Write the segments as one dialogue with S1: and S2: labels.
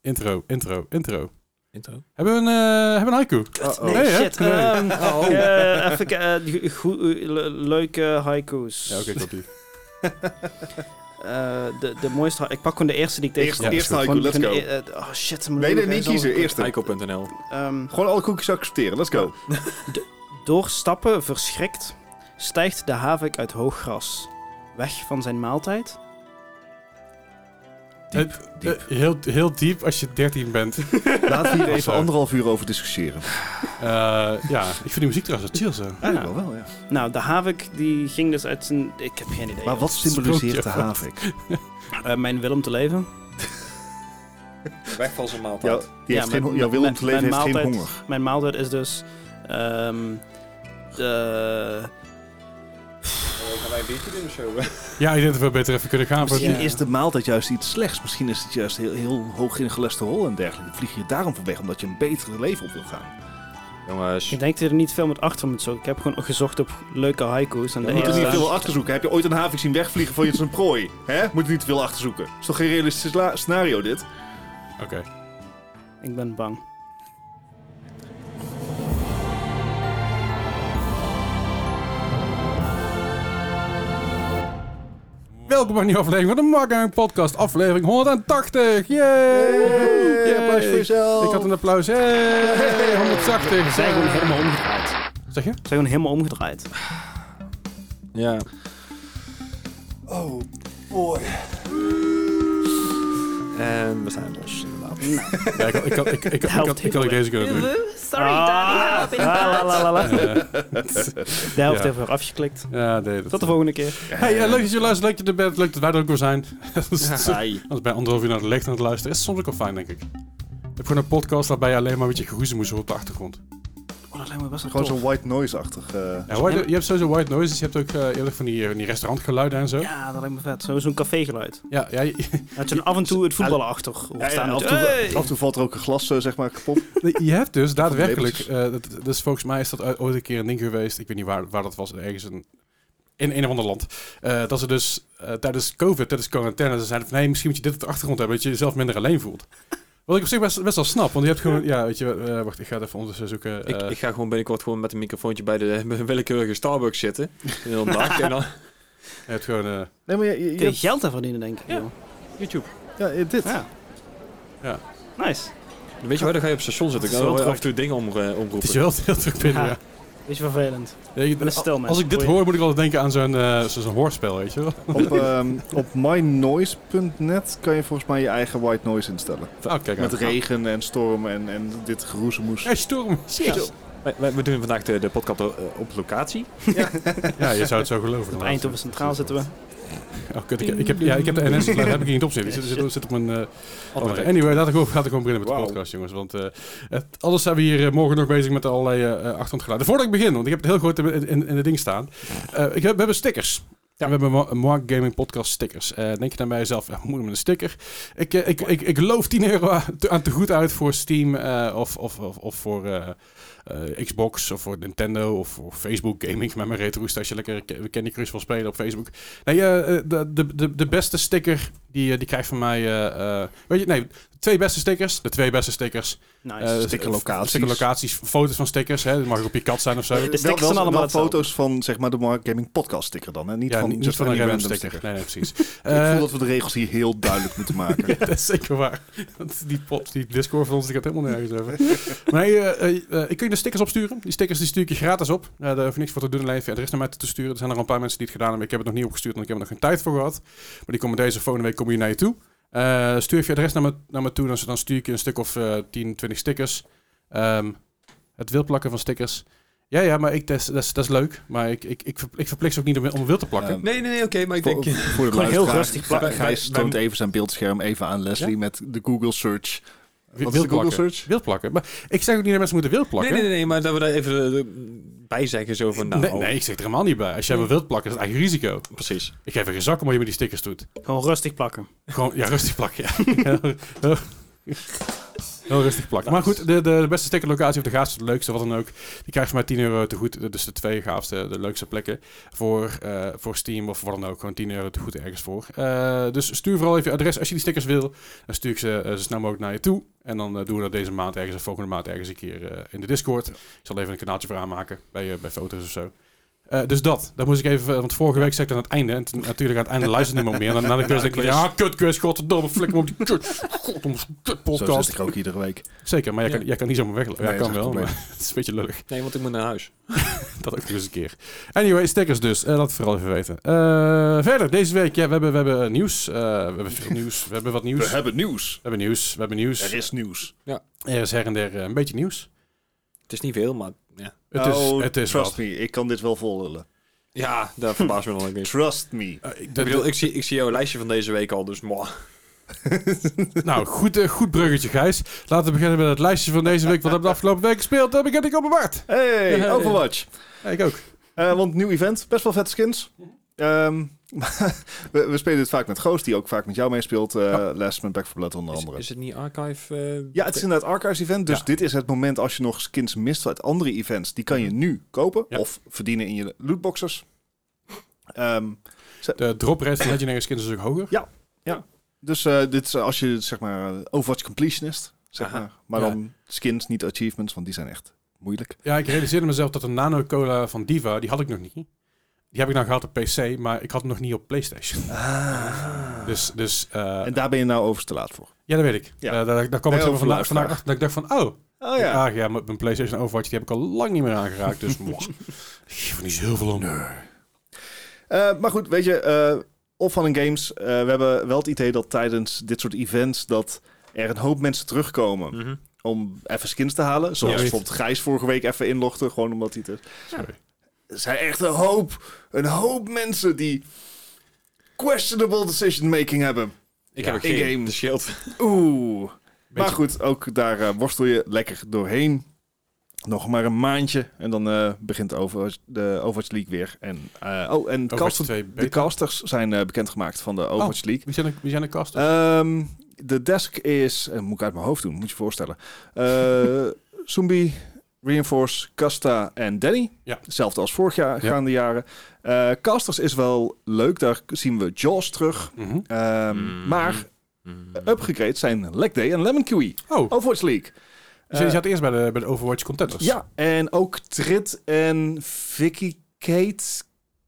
S1: Intro, intro, intro.
S2: Intro.
S1: Hebben we een, eh, hebben we een haiku?
S3: Kut,
S1: Oh,
S3: nee,
S1: oh. Nee, hè?
S3: shit.
S1: Nee.
S3: Ehm,
S2: Oh.
S3: eh, even kijken. eh, goe- eh, le- leuke haiku's.
S1: Ja, oké, klopt.
S3: Eh, de, de mooiste ha- Ik pak gewoon de eerste die ik
S4: Eerst,
S3: tegen.
S1: Ja,
S4: eerst
S1: goed.
S4: haiku,
S3: Gewoon
S4: let's
S3: van-
S4: go.
S3: eh, eh, oh shit, ze
S4: Nee,
S3: moeilijk,
S4: nee,
S3: hè,
S4: niet
S3: zo.
S4: kiezen. Eerste.
S2: Ico.nl.
S3: Ehm,
S4: Gewoon alle koekjes accepteren, let's go.
S3: door stappen verschrikt stijgt de havik uit hoog gras. Weg van zijn maaltijd.
S1: Diep, Eh, heel, heel diep als je 13 bent.
S4: Laten we hier
S1: Zo.
S4: even anderhalf uur over discussiëren.
S1: Eh, ja, ik vind die muziek trouwens wel chill zo.
S3: Ah,
S4: Ja, wel, ja.
S3: Nou, de havik die ging dus uit zijn... Ik heb geen idee.
S4: Maar wat symboliseert de
S1: Sprookje.
S4: havik?
S3: Eh, mijn wil om te leven.
S2: Weg van zijn
S4: Jouw,
S2: maaltijd.
S4: die heeft
S3: mijn-
S4: geen, jouw wil om
S3: mijn-
S4: te leven
S3: mijn
S4: heeft geen
S3: maaltijd-
S4: honger.
S3: Mijn maaltijd is dus... ehm, de-
S2: Oh, Gaan wij een biertje doen of zo?
S1: Ja, ik denk dat we beter even kunnen gaan. Voor
S4: Misschien
S1: die...
S3: Ja.
S4: is de maaltijd juist iets slechts. Misschien is het juist heel, heel hoog in cholesterol en dergelijke. Vlieg je daarom van weg omdat je een betere leven op wil gaan.
S2: Jongens.
S3: Ik denk dat er niet veel met achter moet zoeken. Ik heb gewoon gezocht op leuke haiku's. En
S4: Je
S3: de
S4: moet er
S3: eerste-
S4: niet veel achter zoeken. Heb je ooit een havik zien wegvliegen van je zijn prooi? Hè? Moet je niet veel achter zoeken. Is toch geen realistisch sla- scenario dit?
S1: Oké.
S3: Ik ben bang.
S1: Welkom bij een nieuwe aflevering van de Marketing Podcast, aflevering 180. Yay! Yay!
S4: jezelf.
S1: Ik had een applaus. Hey, 180.
S3: We zijn gewoon helemaal omgedraaid. We
S1: Zeg je?
S3: zijn gewoon helemaal omgedraaid.
S2: Ja.
S4: Oh, boy.
S2: En we zijn los, inderdaad.
S1: Ja, ik, had- ik, had- ik, ik, ik,
S3: De helft
S1: had- ik had ook
S3: heeft
S1: deze kunnen doen.
S5: Sorry,
S3: Ah,
S5: Daddy, help
S3: la,
S5: inderdaad.
S3: la, la, la.
S1: Eh,
S3: De helft
S1: Ja.
S3: heeft weer afgeklikt.
S1: ja, nee. dat-
S3: Tot de volgende keer.
S1: Hey, eh, leuk dat je luistert, leuk dat je er bent, leuk dat wij er ook weer zijn. Dat is- Als bij anderhalf uur naar het licht aan het luisteren is soms ook wel fijn, denk ik. Ik heb gewoon een podcast waarbij je alleen maar een beetje geroezemoes hoort op de achtergrond.
S3: Oh, dat lijkt me best wel
S4: Gewoon
S3: tof.
S4: zo'n white noise-achtig. eh,
S1: Ja, white- je hebt sowieso white noises, je hebt ook eh, eerlijk van die, van die restaurantgeluiden en zo. Ja,
S3: Ja, dat lijkt me vet. Zo- Zo'n cafégeluid.
S1: ja, je-
S3: Dat je dan af en toe het voetballen achter hoort
S4: ja,
S3: staan.
S4: af, en toe, eh, af en toe valt er ook een glas eh, zeg maar, kapot.
S1: Nee, je hebt dus daadwerkelijk, eh, dat- dus volgens mij is dat ooit- ooit een keer een ding geweest, ik weet niet waar, waar dat was, ergens in, in een of ander land. Eh, dat ze dus eh, tijdens COVID, tijdens quarantaine, ze zeiden van nee, misschien moet je dit op de achtergrond hebben, dat je jezelf minder alleen voelt. Wat ik op zich best, best wel snap, want je hebt gewoon, ja, weet je, eh, wacht, ik ga het even ondertussen zoeken.
S2: Ik,
S1: Eh,
S2: ik ga gewoon binnenkort gewoon met een microfoontje bij de bij een willekeurige Starbucks zitten. En dan dag en dan...
S1: je hebt gewoon, eh,
S4: Nee, maar je, je- je
S3: Kun je
S4: hebt-
S3: geld aan verdienen, denk ik.
S2: Ja.
S3: joh.
S2: YouTube.
S4: ja, eh, dit.
S3: Ja.
S1: Ja.
S3: Nice.
S2: Weet je waar, dan ga je op het station zitten. Dan
S3: Dat
S2: ga
S3: is wel
S2: je af en toe dingen om, eh,
S1: het is
S2: omroepen.
S1: wel heel druk binnen,
S3: Ja.
S1: ja.
S3: Beetje vervelend.
S1: Ja, je-
S3: ben een stel mens.
S1: als ik dit
S3: Goeie.
S1: hoor, moet ik altijd denken aan zo'n eh, zo- zo'n hoorspel, weet je wel.
S4: Op, ehm, op mynoise.net kan je volgens mij je eigen white noise instellen.
S1: Ah, kijk aan.
S4: Met regen en storm en, en dit geroezemoes.
S1: Hey, storm.
S2: Jezus. Wij- wij- We doen vandaag de, de podcast op, eh, op locatie.
S1: Ja, je zou het zo geloven.
S3: Op Eindhoven Centraal zitten we.
S1: Oh, kut, ik, ik, heb, ja, ik heb de NS heb ik hier niet op zitten. Die zit, zit, zit op mijn... eh, oh, nee. anyway, laten we gewoon, laten we gewoon beginnen met de
S2: Wauw.
S1: podcast, jongens. Want eh, het, anders zijn we hier eh, morgen nog bezig met allerlei eh, eh, achtergrondgeluiden. Voordat ik begin, want ik heb het heel goed in, in, in het ding staan. Eh, ik heb, we hebben stickers. Ja. We hebben Ma- Mark Gaming Podcast stickers. Eh, denk je dan bij jezelf, ja, moet met een sticker? Ik, eh, ik, ik, ik loof 10 euro aan te- aan te goed uit voor Steam eh, of, of, of, of voor eh, eh, Xbox of voor Nintendo of voor Facebook Gaming. Met mijn retro's als je lekker Ke- Candy Crush wil spelen op Facebook. Nee, eh, de, de, de, de beste sticker die, eh, die krijgt van mij... eh, eh, weet je, nee, twee beste stickers. De twee beste stickers.
S3: Nice.
S1: Eh,
S4: stickerlocaties.
S1: Stickerlocaties, foto's van stickers. Hè. Dat mag ook op je kat zijn of zo.
S3: De stickers zijn allemaal hetzelfde.
S4: foto's van zeg maar, de Mark Gaming podcast sticker dan. Hè? Niet
S1: ja,
S4: van,
S1: niet, niet
S4: just
S1: van een
S4: any
S1: random sticker. Nee, nee, precies.
S4: Ik
S1: Eh,
S4: voel dat we de regels hier heel duidelijk moeten maken.
S1: Ja, dat is zeker waar. Want die pop, die Discord van ons, die gaat helemaal nergens over. Maar hey, eh, eh, eh, ik kun je de stickers opsturen. Die stickers die stuur ik je gratis op. Eh, daar hoef je niks voor te doen, alleen even je adres naar mij toe te sturen. Er zijn er al een paar mensen die het gedaan hebben. Ik heb het nog niet opgestuurd, want ik heb er nog geen tijd voor gehad. Maar die komen deze volgende week komen hier naar je toe. Eh, stuur even je adres naar me, naar me toe, dan, dan stuur ik je een stuk of eh 10, 20 stickers. Ehm, het wil plakken van stickers. Ja, ja, maar ik, dat, is, dat, is, dat is leuk. Maar ik, ik, ik, ver- ik verplicht ze ook niet om, om wil te plakken.
S4: Ehm,
S2: Nee, nee, nee, oké, maar ik
S4: Voor,
S2: denk...
S4: voor de
S3: Gewoon heel
S4: luisteraar,
S3: rustig
S4: Gij-
S3: plakken.
S4: Gijs toont even zijn beeldscherm even aan Leslie met de Google search.
S1: Wi-
S4: Wat is
S1: wil
S4: de Google
S1: plakken.
S4: search?
S1: Wil plakken. Maar ik zeg ook niet dat mensen moeten wil plakken.
S2: Nee, nee, nee, nee, maar dat we daar even eh, bij zeggen zo van... Nou, oh,
S1: nee, nee, ik zeg er helemaal niet bij. Als jij me wilt plakken, is het eigen risico.
S2: Precies.
S1: Ik geef er geen zak om wat je met die stickers doet.
S3: Gewoon rustig plakken.
S1: Gewoon, ja, rustig plakken, ja. Heel rustig plakt. Maar goed, de, de beste stickerlocatie of de gaafste, de leukste, wat dan ook. Die krijgt voor mij 10 euro te goed. Dus de twee gaafste, de leukste plekken voor, eh, voor Steam of wat dan ook. Gewoon 10 euro te goed ergens voor. Eh, dus stuur vooral even je adres als je die stickers wil. Dan stuur ik ze eh, zo snel mogelijk naar je toe. En dan eh, doen we dat deze maand ergens of volgende maand ergens een keer eh, in de Discord. Ik zal even een kanaaltje voor aanmaken bij, eh, bij foto's of zo. Eh, dus dat, dat moest ik even, want vorige week zei ik dat aan het einde. En toen- natuurlijk aan het einde luisterde niemand meer. En dan na de quiz denk ik, dus
S2: quiz.
S1: ja, Ah, kut quiz, godverdomme, flik me op die kut, godverdomme, kut
S4: Zo
S1: podcast.
S4: zit ik ook iedere week.
S1: Zeker, maar jij,
S2: Ja.
S1: kan, jij kan niet zomaar weglopen.
S4: Nee,
S1: ja,
S4: dat
S1: kan
S4: is
S1: wel,
S4: geen
S1: maar
S4: probleem.
S1: het is een beetje lullig.
S2: Nee, want ik moet naar huis.
S1: Dat ook nog eens een keer. Anyway, stickers dus. Eh, laat het vooral even weten. Eh, verder, deze week, ja, we hebben, we hebben nieuws. Eh, we hebben veel nieuws. We hebben wat nieuws. Dus-
S4: We
S1: We
S4: hebben nieuws.
S1: hebben nieuws. We hebben nieuws.
S4: Er is nieuws.
S1: Er is her en der eh, een beetje nieuws.
S2: Het is niet veel, maar ja.
S1: Het
S4: Oh,
S1: is, het is
S4: trust
S1: wat.
S4: me, ik kan dit wel volhullen.
S2: Ja, daar verbaas me dan ook niet.
S4: Trust me.
S1: Eh, ik-
S2: Ik
S1: dat-
S2: bedoel, ik zie, ik zie jouw lijstje van deze week al, dus mwah.
S1: nou, goed, eh, goed bruggetje, Gijs. Laten we beginnen met het lijstje van deze week. Wat hebben we de afgelopen week gespeeld? Daar begin ik op mijn Bart.
S4: Hey, Overwatch.
S1: Ja, ik ook.
S4: Eh, want nieuw event, best wel vette skins. Ehm, we, we spelen dit vaak met Goos, die ook vaak met jou meespeelt. eh
S1: Ja.
S4: Last Man Back for Blood onder
S2: Is,
S4: andere.
S2: is het niet archive? eh,
S4: ja, het is inderdaad Archives event, dus
S1: Ja.
S4: dit is het moment als je nog skins mist uit andere events. Die kan je nu kopen
S1: Mhm. Ja.
S4: of verdienen in je lootboxers. Ehm,
S1: De drop rate van Legendary Skins is ook hoger.
S4: dus eh, dit is als je zeg maar eh, Overwatch completionist, zeg
S2: Aha.
S4: maar. Maar
S1: Ja.
S4: dan skins, niet achievements, want die zijn echt moeilijk.
S1: Ja, ik realiseerde mezelf dat de Nano Cola van Diva, die had ik nog niet. Die heb ik nou gehad op PC, maar ik had hem nog niet op PlayStation. Dus, dus eh,
S4: Ah. en daar ben je nou overigens te laat voor.
S1: ja, dat weet ik.
S4: Ja.
S1: Ja. daar, daar kwam
S4: Nee,
S1: ik zeg maar
S4: over
S1: vandaag, vandaag
S4: luisteraar.
S1: achter dat ik dacht van, oh,
S4: Oh
S1: ik- ah, ja, mijn mijn PlayStation Overwatch, die heb ik al lang niet meer aangeraakt. Dus, mwah. Ik geef er niet zoveel om.
S4: Eh, maar goed, weet je, eh of van een games. eh, we hebben wel het idee dat tijdens dit soort events dat er een hoop mensen terugkomen
S2: mhm.
S4: om even skins te halen. Zoals
S1: Ja.
S4: bijvoorbeeld Gijs vorige week even inlogde, gewoon omdat hij het.
S1: Sorry.
S4: Er zijn echt een hoop, een hoop mensen die questionable decision making hebben.
S2: Ik
S1: Ja,
S2: heb er geen Mhm.
S4: in-game.
S2: de shield.
S4: Oeh. Maar
S1: Beetje-
S4: goed, ook daar eh, worstel je lekker doorheen. Nog maar een maandje en dan eh, begint Overwatch, de Overwatch League weer. En, eh, oh, en
S1: Overwatch
S4: cast-
S1: 2
S4: de
S1: beta.
S4: casters zijn eh, bekendgemaakt van de Overwatch League.
S1: Wie zijn de, wie zijn de casters?
S4: Ehm, de desk is, eh, moet ik uit mijn hoofd doen, moet je je voorstellen. Eh Zombie, Reinforce, Casta en Danny.
S1: Ja.
S4: Hetzelfde als vorig jaar,
S1: Ja.
S4: gaande jaren. Eh, Casters is wel leuk, daar zien we Jaws terug.
S1: Mhm.
S4: Ehm,
S2: Mm.
S4: Maar upgrade zijn Leg Day en Lemon Kiwi.
S1: Oh,
S4: Overwatch League.
S1: dus je
S4: Eh,
S1: zat eerst bij de, bij de Overwatch contenders.
S4: ja, en ook Trit en Vicky Kate,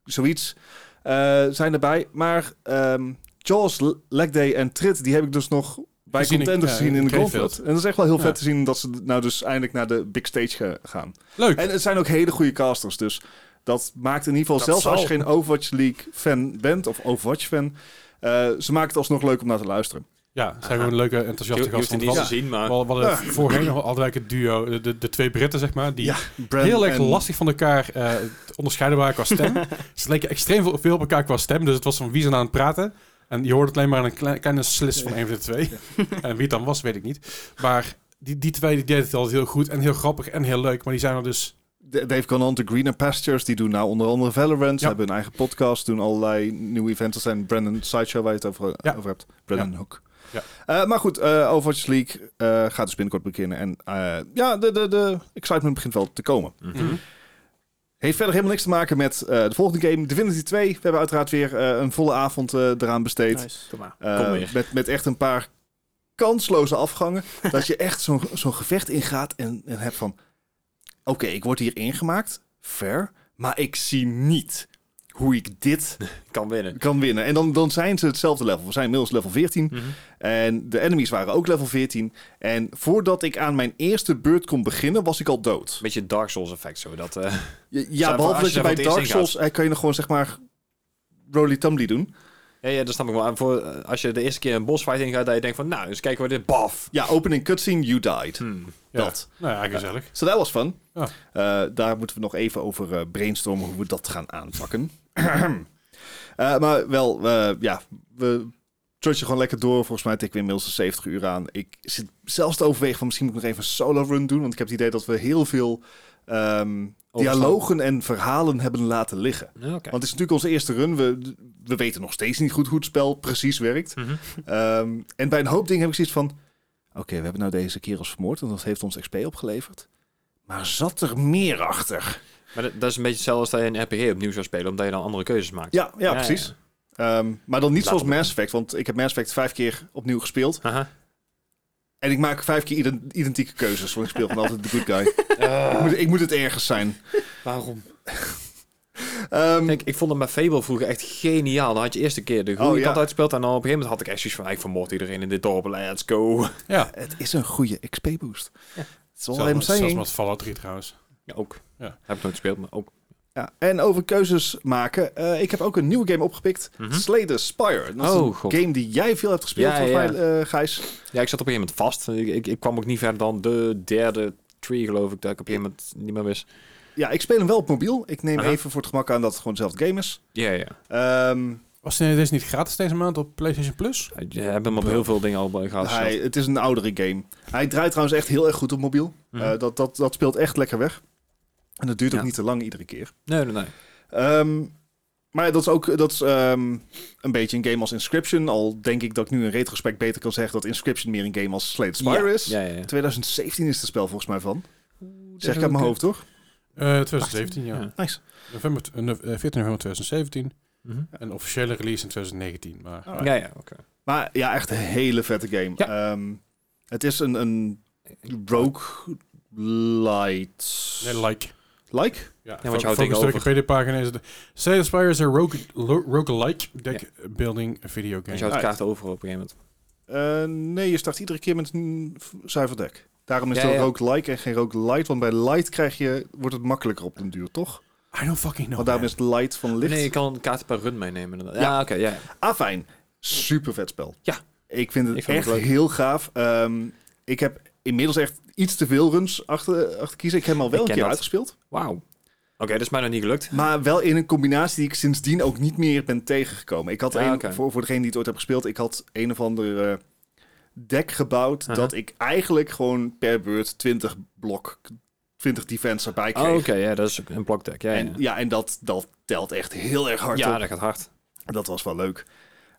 S4: zoiets, eh, zijn erbij. Maar ehm Jaws, Leg Day en Trit, die heb ik dus nog bij
S1: Gezien in-
S4: contenders
S1: ja,
S4: gezien
S1: in
S4: in de
S1: Krefeld.
S4: Goldfield. En dat is echt wel heel
S1: Ja.
S4: vet te zien dat ze nou dus eindelijk naar de big stage ge- gaan.
S1: Leuk.
S4: En het zijn ook hele goede casters, dus dat maakt in ieder geval,
S1: Dat
S4: zelfs als je
S1: zal.
S4: geen Overwatch League fan bent, of Overwatch fan, eh, ze maken het alsnog leuk om naar te luisteren.
S1: ja, het zijn
S2: Aha.
S1: gewoon leuke,
S2: Je,
S1: enthousiaste
S2: je hoeft
S1: gasten.
S2: het
S1: Want
S2: niet te
S1: we
S2: zien, maar...
S1: hadden- we hadden voorheen nog altijd like het duo, de, de, de twee Britten, zeg maar, die
S4: Ja, Bran
S1: heel erg
S4: en-
S1: lastig van elkaar eh, te onderscheiden waren qua stem. Ze leken extreem veel, veel op elkaar qua stem, dus het was van wie zijn aan het praten. En je hoorde het alleen maar aan een klein- kleine slis van een van de twee. En wie het dan was, weet ik niet. Maar die, die twee die deden het altijd heel goed en heel grappig en heel leuk. Maar die zijn er dus...
S4: D- Dave Conant, de Greener Pastures, die doen nou onder andere Valorant. Ze
S1: Ja.
S4: hebben hun eigen podcast, doen allerlei nieuwe events. Dat zijn Brandon Sideshow, waar je het over, eh,
S1: Ja.
S4: over hebt. Brandon Hook.
S1: Ja.
S4: Eh, maar goed, eh Overwatch League eh, gaat dus binnenkort beginnen. En eh, ja, de, de, de excitement begint wel te komen.
S2: Mhm.
S4: Heeft verder helemaal niks te maken met eh, de volgende game, Divinity 2. We hebben uiteraard weer eh, een volle avond eh, eraan besteed.
S3: Nice.
S2: Kom maar.
S4: Eh,
S2: Kom weer.
S4: met, met echt een paar kansloze afgangen. dat je echt zo'n zo'n gevecht ingaat en, en hebt van... Oké, ik word hier ingemaakt. Fair. Maar ik zie niet hoe ik dit
S2: Kan winnen.
S4: kan winnen. En dan, dan zijn ze hetzelfde level. We zijn inmiddels level 14.
S2: Mhm.
S4: En de enemies waren ook level 14. En voordat ik aan mijn eerste beurt kon beginnen, was ik al dood.
S2: Beetje Dark Souls effect zo. Dat, eh,
S4: Ja,
S2: Zijn
S4: ja
S2: we-
S4: behalve
S2: als
S4: dat
S2: je
S4: je bij
S2: daar voor het
S4: Dark
S2: eerst
S4: Souls... eh, kan je nog gewoon, zeg maar... Roly Tumbly doen.
S2: ja, ja, dat snap ik wel. En Voor, eh, als je de eerste keer een bosfight ingaat, dat je denkt van, nou, eens kijken we dit. Baf!
S4: Ja, opening cutscene, you died.
S2: Hmm.
S1: Ja.
S4: Dat.
S1: Nou ja, gezellig.
S4: So dat was fun.
S1: Ja.
S4: Eh, daar moeten we nog even over eh, brainstormen hoe we dat gaan aanpakken. Eh, maar wel, eh, ja, we trudgen gewoon lekker door. Volgens mij tikken we inmiddels de 70 uur aan. Ik zit zelfs te overwegen van misschien moet ik nog even een solo run doen. Want ik heb het idee dat we heel veel ehm, dialogen en verhalen hebben laten liggen.
S2: Ja, oké.
S4: Want het is natuurlijk onze eerste run. We, we weten nog steeds niet goed hoe het spel precies werkt.
S2: Mhm.
S4: Ehm, en bij een hoop dingen heb ik zoiets van... Oké, we hebben nou deze kerels vermoord en dat heeft ons XP opgeleverd. Maar zat er meer achter?
S2: Maar dat, dat is een beetje hetzelfde als dat je een RPG opnieuw zou spelen, omdat je dan andere keuzes maakt.
S4: Ja, ja,
S2: Ja,
S4: precies.
S2: ja.
S4: Ehm, maar dan niet
S2: Laten
S4: zoals Mass Effect, want ik heb Mass Effect vijf keer opnieuw gespeeld.
S2: Aha.
S4: En ik maak vijf keer ident- identieke keuzes, want ik speel gewoon altijd de good guy. Ik, moet, ik moet het ergens zijn.
S2: Eh, Waarom?
S4: Ehm,
S2: Kijk, ik vond het met Fable vroeger echt geniaal. Dan had je eerst een keer de goede
S4: Oh, ja.
S2: kant uitgespeeld en dan op een gegeven moment had ik echt zoiets van, ik vermoord iedereen in dit dorp, let's go.
S1: Ja.
S4: het is een goede XP-boost. That's all I'm
S1: Zelfs met- zelfs
S4: saying.
S1: met Fallout 3 trouwens.
S2: Ja, ook.
S1: Ja.
S2: Heb ik nooit gespeeld, maar ook.
S4: Ja, en over keuzes maken. eh, ik heb ook een nieuwe game opgepikt.
S2: Mhm.
S4: Slay the Spire. Dat is
S2: Oh,
S4: een
S2: god.
S4: game die jij veel hebt gespeeld,
S2: Ja,
S4: volgens
S2: ja.
S4: mij, eh, Gijs.
S2: Ja, ik zat op een gegeven moment vast. Ik, ik, ik kwam ook niet verder dan de derde tree, geloof ik, dat ik op een gegeven moment niet meer wist.
S4: Ja, ik speel hem wel op mobiel. Ik neem
S2: Aha.
S4: even voor het gemak aan dat het gewoon dezelfde game is.
S2: Ja, ja.
S4: Ehm,
S1: Was die- deze niet gratis deze maand op PlayStation Plus?
S2: Je hebt eh, hem op heel veel dingen al gehad.
S4: hij, het is een oudere game. Hij draait trouwens echt heel erg goed op mobiel.
S2: Mhm.
S4: Eh, dat, dat, dat speelt echt lekker weg. En dat duurt ook
S2: Ja.
S4: niet te lang iedere keer.
S2: Nee, nee, nee.
S4: Ehm, maar dat is ook dat is, ehm, een beetje een game als Inscription. Al denk ik dat ik nu in retrospect beter kan zeggen dat Inscription meer een game als Slay the Spire is.
S2: Ja, ja, ja.
S4: 2017 is het spel volgens mij van. Zeg ik uit mijn hoofd, toch?
S1: Eh 2017, ja.
S2: Ja.
S4: Nice.
S1: November, eh, nov- eh, 14 november 2017.
S2: Mhm.
S1: En officiële release in 2019. Maar
S4: Alright.
S2: Oh, Ja, ja, oké.
S4: Maar ja, echt een hele vette game. Ehm, het is een, een rogue light.
S1: nee, like.
S4: like?
S1: Ja,
S2: Ja, want je
S1: volgens
S2: houdt
S1: de
S2: tegenover.
S1: Wikipedia-pagina is het... Slay the Spire is een rogue, lo- roguelike deck-building video
S2: Dus
S1: game.
S2: je houdt de
S4: Uit.
S2: kaart over op een gegeven moment.
S4: Eh, nee, je start iedere keer met een v- zuiver deck. Daarom is
S2: Ja,
S4: het
S2: ja.
S4: ook roguelike en geen roguelite. Want bij light krijg je, wordt het makkelijker op den duur, toch?
S1: I don't fucking know.
S4: want daarom is het light van licht.
S2: Nee, je kan kaarten per run meenemen. inderdaad.
S4: Ja.
S2: Ja, oké, ja.
S4: Ah, fijn. Super vet spel.
S2: Ja.
S4: Ik vind het
S2: Ik vind
S4: echt
S2: het leuk.
S4: heel gaaf. Ehm, ik heb inmiddels echt iets te veel runs achter, achter kiezen. Ik heb hem al wel
S2: Ik ken
S4: een keer
S2: dat.
S4: uitgespeeld.
S2: Wauw. Oké, dat is mij nog niet gelukt.
S4: Maar wel in een combinatie die ik sindsdien ook niet meer ben tegengekomen. Ik had
S2: Ja,
S4: een,
S2: Ah, oké.
S4: voor, voor degene die het ooit hebben gespeeld, ik had een of ander eh, deck gebouwd
S2: Aha.
S4: dat ik eigenlijk gewoon per beurt 20 blok, 20 defense erbij kreeg.
S2: Oh, oké, ja, dat is een blokdeck. Ja, ja.
S4: En, ja, en dat, dat telt echt heel erg hard
S2: ja,
S4: op.
S2: dat gaat hard.
S4: Dat was wel leuk.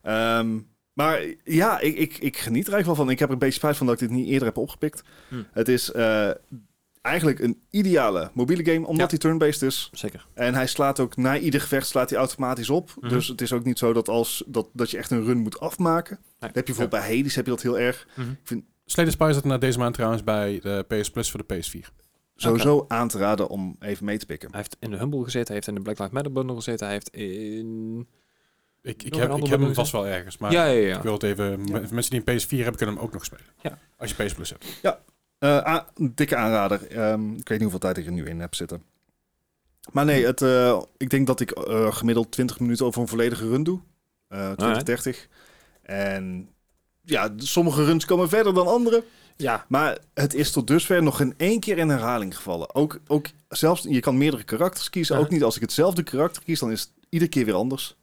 S4: Ehm, maar ja, ik, ik, ik geniet er eigenlijk wel van. Ik heb er een beetje spijt van dat ik dit niet eerder heb opgepikt.
S2: Hm.
S4: Het is eh, eigenlijk een ideale mobiele game, omdat
S2: Ja.
S4: die turn-based is.
S2: Zeker.
S4: En hij slaat ook na ieder gevecht slaat hij automatisch op.
S2: Mhm.
S4: Dus het is ook niet zo dat, als, dat, dat je echt een run moet afmaken. Dat heb je bijvoorbeeld bij Hades heb je dat heel erg.
S2: Mhm.
S1: Slay the Spire zat na deze maand trouwens bij de PS Plus voor de PS4.
S4: Sowieso aan te raden om even mee te pikken.
S2: Hij heeft in de Humble gezeten, hij heeft in de Black Lives Matter bundle gezeten, hij heeft in...
S1: Ik, ik
S2: een
S1: heb, ik heb
S2: andere
S1: hem
S2: bedoeling?
S1: vast wel ergens, maar
S2: ja, ja,
S1: ik
S2: ja.
S1: wil het even... m- Mensen die een PS4 hebben, kunnen hem ook nog spelen.
S2: Ja.
S1: Als je PS Plus hebt.
S4: Eh, a- een dikke aanrader. Ehm, ik weet niet hoeveel tijd ik er nu in heb zitten. Maar nee, het, eh, ik denk dat ik eh, gemiddeld 20 minuten over een volledige run doe. Eh 20,
S2: Alright.
S4: 30. En ja, d- sommige runs komen verder dan andere.
S2: Ja,
S4: Maar het is tot dusver nog geen één keer in herhaling gevallen. Ook, ook zelfs, je kan meerdere karakters kiezen.
S2: Ja.
S4: Ook niet als ik hetzelfde karakter kies, dan is het iedere keer weer anders.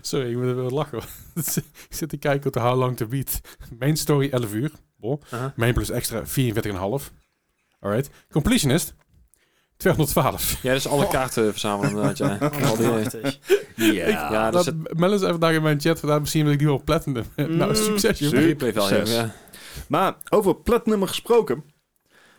S1: Sorry, ik moet even lachen. want ik zit te kijken op de How Long To Beat. Main story 11 uur. Bon.
S2: Aha.
S1: Main plus extra 44,5. Alright. Completionist 212.
S2: ja dat is dus alle kaarten verzamelen inderdaad, ja. Al die-
S3: Prachtig.
S4: Ja.
S2: ja, dus dat is
S1: Dat,
S2: het
S1: Mel is even daar in mijn chat, vandaar misschien wil ik die wel platinum. nou,
S3: Mm.
S1: succes jongen.
S4: Succes.
S2: replay value, ja.
S4: Maar over platinum gesproken.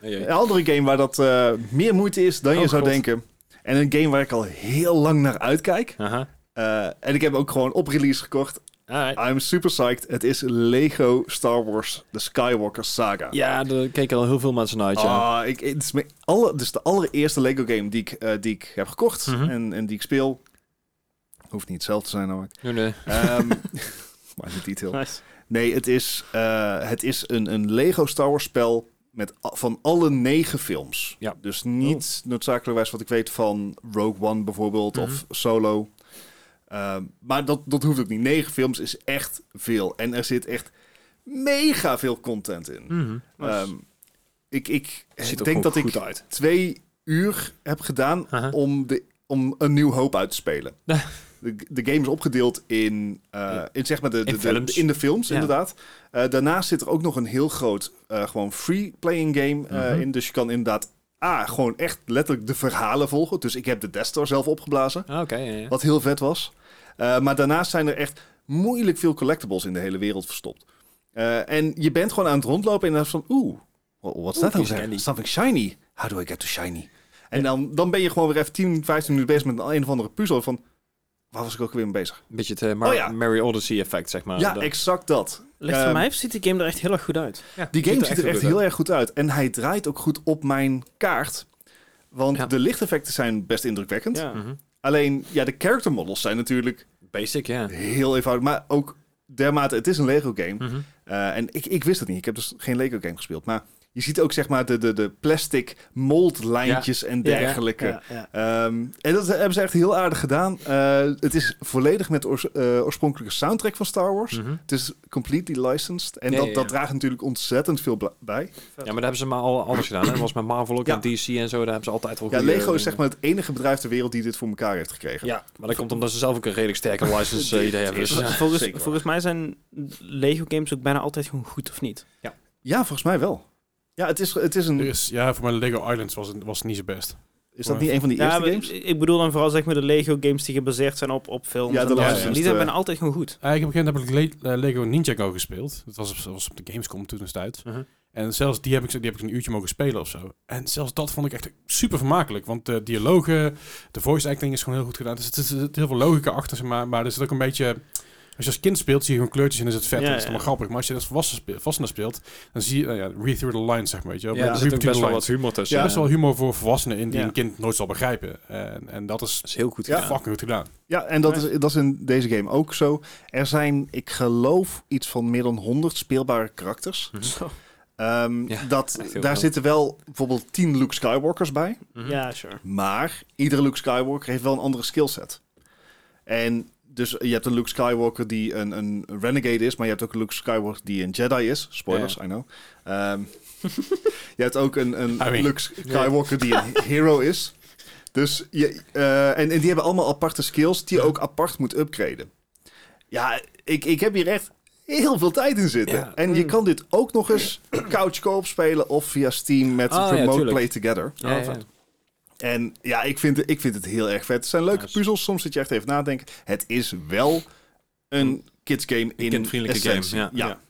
S2: Ja, ja.
S4: Een andere game waar dat eh, meer moeite is dan je
S2: Oh,
S4: zou
S2: God.
S4: denken. En een game waar ik al heel lang naar uitkijk.
S2: Aha.
S4: Eh, en ik heb hem ook gewoon op release gekocht.
S2: Alright.
S4: I'm super psyched. Het is Lego Star Wars The Skywalker Saga.
S2: Ja, daar keken al heel veel mensen naar uit, ja.
S4: Ah, ik, het, is mijn alle, het is de allereerste Lego game die ik, eh, die ik heb gekocht
S2: Mhm.
S4: en, en die ik speel. Hoeft niet hetzelfde te zijn namelijk.
S2: Nee, nee.
S4: Ehm maar niet detail.
S3: Nice.
S4: Nee, het is, eh, het is een, een Lego Star Wars spel met a- van alle negen films.
S2: Ja. Oh.
S4: Dus niet noodzakelijkerwijs wat ik weet van Rogue One bijvoorbeeld
S2: Mhm.
S4: of Solo. Ehm, maar dat, dat hoeft ook niet. Negen films is echt veel. En er zit echt mega veel content in.
S2: Mhm.
S3: Nice.
S4: Ehm, ik ik
S2: Het ziet er
S4: denk
S2: gewoon
S4: dat ik
S2: goed uit.
S4: twee uur heb gedaan
S2: Aha.
S4: om, de, om een nieuw hoop uit te spelen. de, de game is opgedeeld in, eh, in, zeg maar de, de,
S2: In
S4: de-
S2: films.
S4: in de films,
S2: Ja.
S4: inderdaad. Eh, daarnaast zit er ook nog een heel groot eh, gewoon free-playing game eh,
S2: Mhm.
S4: in. Dus je kan inderdaad A, gewoon echt letterlijk de verhalen volgen. Dus ik heb de Death Star zelf opgeblazen,
S2: Ah, Oké, ja, ja.
S4: wat heel vet was. Eh, maar daarnaast zijn er echt moeilijk veel collectibles in de hele wereld verstopt. Eh, en je bent gewoon aan het rondlopen en dan is van, oeh, wha- what's that
S2: Oeh,
S4: over there?
S2: shiny.
S4: Something nou? shiny. How do I get to shiny? En dan, dan ben je gewoon weer even 10, 15 minuten bezig met een, een of andere puzzel van, waar was ik ook weer mee bezig?
S2: Een beetje het eh, Mar-
S4: Oh ja.
S2: Mary Odyssey effect, zeg maar.
S4: ja,
S2: Ah, Dat-
S4: exact dat.
S3: Ligt
S4: Ehm,
S3: voor mij ziet die game er echt heel erg goed uit.
S2: Ja,
S4: Die game ziet er
S2: goed
S4: echt
S2: uit.
S4: heel erg goed uit. En hij draait ook goed op mijn kaart. Want
S2: Ja.
S4: de lichteffecten zijn best indrukwekkend.
S3: Ja.
S2: Mhm.
S4: Alleen, ja, de character models zijn natuurlijk
S2: Basic, ja.
S4: heel eenvoudig. Maar ook dermate, het is een Lego game.
S2: Mhm.
S4: Eh, en ik, ik wist het niet. Ik heb dus geen Lego game gespeeld. Maar je ziet ook zeg maar de, de, de plastic moldlijntjes en
S2: Ja, ja,
S4: dergelijke.
S3: Ja, ja.
S4: Ehm, en dat hebben ze echt heel aardig gedaan. Eh, het is volledig met de oors- eh, oorspronkelijke soundtrack van Star Wars.
S2: Mhm.
S4: Het is completely licensed. En
S2: Ja,
S4: dat,
S2: ja,
S4: dat
S2: ja.
S4: draagt natuurlijk ontzettend veel bla- bij.
S2: Ja, maar daar hebben ze maar al anders gedaan. Hè. Dat was met Marvel ook
S4: Ja.
S2: en DC en zo. Daar hebben ze altijd wel
S4: Ja,
S2: goede- eh,
S4: Lego is zeg maar het enige bedrijf ter wereld die dit voor elkaar heeft gekregen.
S2: Ja, maar dat komt omdat ze zelf ook een redelijk sterke license eh, idee hebben. Dus,
S4: Ja,
S2: ja.
S3: volgens,
S4: zeker waar.
S3: volgens mij zijn Lego games ook bijna altijd gewoon goed of niet.
S4: Ja, volgens mij wel. Ja, het is, het is
S1: Er
S4: een...
S1: is, ja, voor mijn Lego Islands was het, was het niet zo best.
S4: Is dat niet een van die
S3: Ja,
S4: eerste
S3: maar
S4: games?
S3: ik- ik bedoel dan vooral zeg maar de Lego games die gebaseerd zijn op, op films.
S4: Ja,
S3: en dat
S4: de
S3: soort
S1: laatste.
S3: dingen. Die zijn bijna altijd gewoon goed.
S1: Eigenlijk op een gegeven moment heb ik Le- eh, Lego Ninjago gespeeld. Dat was op, was op de Gamescom toen is het uit.
S2: Mhm.
S1: En zelfs die heb, ik, zo- die heb ik een uurtje mogen spelen of zo. En zelfs dat vond ik echt super vermakelijk. Want de dialogen, de voice acting is gewoon heel goed gedaan. Dus het is er zit heel veel logica achter, zeg maar. Maar er zit ook een beetje... Als je als kind speelt, zie je gewoon kleurtjes en is het vet.
S3: Ja,
S1: en dat is
S3: ja.
S1: allemaal grappig. Maar als je als volwassen speelt, volwassene speelt dan zie je... nou ja, read through the lines, zeg maar. Weet je, wel.
S2: Ja,
S1: Read
S2: er zit
S1: between
S2: ook best
S1: the
S2: wel
S1: lines.
S2: wat humor tussen.
S1: Er is best wel humor voor volwassenen in die
S3: Ja.
S1: een kind nooit zal begrijpen. En, en dat is
S2: Dat is heel goed
S4: Ja.
S2: gedaan.
S1: fucking goed gedaan.
S4: Ja, en dat is, dat is in deze game ook zo. Er zijn, ik geloof, iets van meer dan 100 speelbare karakters.
S2: Mhm.
S3: Zo.
S4: Ehm,
S2: Ja,
S4: dat,
S2: echt heel
S4: daar
S2: veel.
S4: zitten wel bijvoorbeeld 10 Luke Skywalkers bij.
S2: Mhm.
S3: Ja, sure.
S4: Maar iedere Luke Skywalker heeft wel een andere skillset. En dus je hebt een Luke Skywalker die een, een renegade is, maar je hebt ook een Luke Skywalker die een Jedi is. Spoilers, I know. Ehm, je hebt ook een, een
S1: I mean.
S4: Luke Skywalker die een hero is. Dus je, eh, en, en die hebben allemaal aparte skills die je ook apart moet upgraden. Ja, ik, ik heb hier echt heel veel tijd in zitten.
S2: Ja.
S4: En je kan dit ook nog eens couch co-op spelen of via Steam met
S2: Ah, ja,
S4: Remote
S2: tuurlijk.
S4: Play Together.
S2: Ja, ja.
S4: En ja, ik vind, het- ik vind het heel erg vet. Het zijn leuke
S2: Nice.
S4: puzzels. Soms zit je echt even nadenken. Het is wel een kids game in
S2: kindvriendelijke game,
S4: essentie.
S2: ja.
S4: ja.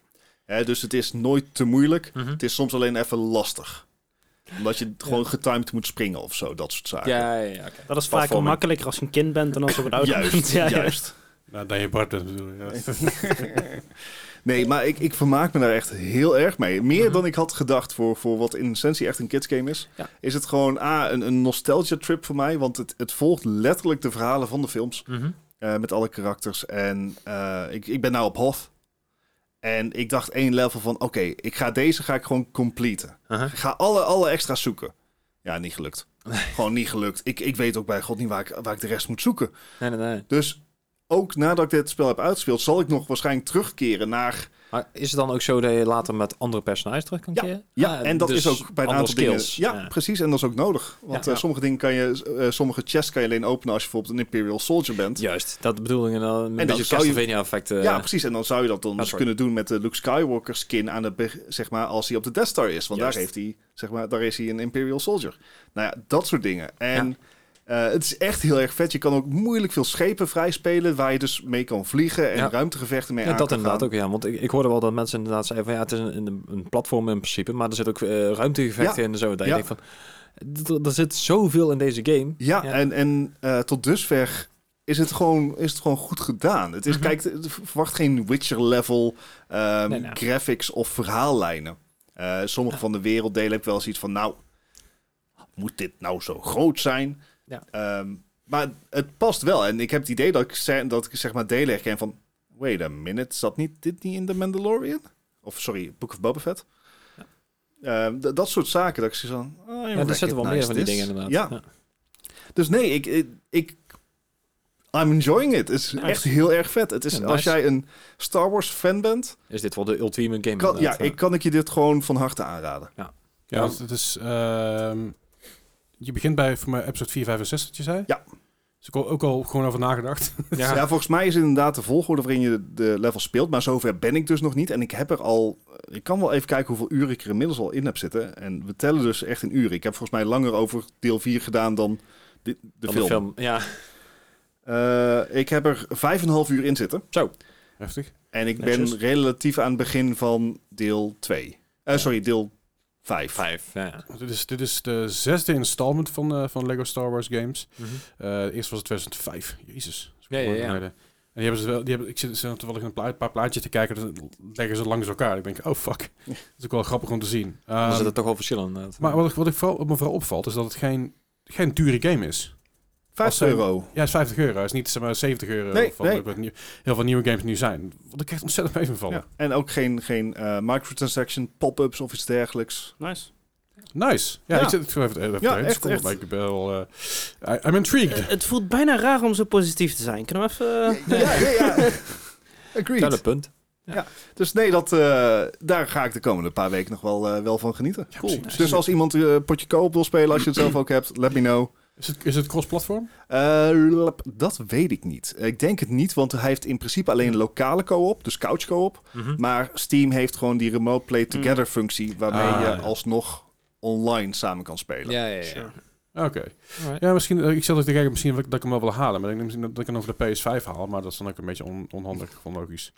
S4: Hè, dus het is nooit te moeilijk.
S2: Mhm.
S4: Het is soms alleen even lastig. Omdat je gewoon getimed moet springen of zo. Dat soort zaken.
S2: Ja, ja, ja, oké.
S3: Dat is vaak
S2: Platforming.
S3: makkelijker als je een kind bent dan als je wat ouder bent.
S4: Juist,
S3: Ja, ja.
S4: juist.
S1: Nou, dat je Bart bent, bedoel ik, ja.
S4: Nee, maar ik, ik vermaak me daar echt heel erg mee. Meer dan ik had gedacht voor, voor wat in essentie echt een kidsgame is.
S2: Ja.
S4: Is het gewoon A, een, een nostalgia trip voor mij. Want het, het volgt letterlijk de verhalen van de films.
S2: Mhm.
S4: Eh, met alle karakters. En eh, ik, ik ben nou op Hof. En ik dacht één level van, oké, ik ga deze ga ik gewoon completen.
S2: Aha.
S4: Ik ga alle, alle extra's zoeken. Ja, niet gelukt. gewoon niet gelukt. Ik, ik weet ook bij god niet waar ik, waar ik de rest moet zoeken.
S2: Nee, nee, nee.
S4: Dus ook nadat ik dit spel heb uitgespeeld, zal ik nog waarschijnlijk terugkeren naar...
S2: Maar is het dan ook zo dat je later met andere personages terug kan
S4: Ja,
S2: keren?
S4: Ja,
S2: Ah,
S4: en dat
S2: dus
S4: is ook bij een
S2: andere
S4: aantal
S2: skills.
S4: dingen... Ja, precies. En dat is ook nodig. Want
S2: Ja.
S4: eh, sommige dingen kan je... eh, sommige chests kan je alleen openen als je bijvoorbeeld een Imperial Soldier bent.
S2: Juist, dat bedoel ik. En dan een
S4: dat
S2: beetje
S4: zou je-
S2: Castlevania-effect. eh,
S4: Ja, precies. En dan zou je dat dan
S2: Ah,
S4: dus
S2: sorry.
S4: kunnen doen met de Luke Skywalker skin aan de, be- zeg maar, als hij op de Death Star is. Want daar,
S2: Juist.
S4: heeft hij, zeg maar, daar is hij een Imperial Soldier. Nou ja, dat soort dingen. En eh, het is echt heel erg vet. Je kan ook moeilijk veel schepen vrijspelen waar je dus mee kan vliegen en
S2: Ja.
S4: ruimtegevechten mee
S2: Ja,
S4: aan
S2: dat
S4: kan
S2: inderdaad
S4: gaan.
S2: ook, ja. Want ik, ik hoorde wel dat mensen inderdaad zeiden van... ja, het is een, een, een platform in principe... maar er zit ook eh, ruimtegevechten in en zo. Dat
S4: Ja.
S2: je denkt van... d- d- Er zit zoveel in deze game. Ja.
S4: Ja, en, en eh, tot dusver is het gewoon, is het gewoon goed gedaan. Het is,
S2: Mhm.
S4: kijk, het- verwacht geen Witcher-level ehm,
S2: Nee, nou.
S4: graphics of verhaallijnen. Eh, sommige van de werelddelen heb ik wel zoiets van, nou, moet dit nou zo groot zijn?
S2: Ja.
S4: Ehm, maar het past wel. En ik heb het idee dat ik, ze- dat ik zeg maar delen herken van, wait a minute, zat niet, dit niet in The Mandalorian? Of sorry, Book of Boba Fett? Ehm, d- dat soort zaken, dat ik zie van... oh, I
S2: Ja, er zitten wel meer
S4: recognize
S2: van die
S4: this.
S2: dingen inderdaad.
S4: Ja, dus nee, ik, ik, ik- I'm enjoying it. Het is
S2: Nice.
S4: echt heel erg vet. Het is,
S2: Ja, nice.
S4: Als jij een Star Wars fan bent,
S2: Is dit wel de ultieme game?
S4: kan, ja,
S2: inderdaad,
S4: ik, kan ik je dit gewoon van harte aanraden.
S1: Ja, want het is... ehm, je begint bij voor mij episode 4, 5 en 6, wat je zei?
S4: Ja.
S1: Dus ik al- ook al gewoon over nagedacht.
S4: Ja. volgens mij is het inderdaad de volgorde waarin je de, de level speelt. Maar zover ben ik dus nog niet. En ik heb er al... Ik kan wel even kijken hoeveel uren ik er inmiddels al in heb zitten. En we tellen dus echt in uren. Ik heb volgens mij langer over deel 4 gedaan dan de, de
S2: Van
S4: film.
S2: Ja,
S4: Eh, ik heb er 5,5 uur in zitten.
S2: Zo.
S1: Heftig.
S4: En ik
S3: Netjes.
S4: ben relatief aan het begin van deel 2. Eh, sorry, deel 5.
S2: Vijf,
S4: Mhm.
S2: ja.
S1: Dit is, dit is de zesde installment van, eh, van Lego Star Wars games. Eh eerst was het 2005. Jezus.
S2: Ja, ja, ja.
S1: En die hebben ze wel, die hebben, ik zit zit toevallig een pla- paar plaatjes te kijken, dan leggen ze langs elkaar. Ik denk, oh fuck. Dat is ook wel grappig om te zien.
S2: Er
S1: Ehm,
S2: zitten toch wel verschillen inderdaad.
S1: maar wat, ik- wat ik vooral, wat me vooral opvalt, is dat het geen, geen dure game is.
S4: 5
S1: Als zij-
S4: euro.
S1: Ja, het is 50 euro. Het is niet zeg maar, 70 euro
S4: Nee,
S1: van
S4: nee.
S1: wat nieuw- heel veel nieuwe games nu zijn. Want ik krijg ontzettend mee van vallen.
S4: Ja. En ook geen, geen eh, microtransaction, pop-ups of iets dergelijks.
S3: Nice.
S1: Nice. Ja,
S4: Ja.
S1: ik zit ik zit even, even
S4: Ja,
S1: doorheen te
S4: echt,
S1: scrollen,
S4: echt.
S1: maar ik ben wel... eh, I- I'm intrigued.
S3: Eh, het voelt bijna raar om zo positief te zijn. Kunnen we even... eh,
S4: Ja, ja, ja.
S2: Wel
S4: Agreed.
S2: een punt.
S4: Dus nee, dat, eh, daar ga ik de komende paar weken nog wel, eh, wel van genieten.
S1: Ja,
S3: cool.
S1: precies.
S4: Dus als iemand eh, potje koop wil spelen, als je het zelf ook hebt, let me know.
S1: Is het, is het cross-platform?
S4: Eh, lap, dat weet ik niet. Ik denk het niet, want hij heeft in principe alleen lokale co-op, dus couch co-op. Maar Steam heeft gewoon die remote play together functie, waarmee
S1: Ah,
S4: je
S1: ja.
S4: alsnog online samen kan spelen.
S2: Ja, ja, ja.
S3: Sure.
S1: Oké.
S2: Alright.
S1: Ja, misschien... eh, ik zat ook te kijken, misschien dat ik dat ik hem wel wil halen. Maar ik denk misschien dat ik hem over de PS5 haal. Maar dat is dan ook een beetje on- onhandig, onlogisch.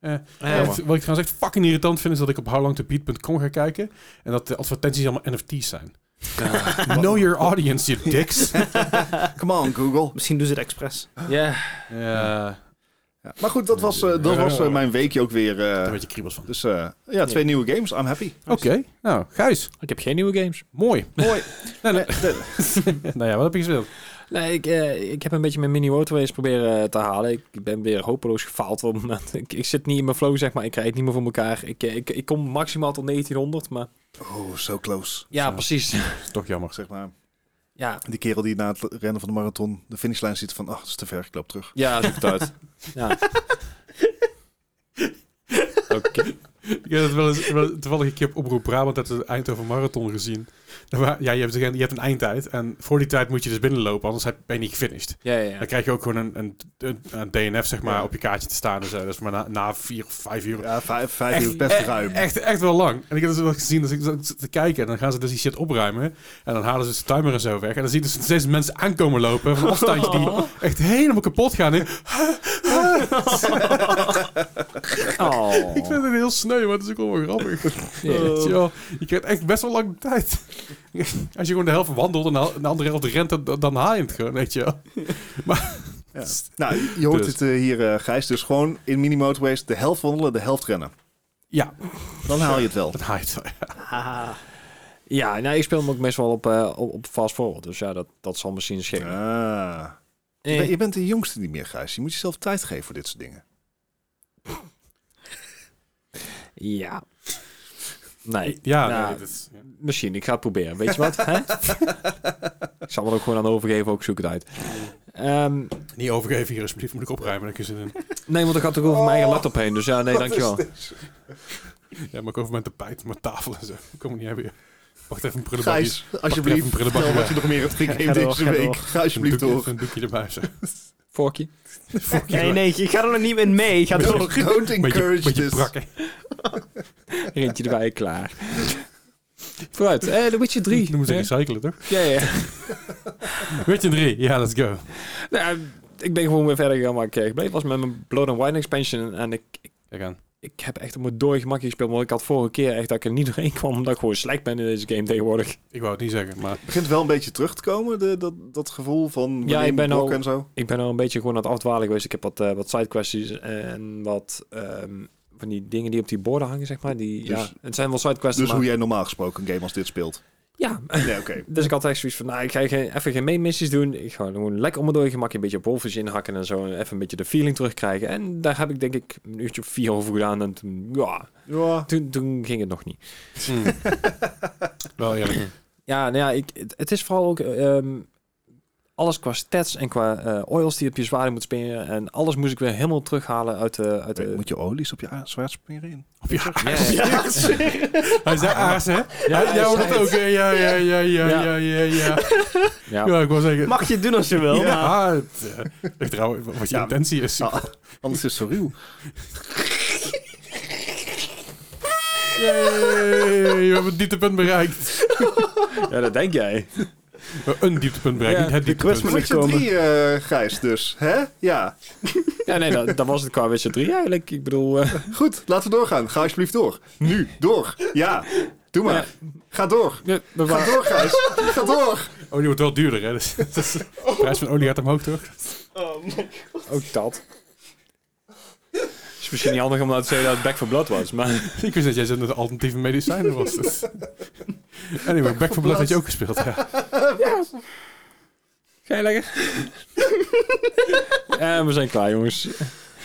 S2: Ja,
S1: Eh,
S2: maar-
S1: wat ik trouwens echt fucking irritant vind, is dat ik op howlongtobeat.com ga kijken. En dat de advertenties allemaal NFT's zijn. Ah, know your audience, you dicks.
S4: Come on, Google.
S3: Misschien doen ze het expres.
S2: Ja.
S1: ja,
S4: Ja. Maar goed, dat was, eh, dat
S1: Ja.
S4: was eh, mijn weekje ook weer. eh,
S1: een beetje kriebels van.
S4: dus eh, ja, twee nieuwe games. I'm happy.
S1: Oké, nou, Gijs.
S2: Ik heb geen nieuwe games.
S1: Mooi.
S4: Mooi.
S1: nou,
S4: eh,
S1: nee. nou ja, wat heb je gespeeld?
S2: Nee, ik, eh, ik heb een beetje mijn mini motorways proberen eh, te halen. Ik ben weer hopeloos gefaald op het moment. Ik, ik zit niet in mijn flow, zeg maar. Ik krijg het niet meer voor elkaar. Ik, eh, ik, ik kom maximaal tot 1900, maar...
S4: Oh, so close.
S2: Ja,
S1: Zo.
S2: precies.
S1: Dat is toch jammer.
S4: Zeg maar,
S2: Ja,
S4: die kerel die na het rennen van de marathon de finishlijn ziet van, ach, dat is te ver, ik loop terug.
S2: ja zoek het uit. Ja. Oké.
S1: Ik heb het wel eens, wel, toevallig een keer op Oproep Brabant uit de Eindhoven Marathon gezien. Daar wa- Ja, je hebt, je hebt een eindtijd en voor die tijd moet je dus binnenlopen, anders heb- ben je niet gefinished.
S2: Ja, ja, ja.
S1: Dan krijg je ook gewoon een, een, een, een DNF zeg maar, op je kaartje te staan en zo. Dat is maar na, na vier of vijf uur.
S4: Ja, vijf, vijf
S1: Echt-
S4: uur is best
S1: echt-
S4: ruim.
S1: Echt, echt wel lang. En ik heb dus wel gezien, dus ik zat te kijken en dan gaan ze dus die shit opruimen. En dan halen ze dus de timer en zo weg. En dan zie je dus steeds mensen aankomen lopen van een afstandje die echt helemaal kapot gaan. En
S2: Oh.
S1: Ik vind het heel sneu, maar het is ook wel weer grappig.
S2: Ja.
S1: Weet je wel, je krijgt echt best wel lang de tijd. Als je gewoon de helft wandelt en de hel- de andere helft rent, dan, dan haal je het gewoon, weet je wel.
S4: Ja. Nou, je hoort
S1: Dus.
S4: het eh, hier, eh, Gijs. Dus gewoon in mini motorways de helft wandelen, de helft rennen.
S1: Ja,
S4: Dan haal je het wel.
S1: dat haal je het wel.
S3: Haha.
S2: Ja, nou, ik speel hem ook best wel op, eh, op, op fast forward. Dus ja, dat, dat zal misschien schikken.
S4: Ah. Je, bent-
S2: Eh,
S4: je bent de jongste niet meer, Gijs. Je moet jezelf tijd geven voor dit soort dingen.
S2: ja. Nee.
S1: Ja,
S2: Nou,
S1: nee, dat is- ja.
S2: Misschien, ik ga het proberen. Weet je wat? Hè? ik zal me er ook gewoon aan overgeven, ook zoek het uit. Ehm,
S1: niet overgeven hier, alsjeblieft. Moet ik opruimen, dan kun je zin in.
S2: nee, want ik had ook over mijn eigen laptop heen. Dus ja, nee,
S4: Oh. Wat is
S2: dankjewel.
S1: Ja, maar ik over mijn tapijt, mijn tafel en zo. Ik kom er niet hebben. Wacht even, een prullenbakje.
S4: Gijs,
S1: even een
S4: alsjeblieft,
S1: prullenbakje
S4: vertel
S1: weg.
S4: wat je nog meer hebt
S3: Ga
S4: gegamed
S3: door,
S4: deze
S3: ga
S4: week.
S3: door.
S4: Ga
S1: Een
S4: alsjeblieft
S1: doekje-
S4: door.
S1: Een doekje erbij. Zo.
S2: Vorkje.
S1: Fuck
S3: Nee, nee, ik ga er nog niet in mee. Ik ga
S4: Don't-
S3: door.
S4: Don't
S1: Beetje,
S4: encourage
S1: beetje
S4: this.
S1: prak, hè.
S2: Eentje erbij, klaar. Vooruit. Eh, The Witcher 3.
S1: Noemen ze
S2: hè?
S1: recyclen, toch?
S2: Ja, ja.
S1: Witcher 3, ja, let's go.
S2: Nou, ik ben gewoon weer verder gegaan waar ik eh, gebleven was met mijn Blood and Wine expansion. En ik, ik,
S1: Kijk aan.
S2: ik heb echt op mijn dode gemakje gespeeld. Maar ik had vorige keer echt dat ik er niet doorheen kwam. Omdat ik gewoon slecht ben in deze game tegenwoordig.
S1: Ik wou het niet zeggen, maar...
S4: Begint wel een beetje terug te komen, de, dat, dat gevoel van
S2: Ja, ik ben
S4: blok
S2: al-
S4: en zo.
S2: Ik ben al een beetje gewoon aan het afdwalen geweest. Ik heb wat, eh, wat sidequesties en wat ehm, van die dingen die op die borden hangen, zeg maar. Die,
S4: Dus-
S2: ja, het zijn wel sidequests,
S4: Dus
S2: maar...
S4: hoe jij normaal gesproken een game als dit speelt.
S2: Ja,
S4: Nee, oké.
S2: dus ik had echt zoiets van, nou, ik ga geen, even geen main missies doen. Ik ga gewoon lekker om mijn dode gemak een beetje op wolfjes inhakken en zo. En even een beetje de feeling terugkrijgen. En daar heb ik denk ik een uurtje of vier over gedaan. En toen, ja,
S4: Ja.
S2: toen, toen ging het nog niet. Hmm.
S1: Wel eerlijk.
S2: Ja, nou ja, ik, het, het is vooral ook ehm, alles qua stats en qua eh, oils die op je zwaarden moet spelen. En alles moest ik weer helemaal terughalen uit de... Uit de
S4: Eh, Moet je olies op je a- zwaard smeren in?
S1: Op je
S2: Ja, ja, ja.
S1: Hij zei aas, hè? Ja,
S2: hij
S1: jij hoort
S2: zei
S1: dat ook. hè? Ja, ja, ja, ja,
S2: Ja.
S1: ja, ja, ja.
S2: Ja.
S1: Ja, ik was zeggen.
S3: Mag je het doen als je wil. maar-
S1: Ja, het eh, ligt trouwens wat je
S4: Ja.
S1: intentie is.
S4: Ah, anders is het zo ruw.
S1: Yay, we hebben het dieptepunt bereikt.
S2: Ja, dat denk jij.
S1: Eh, een dieptepunt brengen,
S2: Ja,
S1: niet het
S3: de
S1: dieptepunt.
S3: kwestie-
S4: Witcher
S3: komen.
S4: 3, eh, Gijs, dus. Hè? Ja.
S2: Ja, nee, dat, dat was het qua Witcher 3 eigenlijk. Ik bedoel, eh,
S4: Goed, laten we doorgaan. Ga alsjeblieft door. Nu, door. Ja, doe maar. Ga door.
S2: we- we
S4: Ga
S2: waren-
S4: door, Gijs. Ga door.
S1: Olie wordt wel duurder, hè? Dus, dus de prijs van olie gaat omhoog, toch?
S2: ook dat. Is misschien niet handig om nou te zeggen dat het Back for Blood was, maar
S1: Ik wist dat jij zo'n alternatieve medicijnen was. Dus. Anyway, Back for Blood had je ook gespeeld, ja.
S2: ga je lekker? Eh, we zijn klaar, jongens.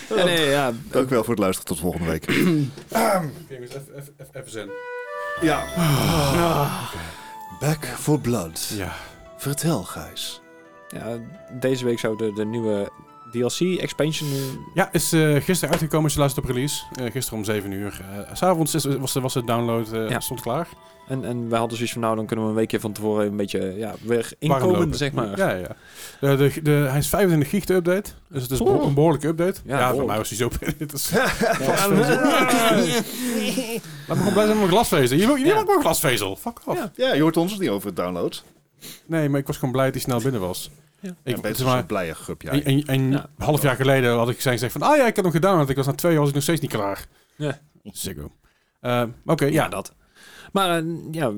S2: Oh. Ja, nee, ja,
S4: Dank wel voor het luisteren. Tot volgende week.
S1: Even zen.
S4: Ja. Ah. Back for Blood.
S1: Ja.
S4: Vertel, Gijs.
S2: ja, deze week zou de, de nieuwe DLC-expansion...
S1: Ja, is eh, gisteren uitgekomen als je luistert op release. Eh, gisteren om 7 uur. Eh, S S'avonds is- was, de- was de download, eh,
S2: Ja.
S1: stond klaar.
S2: En, en we hadden zoiets van, nou, dan kunnen we een weekje van tevoren een beetje ja, weer
S1: Warm
S2: inkomen,
S1: lopen.
S2: zeg maar.
S1: Ja, ja. Eh, de, de, hij is 25 gig de update. Dus het is
S2: Oh.
S1: een behoorlijke update. Ja, voor
S2: Ja, behoorlijk.
S1: mij was hij zo... het is-
S2: Ja.
S1: Laat me gewoon blij zijn met mijn glasvezel. Je wil je
S2: Ja.
S1: wil ook mijn glasvezel. Fuck off.
S2: Ja.
S4: Ja, je hoort ons niet over het download.
S1: Nee, maar ik was gewoon blij dat hij snel binnen was.
S2: Ja.
S1: Ik,
S4: Ik ben
S1: zeg maar,
S4: zo'n blije gup, ja.
S1: een, een, een
S2: Ja.
S1: half jaar geleden had ik zijn gezegd van... Ah ja, ik heb hem gedownload. Ik was na twee jaar was ik nog steeds niet klaar.
S2: Ja.
S1: Sicko. Eh, Oké,
S2: Ja,
S1: ja.
S2: dat. Maar eh, ja,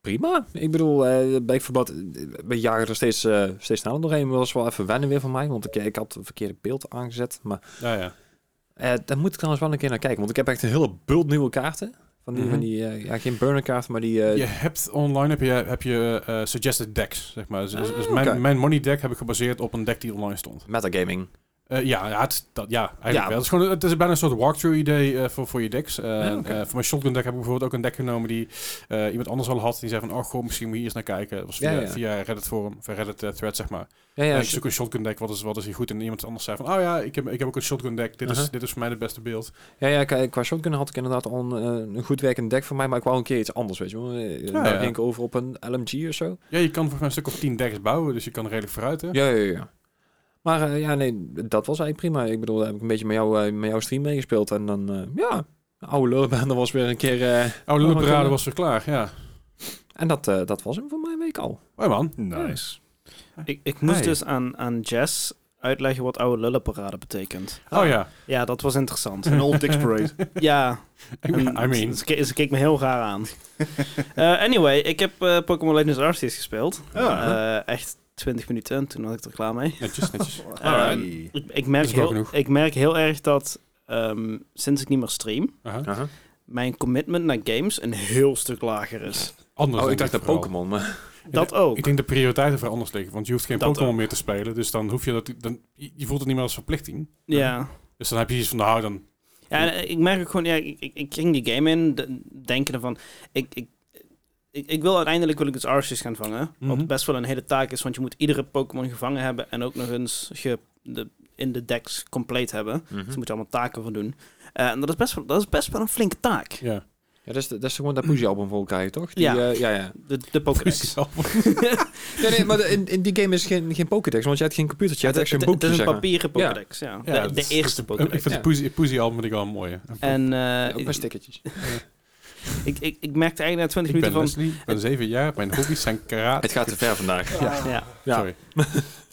S2: prima. Ik bedoel, eh Beekverbad, we jagen er steeds, eh, steeds sneller doorheen. Dat was wel even wennen weer van mij, want ik, ik had een verkeerde beeld aangezet. Maar
S1: Ja, ja.
S2: eh daar moet ik trouwens wel een keer naar kijken, want ik heb echt een hele bult nieuwe kaarten. Van die,
S1: Mhm.
S2: van die eh, ja, geen burnerkaarten, maar die... eh,
S1: Je hebt online heb je, heb je eh, suggested decks, zeg maar. Dus, dus- dus
S2: Ah,
S1: mijn,
S2: oké.
S1: mijn money deck heb ik gebaseerd op een deck die online stond.
S2: Metagaming.
S1: Eh, ja, ja, het, dat, ja, eigenlijk
S2: Ja.
S1: wel. Het is, gewoon, het is bijna een soort walkthrough idee eh, voor, voor je decks. Eh,
S2: oké.
S1: eh, voor mijn shotgun deck heb ik bijvoorbeeld ook een deck genomen die eh, iemand anders al had. Die zei van, oh goh, misschien moet je hier eens naar kijken. Dat was
S2: Ja,
S1: via,
S2: ja.
S1: via Reddit forum, via Reddit eh, thread, zeg maar.
S2: Ja, ja,
S1: Eh, ik zoek een shotgun deck, wat is, wat is hier goed? En iemand anders zei van, oh ja, ik heb, ik heb ook een shotgun deck. Dit,
S2: Aha.
S1: is, dit is voor mij het beste beeld.
S2: ja, ja, qua- qua shotgun had ik inderdaad al een, eh, een goed werkend deck voor mij, maar ik wou een keer iets anders, weet je wel. Eh,
S1: Ja,
S2: nou,
S1: ja.
S2: Ik denk over op een LMG of zo.
S1: Ja, je kan volgens mij een stuk of 10 decks bouwen, dus je kan redelijk vooruit, hè?
S2: Ja, ja, ja. Maar eh, ja, nee, dat was eigenlijk prima. Ik bedoel, daar heb ik een beetje met, jou, eh, met jouw stream meegespeeld. En dan, eh, ja, oude lullenbaan, dat was weer een keer... eh,
S1: Oude
S2: Oh,
S1: lullenparade
S2: oké.
S1: was weer klaar, ja.
S2: en dat, eh, dat was hem voor mijn week al.
S1: Hoi man.
S4: Nice.
S3: Ik, ik moest
S1: Hey.
S3: dus aan, aan Jess uitleggen wat oude lullenparade betekent.
S1: Oh ja.
S3: Ja, dat was interessant.
S4: Een old dick parade.
S3: ja.
S1: I mean, I mean.
S3: Ze, ke- ze keek me heel raar aan. Eh, anyway, ik heb eh, Pokémon Legends Arceus gespeeld.
S1: Ah,
S4: Ja.
S3: Eh, echt 20 minuten en toen had ik er klaar mee.
S1: Netjes, netjes.
S4: Ah.
S3: Alright.
S4: Hey.
S3: Ik, ik,
S1: Dat
S3: merk,
S1: is wel
S3: heel,
S1: genoeg.
S3: ik merk heel erg dat ehm, sinds ik niet meer stream,
S1: Aha.
S2: Oh,
S3: mijn commitment naar games een heel stuk lager is.
S1: Anders
S2: Oh, ik
S1: denk
S2: dacht naar
S1: vooral.
S2: Pokémon, maar...
S3: Dat ook.
S1: Ik denk de prioriteiten voor anders liggen, want je hoeft geen
S3: Dat
S1: Pokémon
S3: ook.
S1: meer te spelen, dus dan hoef je dat, dan, je je voelt het niet meer als verplichting.
S3: Ja.
S1: Dus dan heb je iets van, nou, dan...
S3: Ja, en eh, ik merk ook gewoon, ja, ik, ik, ik ging die game in, de- denkende van, ik, ik, ik, ik wil uiteindelijk wil ik dus Arceus gaan vangen.
S1: Mhm.
S3: Wat best wel een hele taak is, want je moet iedere Pokémon gevangen hebben en ook nog eens ge, de, in de decks compleet hebben. Dus
S2: Mhm.
S3: daar
S1: Mhm.
S3: moet je allemaal taken voor doen. Eh, en dat is, best wel, dat is best wel een flinke taak.
S1: Ja.
S2: Ja, dat is, de- dat is gewoon dat Poesie-album voor elkaar, toch? Die,
S3: Ja.
S2: eh, ja, ja.
S3: De, de Pokédex.
S2: Nee, nee, maar de- in, in die game is geen, geen Pokédex, want je hebt geen computertje, je hebt echt
S3: Het-
S2: zo'n
S3: het- het
S2: boekje,
S3: is
S2: zeg
S3: een
S2: maar. Ja.
S3: papieren Pokédex, ja.
S1: Ja,
S3: de,
S1: dat
S3: de
S1: is-
S3: eerste
S1: Ik
S3: Pokédex.
S1: vind de
S2: Ja.
S1: poesie- poesie al ik wel een mooie.
S3: En eh,
S2: Ja, ook met stickertjes.
S3: ik, ik, ik merkte eigenlijk na 20
S1: ik ben
S3: minuten dus van...
S1: Wesley, ik ben zeven jaar, mijn hobby's zijn karate.
S2: Het gaat te ver vandaag.
S3: Ja.
S2: Ja.
S1: Sorry.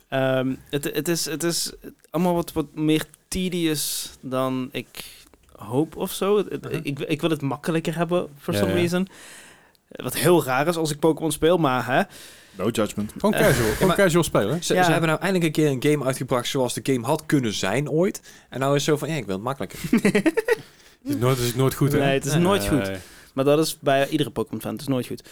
S3: Ehm, het, het, is, het is allemaal wat, wat meer tedious dan ik hoop of zo. Het- het-
S1: Mhm.
S3: ik, ik wil het makkelijker hebben, for
S1: Ja,
S3: some
S1: ja.
S3: reason. Eh, Wat heel raar is als ik Pokémon speel, maar hè,
S4: No judgment.
S1: Gewoon
S3: Eh,
S1: casual, gewoon
S2: maar-
S1: casual spelen.
S2: Ze,
S3: Ja.
S2: ze hebben nou eindelijk een keer een game uitgebracht zoals de game had kunnen zijn ooit. En nou is het zo van, ja, ik wil het makkelijker.
S1: Het is nooit, het is nooit goed, hè?
S3: Nee, het is
S1: Nee.
S3: nooit goed. Maar dat is bij iedere Pokémon-fan, het is nooit goed.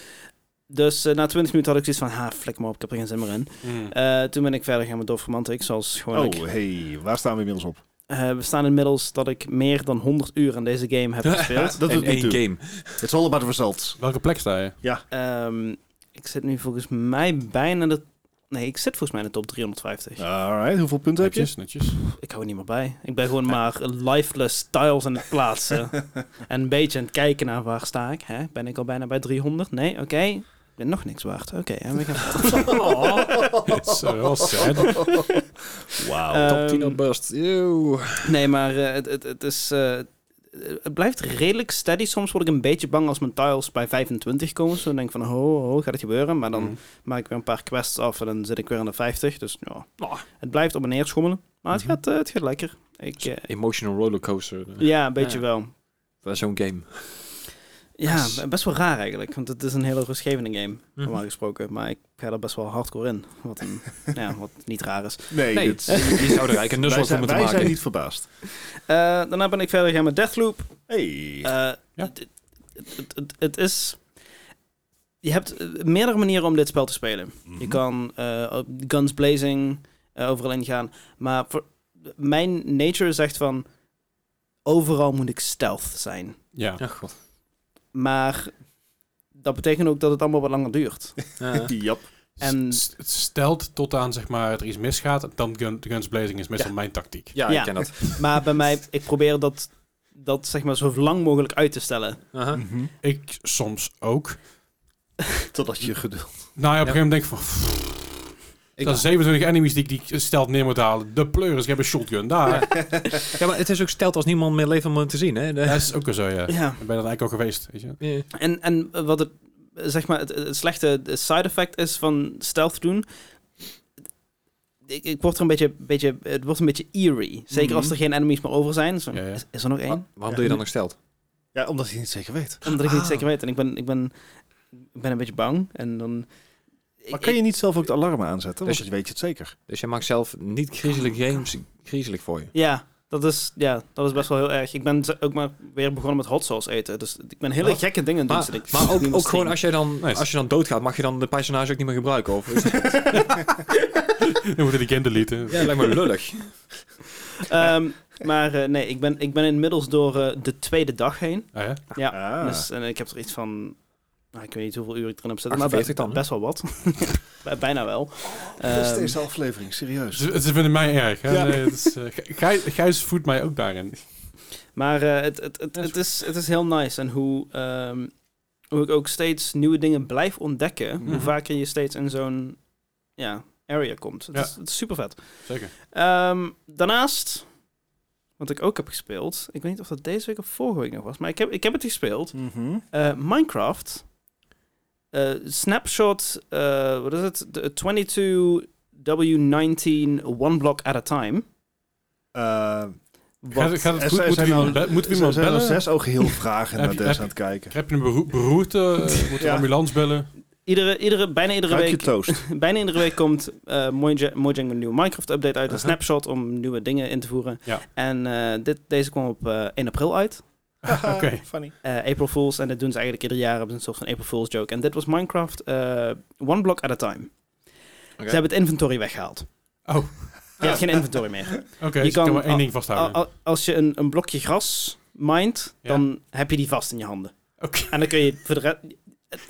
S3: Dus eh, na 20 minuten had ik zoiets van, ha, flik maar op, ik heb er geen zin meer in.
S1: Mm.
S3: Eh, toen ben ik verder gaan met Dove Romantic, zoals gewoon
S4: Oh,
S3: ik.
S4: hey, waar staan we inmiddels op?
S3: Eh, we staan inmiddels dat ik meer dan 100 uur aan deze game heb gespeeld.
S4: Dat
S2: in
S4: doet niet
S2: één
S4: toe.
S2: game.
S4: It's all about the results.
S1: Welke plek sta je?
S3: Ehm, ik zit nu volgens mij bijna de... Nee, ik zit volgens mij in de top 350.
S4: Alright, hoeveel punten heb je?
S1: Netjes, netjes.
S3: Ik hou er niet meer bij. Ik ben gewoon maar lifeless styles aan het plaatsen. en een beetje aan het kijken naar waar sta ik. Hè? Ben ik al bijna bij 300? Nee, oké. Ik ben nog niks waard. Oké, en we gaan verder.
S2: Oh.
S1: Zo, eh, wel sad.
S4: Wauw.
S3: Eh,
S2: Nou,
S3: Ehm,
S2: Top 10 op burst. Eeuw.
S3: nee, maar eh, het, het, het is... eh, eh, het blijft redelijk steady. Soms word ik een beetje bang als mijn tiles bij 25 komen. Zo dan denk ik van, ho, ho, gaat het gebeuren? Maar dan
S1: Mhm.
S3: maak ik weer een paar quests af en dan zit ik weer aan de 50. Dus ja,
S2: Ah.
S3: het blijft op en neer schommelen. Maar het,
S1: Mhm.
S3: gaat, eh, het gaat lekker. Ik, eh,
S2: Emotional rollercoaster. eh,
S3: ja, een beetje wel.
S2: Bij zo'n game.
S3: Ja,
S2: Yes.
S3: b- best wel raar eigenlijk. Want het is een hele rustgevende game, normaal
S2: Mhm.
S3: gesproken. Maar ik ga er best wel hardcore in. Wat, een, ja, wat niet raar is.
S4: Nee, Eh,
S2: Nee,
S4: dit-
S2: je zou er eigenlijk een
S4: wij
S2: nuzzel van
S4: zijn,
S2: moeten
S4: wij
S2: maken.
S4: zijn niet verbaasd.
S3: Eh, daarna ben ik verder gegaan met Deathloop.
S4: Hey.
S3: Eh,
S1: Ja.
S3: het- het- het- het- Het is... Je hebt eh, meerdere manieren om dit spel te spelen.
S1: Mhm.
S3: Je kan eh, op guns blazing eh, overal ingaan. Maar voor, mijn nature zegt van... Overal moet ik stealth zijn.
S1: Ja.
S2: Ja, god.
S3: Maar dat betekent ook dat het allemaal wat langer duurt.
S2: Ja.
S4: Jap.
S3: En-
S1: S- s- Het stelt tot aan, zeg maar, dat er iets misgaat. Dan gun, de guns blazing is meestal mijn tactiek.
S2: ja,
S3: Ja.
S2: ik ken dat.
S3: Maar bij mij, ik probeer dat, dat zeg maar zo lang mogelijk uit te stellen.
S2: Aha.
S4: Mhm.
S1: Ik soms ook.
S4: Totdat je geduld.
S1: Nou ja, op
S2: Ja.
S1: een gegeven moment denk ik van... pff,
S2: Ik-
S1: dat zijn 27 enemies die ik die ik stelt neer moet halen. De pleuris, ik heb een shotgun. Daar.
S2: Ja, maar het is ook stelt als niemand meer leeft om hem te zien, hè? De-
S1: Dat is ook wel zo, ja. Ik
S3: Ja.
S1: ben dan eigenlijk al geweest, weet je.
S2: Ja.
S3: En, en wat het, zeg maar, het, het slechte side effect is van stealth doen. Ik, ik word er een beetje, beetje, het wordt een beetje eerie. Zeker
S4: Mhm.
S3: als er geen enemies meer over zijn. Zo,
S1: Ja, ja.
S3: Is, is er nog één?
S2: Waarom doe je dan nog stelt?
S4: Ja, omdat je niet zeker weet.
S3: Omdat ik niet
S2: Ah.
S3: zeker weet. En ik ben, ik ben, ik ben een beetje bang. En dan...
S4: Maar kan je niet zelf ook het alarm aanzetten?
S2: Dus-
S4: Want je weet je het zeker.
S2: Dus jij maakt zelf niet griezelig games griezelig voor je.
S3: Ja, dat is, ja, dat is best wel heel erg. Ik ben z- ook maar weer begonnen met hot sauce eten. Dus ik ben hele
S2: Wat?
S3: gekke dingen doen.
S2: Maar,
S3: zodat ik
S2: maar ook,
S3: niet meer
S2: ook gewoon
S3: stream.
S2: als je, dan,
S1: Nice.
S2: als je dan doodgaat, mag je dan de personage ook niet meer gebruiken? Of,
S1: Dan moeten die game deleten.
S2: ja, lijkt me lullig.
S3: Ehm, maar eh, nee, ik ben, ik ben inmiddels door eh, de tweede dag heen.
S1: Ah, ja?
S3: Ja,
S4: Ah.
S3: dus, en ik heb er iets van... nou, ik weet niet hoeveel uur ik erin heb zitten, maar
S2: 48 dan, hè?
S3: best wel wat. Bij- Bijna wel.
S4: Dat Dus is
S3: Ehm,
S4: deze aflevering, serieus.
S1: Ze, ze vinden mij erg. Hè?
S4: Ja.
S1: Nee, het is, eh, Gij- Gij- Gijs voedt mij ook daarin.
S3: maar eh, het, het, het, het, is, het is heel nice. En hoe, ehm, hoe ik ook steeds nieuwe dingen blijf ontdekken...
S1: Mhm.
S3: hoe vaker je steeds in zo'n ja, area komt. Het,
S1: Ja.
S3: is, het is super vet.
S1: Zeker.
S3: Ehm, daarnaast, wat ik ook heb gespeeld... Ik weet niet of dat deze week of vorige week nog was... maar ik heb, ik heb het gespeeld.
S4: Mhm.
S3: Eh, Minecraft. eh, snapshot, eh, wat is het? De 22W19 one block at a time.
S4: Eh,
S1: Gaat,
S3: Wat,
S1: gaat
S4: Er
S1: het goed? Moeten
S4: zijn-
S1: we
S4: zijn
S1: iemand,
S4: al-
S1: be- moeten we
S4: Zo
S1: iemand
S4: zijn er
S1: bellen?
S4: zes ogen heel vragen
S1: Heb
S4: naar
S1: je-
S4: Des
S1: heb-
S4: aan het kijken.
S1: Heb je een beroe- beroerte? Moeten we
S4: Ja.
S1: een ambulance bellen?
S3: iedere, iedere, bijna, iedere
S4: Ruik je
S3: week,
S4: toast.
S3: bijna iedere week komt eh, Mojang Mojang met een nieuwe Minecraft-update uit. Een
S1: Aha.
S3: snapshot om nieuwe dingen in te voeren.
S1: Ja.
S3: En eh, dit, deze kwam op eh, 1 april uit.
S1: Oké.
S4: Funny.
S3: Eh, April Fools. En dat doen ze eigenlijk ieder jaar. Hebben ze een soort van April Fools joke. En dit was Minecraft eh, one block at a time.
S2: Oké.
S3: Ze hebben het inventory weggehaald.
S1: Oh, oké.
S3: Je hebt geen inventory meer. Je
S1: dus ik
S3: kan- ah,
S1: kan maar één
S3: al-
S1: ding vasthouden.
S3: Al- al- als je een, een blokje gras mindt,
S1: Ja.
S3: dan heb je die vast in je handen.
S1: Oké.
S3: En dan kun je voor de rest...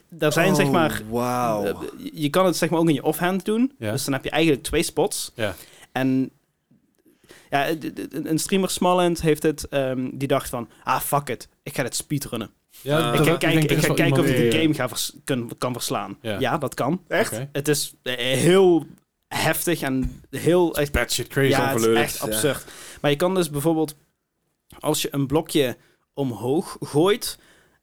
S3: Daar zijn zeg
S1: Oh.
S3: maar... eh,
S4: Oh, Wauw.
S3: je kan het zeg maar ook in je offhand doen.
S1: Ja.
S3: Dus dan heb je eigenlijk twee spots.
S1: Ja.
S3: En ja, d- d- d- een streamer Smallend heeft het... ehm, die dacht van, ah fuck it, ik ga dit speedrunnen.
S1: Ja,
S2: Eh,
S1: dat-
S3: ik ga
S1: denk er
S3: kijken, ik
S1: is
S3: ga
S1: wel
S3: kijken of ik
S1: iemand- eh,
S3: de game ga vers- kun- kan verslaan.
S1: Ja.
S3: ja, dat kan.
S4: Echt?
S1: Oké.
S3: Het is eh, heel heftig en heel... echt-
S1: Bad shit crazy.
S3: ja, het is
S2: overleurd,
S3: echt
S2: ja.
S3: absurd. Maar je kan dus bijvoorbeeld, als je een blokje omhoog gooit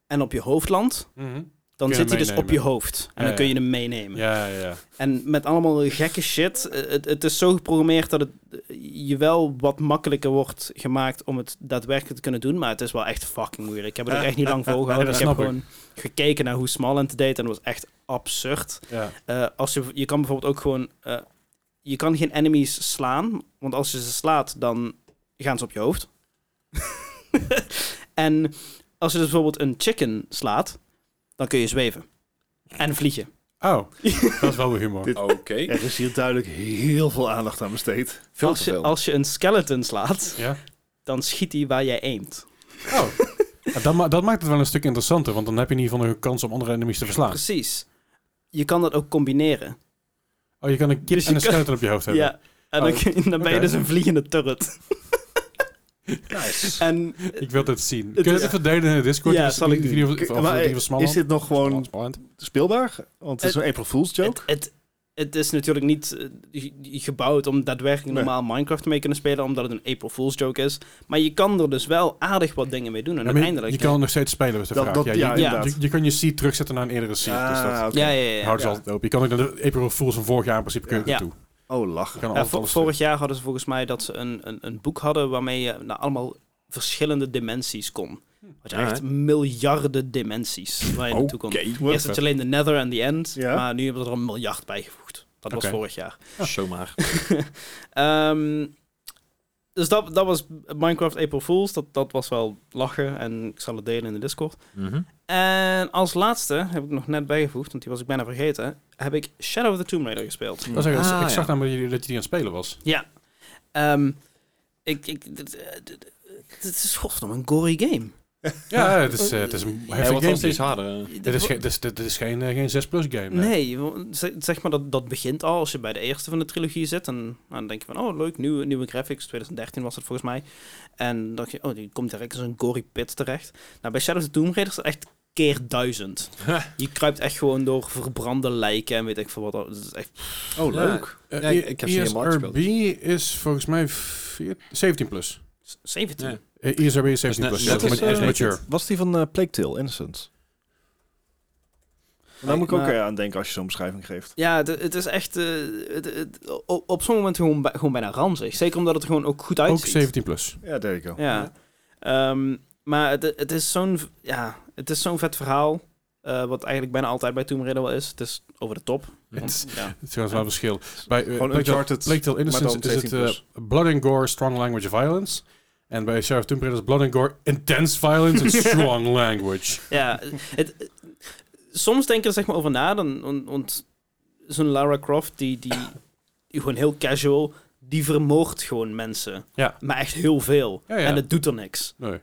S3: en op je hoofd landt,
S1: Mhm.
S3: dan
S1: Kun je
S3: zit hij
S1: hem
S3: dus op je
S1: meenemen.
S3: hoofd. En
S1: Ja,
S3: dan kun
S1: ja.
S3: je hem meenemen.
S1: Ja, ja.
S3: En met allemaal gekke shit. eh, Het, het is zo geprogrammeerd dat het eh, je wel wat makkelijker wordt gemaakt om het daadwerkelijk te kunnen doen. Maar het is wel echt fucking moeilijk. Ik heb het ook echt niet lang volgehouden.
S1: Ja,
S3: ik
S1: dat
S3: heb
S1: snap ik.
S3: gewoon gekeken naar hoe Smallend het deed en dat was echt absurd.
S1: ja.
S3: Eh, als je, je kan bijvoorbeeld ook gewoon. eh, je kan geen enemies slaan, want als je ze slaat, dan gaan ze op je hoofd. en als je dus bijvoorbeeld een chicken slaat, dan kun je zweven. En vliegen.
S1: Oh, dat is wel weer humor.
S4: Dit-
S2: Oké.
S4: Er is hier duidelijk heel veel aandacht aan besteed.
S2: Veel
S3: als,
S2: te
S3: je,
S2: veel.
S3: als je een skeleton slaat,
S1: Ja.
S3: dan schiet hij waar jij aimt.
S1: Oh. Ja, dat, ma- dat maakt het wel een stuk interessanter, want dan heb je in ieder geval nog een kans om andere enemies te verslaan.
S3: Precies. Je kan dat ook combineren.
S1: Oh, je kan een kid
S3: Dus je
S1: en een
S3: kan-
S1: skeleton op je hoofd hebben.
S3: Ja. En dan,
S1: Oh,
S3: kun je- dan ben je
S1: oké.
S3: dus een vliegende turret.
S4: Nice.
S3: En
S1: Ik wil dit zien. Kun
S3: Het
S1: je
S3: is-
S1: het even delen in de Discord?
S3: Ja,
S1: Is-
S3: zal ik
S1: die
S3: doen.
S1: video- of- of
S4: Maar
S1: die van Smalland?
S4: is dit nog gewoon
S1: Smalland.
S4: speelbaar? Want het is een April Fool's joke.
S3: het, het, het is natuurlijk niet eh, ge- gebouwd om daadwerkelijk
S4: Nee.
S3: normaal Minecraft mee kunnen spelen, omdat het een April Fool's joke is. Maar je kan er dus wel aardig wat dingen mee doen. En
S1: Ja, maar je-
S3: uiteindelijk.
S1: je kan nog steeds spelen met de
S4: Dat-
S1: vraag.
S4: dat-
S1: ja,
S4: ja,
S1: je, je-
S3: inderdaad.
S1: je, je kan je seed terugzetten naar een eerdere seed. dus dat
S4: Ah, oké.
S3: ja, ja, ja. ja.
S1: houdt ze
S4: Ja.
S1: altijd open. Je kan ook naar de April Fools van vorig jaar in principe kun je
S4: Ja.
S1: ook naartoe.
S4: Oh,
S1: Je
S4: lachen.
S1: kan
S3: Ja,
S1: altijd
S3: vo-
S1: alles
S3: vorig jaar hadden ze volgens mij dat ze een, een, een boek hadden waarmee je naar allemaal verschillende dimensies kon. Had je
S2: Ja,
S3: echt
S2: hè?
S3: miljarden dimensies
S1: Oh,
S3: waar je naartoe kon.
S4: Wat?
S3: Eerst had je alleen de Nether en the End,
S4: Ja.
S3: maar nu hebben ze er een miljard bijgevoegd. Dat was
S1: Oké.
S3: vorig jaar.
S2: Zomaar.
S3: Ehm, dus dat, dat was Minecraft April Fools. Dat, dat was wel lachen en ik zal het delen in de Discord.
S2: Mhm.
S3: En als laatste, heb ik nog net bijgevoegd, want die was ik bijna vergeten, heb ik Shadow of the Tomb Raider gespeeld.
S1: Dat is eigenlijk-
S2: Ah,
S1: ik zag
S2: ja.
S1: namelijk dat je- dat je die aan het spelen was.
S3: Ehm, ik, ik, dit- dit- dit- het is godsnaam een gory game.
S1: Ja, het is, eh, het is een
S2: Hij
S1: heftig
S2: wordt wel
S1: game.
S2: steeds harder. eh.
S1: Dit is, geen- dit is, dit is geen, eh, geen 6-plus game. nee.
S3: Nee, want ze- zeg maar dat, dat begint al als je bij de eerste van de trilogie zit. En nou, dan denk je van, oh leuk, nieuwe, nieuwe graphics. 2013 was het volgens mij. En dan dacht je, oh, die komt direct in zo'n gory pit terecht. Nou, bij Shadow of the Tomb Raider is het echt keer duizend. je kruipt echt gewoon door verbrande lijken en weet ik veel wat. al. Het is echt,
S4: Oh,
S2: Ja.
S4: leuk.
S1: Eh,
S2: Ja, ik- ik heb ze helemaal
S1: ESRB is volgens mij 14 17 plus.
S3: 17.
S2: Ja.
S1: Eh, ESRB is 17
S2: net-
S1: plus.
S2: net
S1: Dat is
S2: als,
S1: ma- is
S2: eh,
S1: mature.
S4: Was die van eh Plague Tale, Innocence? Daar moet ik ook
S3: maar-
S4: eh, aan denken als je zo'n beschrijving geeft.
S3: Ja, het, het is echt eh, het, het- o- op, sommige momenten gewoon, bij- gewoon bijna ranzig. Zeker omdat het er gewoon ook goed
S1: Ook
S3: uitziet.
S1: 17 plus.
S4: Ja, there you go.
S3: Ja. Ehm, maar het, het is zo'n ja, het is zo'n vet verhaal. eh, wat eigenlijk bijna altijd bij Tomb Raider wel is. Het is over de top.
S1: Het
S3: Want, ja.
S1: het is wel een verschil. Bij eh,
S4: Gewoon
S1: Plague Tale-
S4: Uncharted,
S1: Plague Tale
S4: maar
S1: Innocence
S4: dan
S1: is het
S4: 17
S1: eh,
S4: plus.
S1: Blood and Gore, Strong Language Violence. En bij Sheriff Tomb Raider is Blood and Gore, Intense Violence and Strong Language.
S3: ja het, het- soms denk ik er zeg maar over na. Dan, want- want zo'n Lara Croft, die, die, die gewoon heel casual, die vermoordt gewoon mensen.
S1: Ja.
S3: Maar echt heel veel.
S1: Ja, ja.
S3: En het doet er niks.
S1: Nee.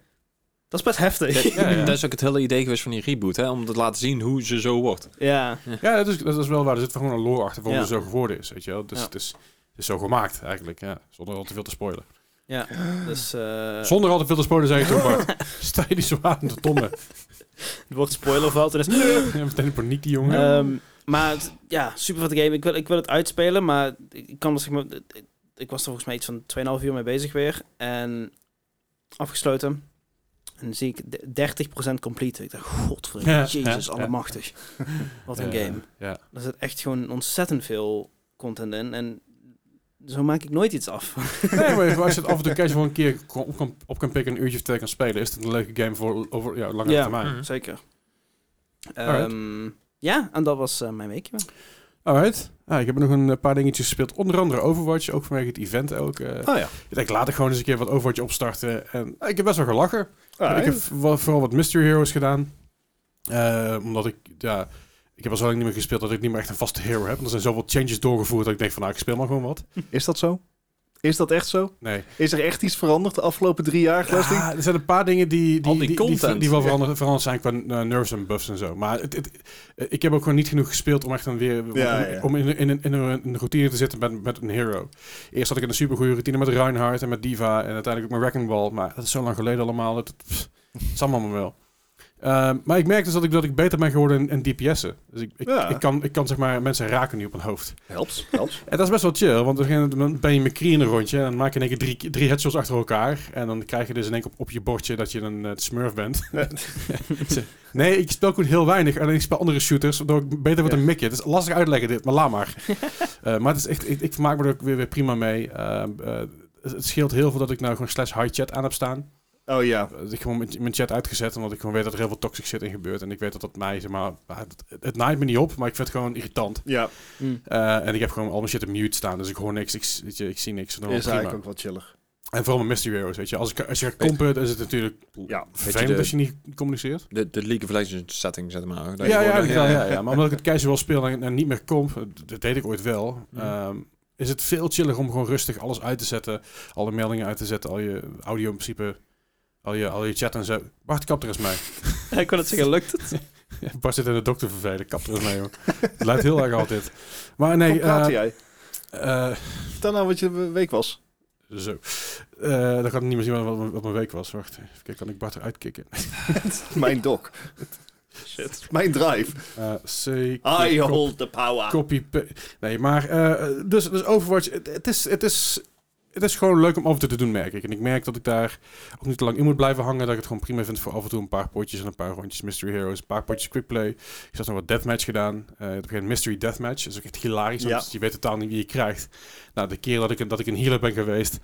S3: Dat is best heftig.
S2: Dat-
S1: Ja, ja.
S2: Dat is ook het hele idee geweest van die reboot, hè? om te laten zien hoe ze zo wordt.
S3: ja.
S1: Ja, dat is, dat is wel waar. Er zit gewoon een lore achter waarom
S3: Ja.
S1: het zo geworden is. Weet je wel? Dus
S3: Ja.
S1: het, is, het is zo gemaakt eigenlijk. Ja. Zonder al te veel te spoilen.
S3: ja. Dus eh,
S1: Zonder al te veel te spoilen zei je toen, Bart. Sta je niet zo aan te tonnen.
S3: het wordt spoiler valt. En is,
S1: Ja, meteen in paniek, die jongen.
S3: Ehm, maar het- ja, super vette game. Ik wil, ik wil het uitspelen, maar ik kan er, zeg maar, ik- ik was er volgens mij iets van 2,5 uur mee bezig weer. En afgesloten. En dan zie ik de- 30% complete. Ik dacht, godverdomme,
S1: Ja,
S3: jezus,
S1: ja, ja.
S3: allemachtig. Wat een
S1: Eh,
S3: game.
S1: Ja.
S3: Er zit echt gewoon ontzettend veel content in. En zo maak ik nooit iets af.
S1: Nee, maar als je het af en toe casual een keer kon- op kan, op kan pikken, een uurtje of twee kan spelen, is het een leuke game voor over, Ah, ja, langere
S3: Ja.
S1: termijn.
S2: Mhm.
S3: Zeker.
S1: Alright.
S3: Ehm, ja, en dat was eh, mijn weekje.
S1: Alright. Ah, ik heb nog een eh, paar dingetjes gespeeld. Onder andere Overwatch, ook vanwege het event ook. eh.
S4: Ah ja.
S1: Ik denk, laat ik gewoon eens een keer wat Overwatch opstarten. En eh, ik heb best wel gelachen.
S4: Ah,
S1: ik
S4: ja.
S1: heb wel- vooral wat Mystery Heroes gedaan. Eh, omdat ik, ja, ik heb al zo lang niet meer gespeeld dat ik niet meer echt een vaste hero heb. Want er zijn zoveel changes doorgevoerd dat ik denk van, nou, ik speel maar gewoon wat.
S4: Is dat zo? Is dat echt zo?
S1: Nee.
S4: Is er echt iets veranderd de afgelopen drie jaar, Glasding?
S1: Ja, er zijn een paar dingen die, die,
S2: Al die content.
S1: die wel veranderd, veranderd zijn qua eh, nerves en buffs en zo. Maar het, het- eh, ik heb ook gewoon niet genoeg gespeeld om echt dan weer om-
S4: Ja,
S1: om,
S4: ja.
S1: om in, in, in, in een, in een routine te zitten met, met een hero. Eerst had ik een supergoeie routine met Reinhardt en met Diva en uiteindelijk ook met Wrecking Ball. Maar dat is zo lang geleden allemaal. Het, het, pff, het is allemaal maar wel. Ehm, maar ik merk dus dat ik, dat ik beter ben geworden in, in DPS'en. Dus ik, ik,
S4: Ja.
S1: ik, kan, ik kan zeg maar mensen raken nu op een hoofd.
S4: Helps, helps.
S1: En dat is best wel chill, want op een gegeven moment ben je met McCree in een rondje en dan maak je in één keer drie, drie headshots achter elkaar. En dan krijg je dus in één keer op, op je bordje dat je een eh, smurf bent. nee, ik speel gewoon heel weinig. Alleen ik speel andere shooters, waardoor ik beter word
S4: Ja.
S1: een mikje. Het is lastig uitleggen dit, maar laat maar. Eh, maar het is echt, ik, ik vermaak me er ook weer, weer prima mee. Eh, eh, het het scheelt heel veel dat ik nou gewoon slash high chat aan heb staan.
S4: Oh ja.
S1: Eh, Dat ik gewoon mijn- mijn chat uitgezet, omdat ik gewoon weet dat er heel veel toxic shit in gebeurt. En ik weet dat dat mij, zeg maar, ah, het, het naait me niet op, maar ik vind het gewoon irritant.
S4: Ja,
S1: Eh, en ik heb gewoon al mijn shit op mute staan, dus ik hoor niks, ik, s- weet je, ik zie niks. Dan
S4: is eigenlijk
S1: prima.
S4: ook wel chillig.
S1: En vooral mijn mystery heroes, weet je. Als, ik, als je gaat kompen, dan is het natuurlijk
S4: Ja.
S1: vervelend
S2: de-
S1: als je niet communiceert.
S2: De, de League of Legends setting, zeg maar.
S1: Ja,
S2: Dat
S1: ja,
S2: je
S1: ja,
S2: gewoon-
S1: ja, ja, ja. Maar omdat ik het keizer wel speel en, en niet meer komp, dat- dat deed ik ooit wel,
S2: Mhm.
S1: ehm, is het veel chiller om gewoon rustig alles uit te zetten. Alle meldingen uit te zetten, al je audio in principe, al je, al je chat en zo. Bart, kap er eens mee.
S3: ik kon het zeggen, lukt het?
S1: Bart zit in de dokter vervelen, kap er eens mee, joh. Het lijkt heel erg altijd. Maar nee,
S4: Hoe praatte
S1: eh,
S4: jij?
S1: eh,
S4: Vertel nou wat je week was.
S1: Zo. Eh, dan kan ik niet meer zien wat, wat, wat mijn week was. Wacht, even kijken, kan ik Bart eruit kicken?
S4: Mijn dok. Shit. Mijn drive.
S1: Eh, C.
S4: I
S1: cop-
S4: hold the power.
S1: Copy. pa- Nee, maar eh, dus, dus Overwatch, het, het is, het, is, het is gewoon leuk om af en toe te doen, merk ik. En ik merk dat ik daar ook niet te lang in moet blijven hangen. Dat ik het gewoon prima vind voor af en toe een paar potjes en een paar rondjes Mystery Heroes. Een paar potjes Quickplay. Ik had nog wat Deathmatch gedaan. Eh, op een gegeven moment Mystery Deathmatch. Dat is ook echt hilarisch, want
S4: Ja.
S1: je weet totaal niet wie je krijgt. Nou, de keer dat ik, dat ik een healer ben geweest.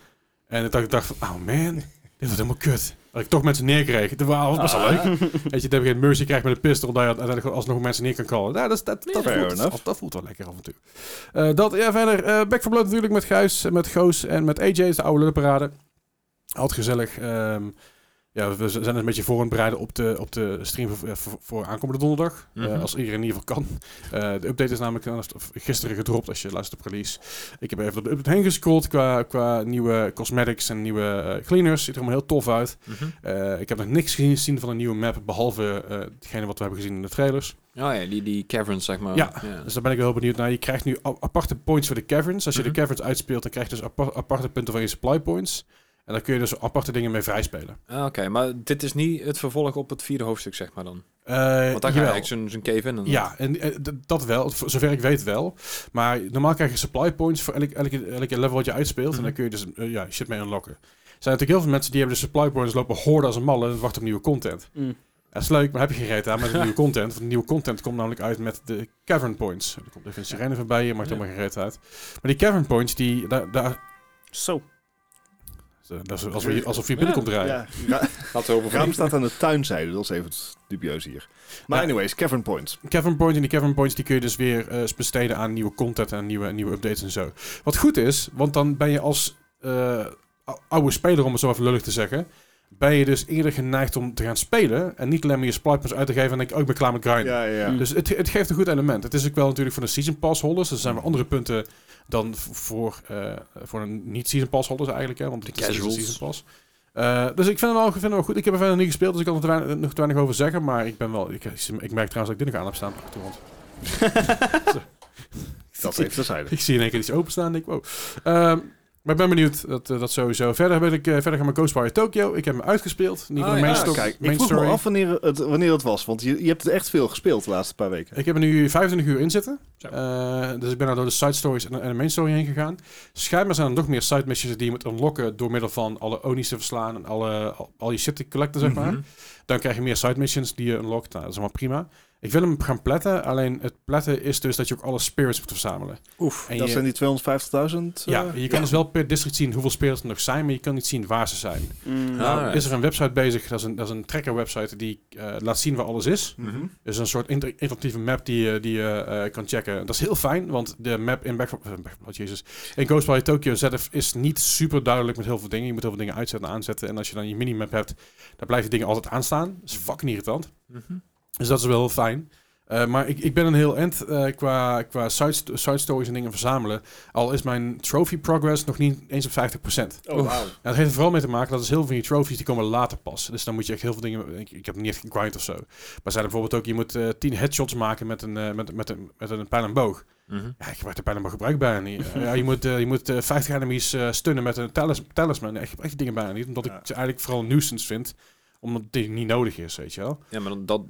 S1: En dat ik dacht van, oh man, dit wordt helemaal kut. Dat ik toch mensen neerkreeg. Dat was best wel
S3: Ah.
S1: leuk. Weet je, dat je geen mercy krijgt met een pistol, dat je uiteindelijk gewoon alsnog mensen neer kan callen. Nou, dat, is- dat, dat,
S4: fair
S1: voelt,
S4: enough.
S1: dat, dat voelt wel lekker af en toe. Eh, dat, ja, verder, eh Back for Blood natuurlijk met Gijs, eh, met Goos en met AJ, is de oude lullenparade. Altijd gezellig. ehm, ja, we z- zijn een beetje voor aan het bereiden op de, op de stream voor, eh, voor, voor aankomende donderdag. Eh,
S2: Mhm.
S1: als iedereen in ieder geval kan. Eh, de update is namelijk eh, of- gisteren gedropt als je luistert op release. Ik heb even door de update heen gescrolld qua, qua nieuwe cosmetics en nieuwe eh, cleaners. Ziet er allemaal heel tof uit.
S2: Mhm.
S1: Eh, ik heb nog niks gezien, gezien van een nieuwe map, behalve eh hetgene wat we hebben gezien in de trailers.
S2: Oh ja, die, die caverns, zeg maar.
S1: Ja. Dus daar ben ik wel heel benieuwd naar. Je krijgt nu a- aparte points voor de caverns. Als je
S2: Mhm.
S1: de caverns uitspeelt, dan krijg je dus apa- aparte punten van je supply points. En daar kun je dus aparte dingen mee vrijspelen.
S2: Ah, Oké, maar dit is niet het vervolg op het vierde hoofdstuk, zeg maar dan.
S1: Eh
S2: Want dan ga je
S1: jawel.
S2: eigenlijk zo'n zo'n cave in. En
S1: Ja, en eh, d- dat wel, voor zover ik weet wel. Maar normaal krijg je supply points voor elk, elke, elke level wat je uitspeelt. En
S2: Mhm.
S1: dan kun je dus eh, ja, shit mee unlocken. Er zijn natuurlijk heel veel mensen die hebben de supply points lopen hoorden als een malle en wachten op nieuwe content.
S3: Mm.
S1: Dat is leuk, maar heb je geen reet aan met de nieuwe content. Want de nieuwe content komt namelijk uit met de cavern points. Er komt even een sirene voorbij, je maakt
S2: Ja.
S1: helemaal geen reet uit. Maar die cavern points, die, daar, daar,
S3: Zo.
S1: dat is alsof je, alsof je binnenkomt rijden.
S4: Ja, Ra-
S2: Laten we over
S4: Raam staat aan de tuinzijde. Dat is even dubieus hier. Maar
S1: Ja.
S4: anyways, Cavern Point.
S1: Cavern Point en die Cavern Points die kun je dus weer eh, besteden aan nieuwe content en nieuwe, nieuwe updates en zo. Wat goed is, want dan ben je als eh, ou- oude speler, om het zo even lullig te zeggen, ben je dus eerder geneigd om te gaan spelen en niet alleen maar je supply points uit te geven en denk ik, oh, ik ben klaar met grinden.
S4: Ja, ja, ja.
S3: Mm.
S1: Dus het, het geeft een goed element. Het is ook wel natuurlijk voor de season pass holders, dus er zijn weer andere punten dan v- voor, eh, voor een niet season pass holders eigenlijk, hè, want de
S2: Casuals.
S1: season pass. Eh, dus ik vind hem wel, ik vind hem wel goed. Ik heb er verder niet gespeeld, dus ik kan er te weinig, nog te weinig over zeggen. Maar ik ben wel. Ik, ik merk trouwens dat ik dit nog aan heb staan op de achtergrond.
S4: Dat even terzijde.
S1: Ik zie in één keer iets openstaan en ik, wow. Ehm, maar ik ben benieuwd, dat, eh, dat sowieso. Verder ben ik eh, verder gaan met Ghostwire Tokyo. Ik heb hem uitgespeeld. Niet
S2: Ah,
S1: mijn
S2: ja,
S1: main,
S4: Ah,
S1: story-
S4: kijk, ik
S1: main
S4: vroeg
S1: story.
S4: me af wanneer het, wanneer het was. Want je, je hebt het echt veel gespeeld de laatste paar weken.
S1: Ik heb er nu 25 uur in zitten.
S2: Zo.
S1: Eh, dus ik ben nou door de side stories en, en de main story heen gegaan. Schijnbaar zijn er nog meer side missions die je moet unlocken door middel van alle Onis te verslaan en alle, al, al je shit te collecten, zeg
S2: Mhm.
S1: maar. Dan krijg je meer side missions die je unlockt. Nou, dat is allemaal prima. Ik wil hem gaan platten, alleen het platten is dus dat je ook alle spirits moet verzamelen.
S2: Oef.
S1: En
S4: dat
S1: je-
S4: zijn die 250.000?
S1: Ja, je
S4: eh,
S1: kan dus wel per district zien hoeveel spelers er nog zijn, maar je kan niet zien waar ze zijn.
S3: Mm.
S2: Ah.
S1: Nou,
S2: Alright.
S1: is er een website bezig, dat is een, dat is een tracker website die eh, laat zien waar alles is.
S4: Mhm.
S1: Dus een soort inter- interactieve map die, je- die je eh, kan checken. Dat is heel fijn, want de map in Back for- eh, Back for Blood, jezus. In Ghostwire Tokyo zelf is niet super duidelijk met heel veel dingen. Je moet heel veel dingen uitzetten en aanzetten. En als je dan je minimap hebt, dan blijven dingen altijd aanstaan. Dat is fucking irritant.
S2: Mhm.
S1: Dus dat is wel heel fijn. Eh, maar ik, ik ben een heel end eh, qua, qua side, sto- side stories en dingen verzamelen. Al is mijn trophy progress nog niet eens op 50%.
S4: Oh, wauw.
S1: Ja, dat heeft er vooral mee te maken dat is heel veel van je trophies die komen later pas. Dus dan moet je echt heel veel dingen. Ik, ik heb niet echt gegrind of zo. Maar zijn er bijvoorbeeld ook, je moet eh 10 headshots maken met een, eh, met, met een, met een pijl en boog.
S2: Mhm.
S1: Ja, ik gebruik de pijl en boog gebruik ik bijna niet. ja, je moet, eh, je moet eh 50 enemies eh, stunnen met een talis- talisman. Ja, ik gebruik die dingen bijna niet. Omdat
S4: Ja.
S1: ik ze eigenlijk vooral een nuisance vind. Omdat die niet nodig is, weet je wel.
S2: Ja, maar dan- dat,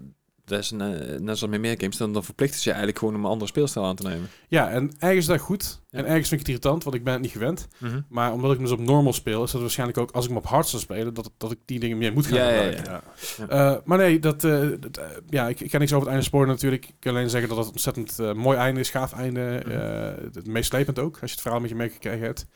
S2: dat is een, eh, net zoals met meer games, dan, dan verplichten ze je eigenlijk gewoon om een andere speelstijl aan te nemen.
S1: Ja, en ergens is dat goed.
S2: Ja.
S1: En ergens vind ik het irritant, want ik ben het niet gewend.
S2: Mhm.
S1: Maar omdat ik hem dus op normal speel, is dat waarschijnlijk ook als ik hem op hard zou spelen, dat, dat ik die dingen meer moet gaan
S2: Ja, ja,
S1: gebruiken.
S2: ja.
S4: Ja.
S1: Eh, maar nee, dat, eh, dat, eh, ja, ik, ik kan niks over het einde sporen natuurlijk. Ik kan alleen zeggen dat het een ontzettend eh, mooi einde is, gaaf einde.
S2: Mhm.
S1: eh, het meeslepend ook, als je het verhaal met je meegekregen hebt.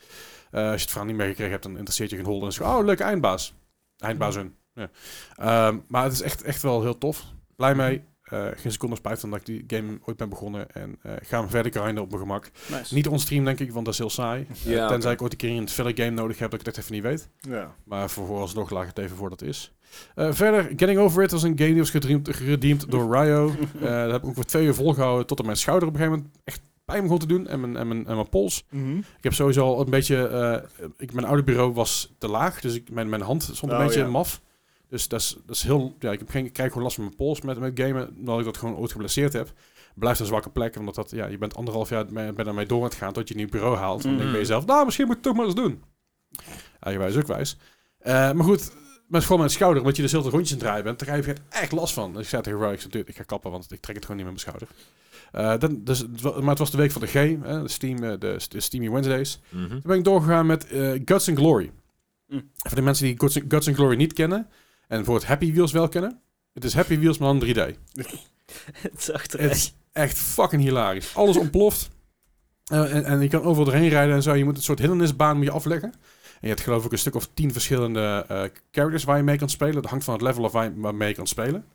S1: Eh, als je het verhaal niet meegekregen hebt, dan interesseert je geen hol. En dan is het gewoon, oh, leuke eindbaas. Eindbaas
S2: Mhm.
S1: hun. Ja. Ehm, maar het is echt, echt wel heel tof. Blij mee. Eh, geen seconde spijt van dat ik die game ooit ben begonnen. En eh ga hem verder grinden op mijn gemak.
S3: Nice.
S1: Niet onstream, denk ik, want dat is heel saai. Eh,
S4: Ah,
S2: Ja,
S1: tenzij
S2: oké.
S1: ik ooit een keer een filler game nodig heb dat ik dat even niet weet.
S4: Ja.
S1: Maar voor vooralsnog laag het even voor dat is. Eh, verder, Getting Over It was een game die was gedreamd- geredeemd door Ryo. Eh dat heb ik ook voor twee uur volgehouden tot aan mijn schouder op een gegeven moment echt pijn begon te doen. En mijn, en mijn, en mijn pols.
S4: Mhm.
S1: Ik heb sowieso al een beetje... eh, ik, mijn oude bureau was te laag, dus ik, mijn, mijn hand stond een
S4: Oh,
S1: beetje
S4: ja.
S1: maf. Dus dat is, dat is heel... Ja, ik, heb geen, ik krijg gewoon last van mijn pols met, met gamen, omdat ik dat gewoon ooit geblesseerd heb. Blijft een zwakke plek, omdat dat, ja, je bent anderhalf jaar mee- ben ermee door aan het gaan tot je een nieuw bureau haalt. En dan denk je bij
S2: Mhm.
S1: jezelf, nou, misschien moet ik het toch maar eens doen. Eigenwijs ook wijs. Eh, maar goed, Maar vooral mijn schouder, omdat je dus heel de rondjes aan het draaien bent, daar heb je echt last van. Dus ik zei tegen Roy, ik, zei, "Dude, ik ga kappen, want ik trek het gewoon niet met mijn schouder. Eh, dan, dus, het wa- maar het was de week van de G, hè, de, Steam, eh, de, de Steamy Wednesdays.
S2: Mhm.
S1: Toen ben ik doorgegaan met eh, Guts and Glory.
S3: Mm.
S1: Voor de mensen die Guts, Guts and Glory niet kennen, en voor het Happy Wheels wel kennen. Het is Happy Wheels, maar dan 3D.
S3: Het is
S1: Het
S3: achteruit.
S1: is echt fucking hilarisch. Alles ontploft. Eh, en, en je kan overal doorheen rijden en zo. Je moet een soort hindernisbaan moet je afleggen. En je hebt geloof ik een stuk of tien verschillende eh, characters waar je mee kan spelen. Dat hangt van het level af waar je maar mee kan spelen.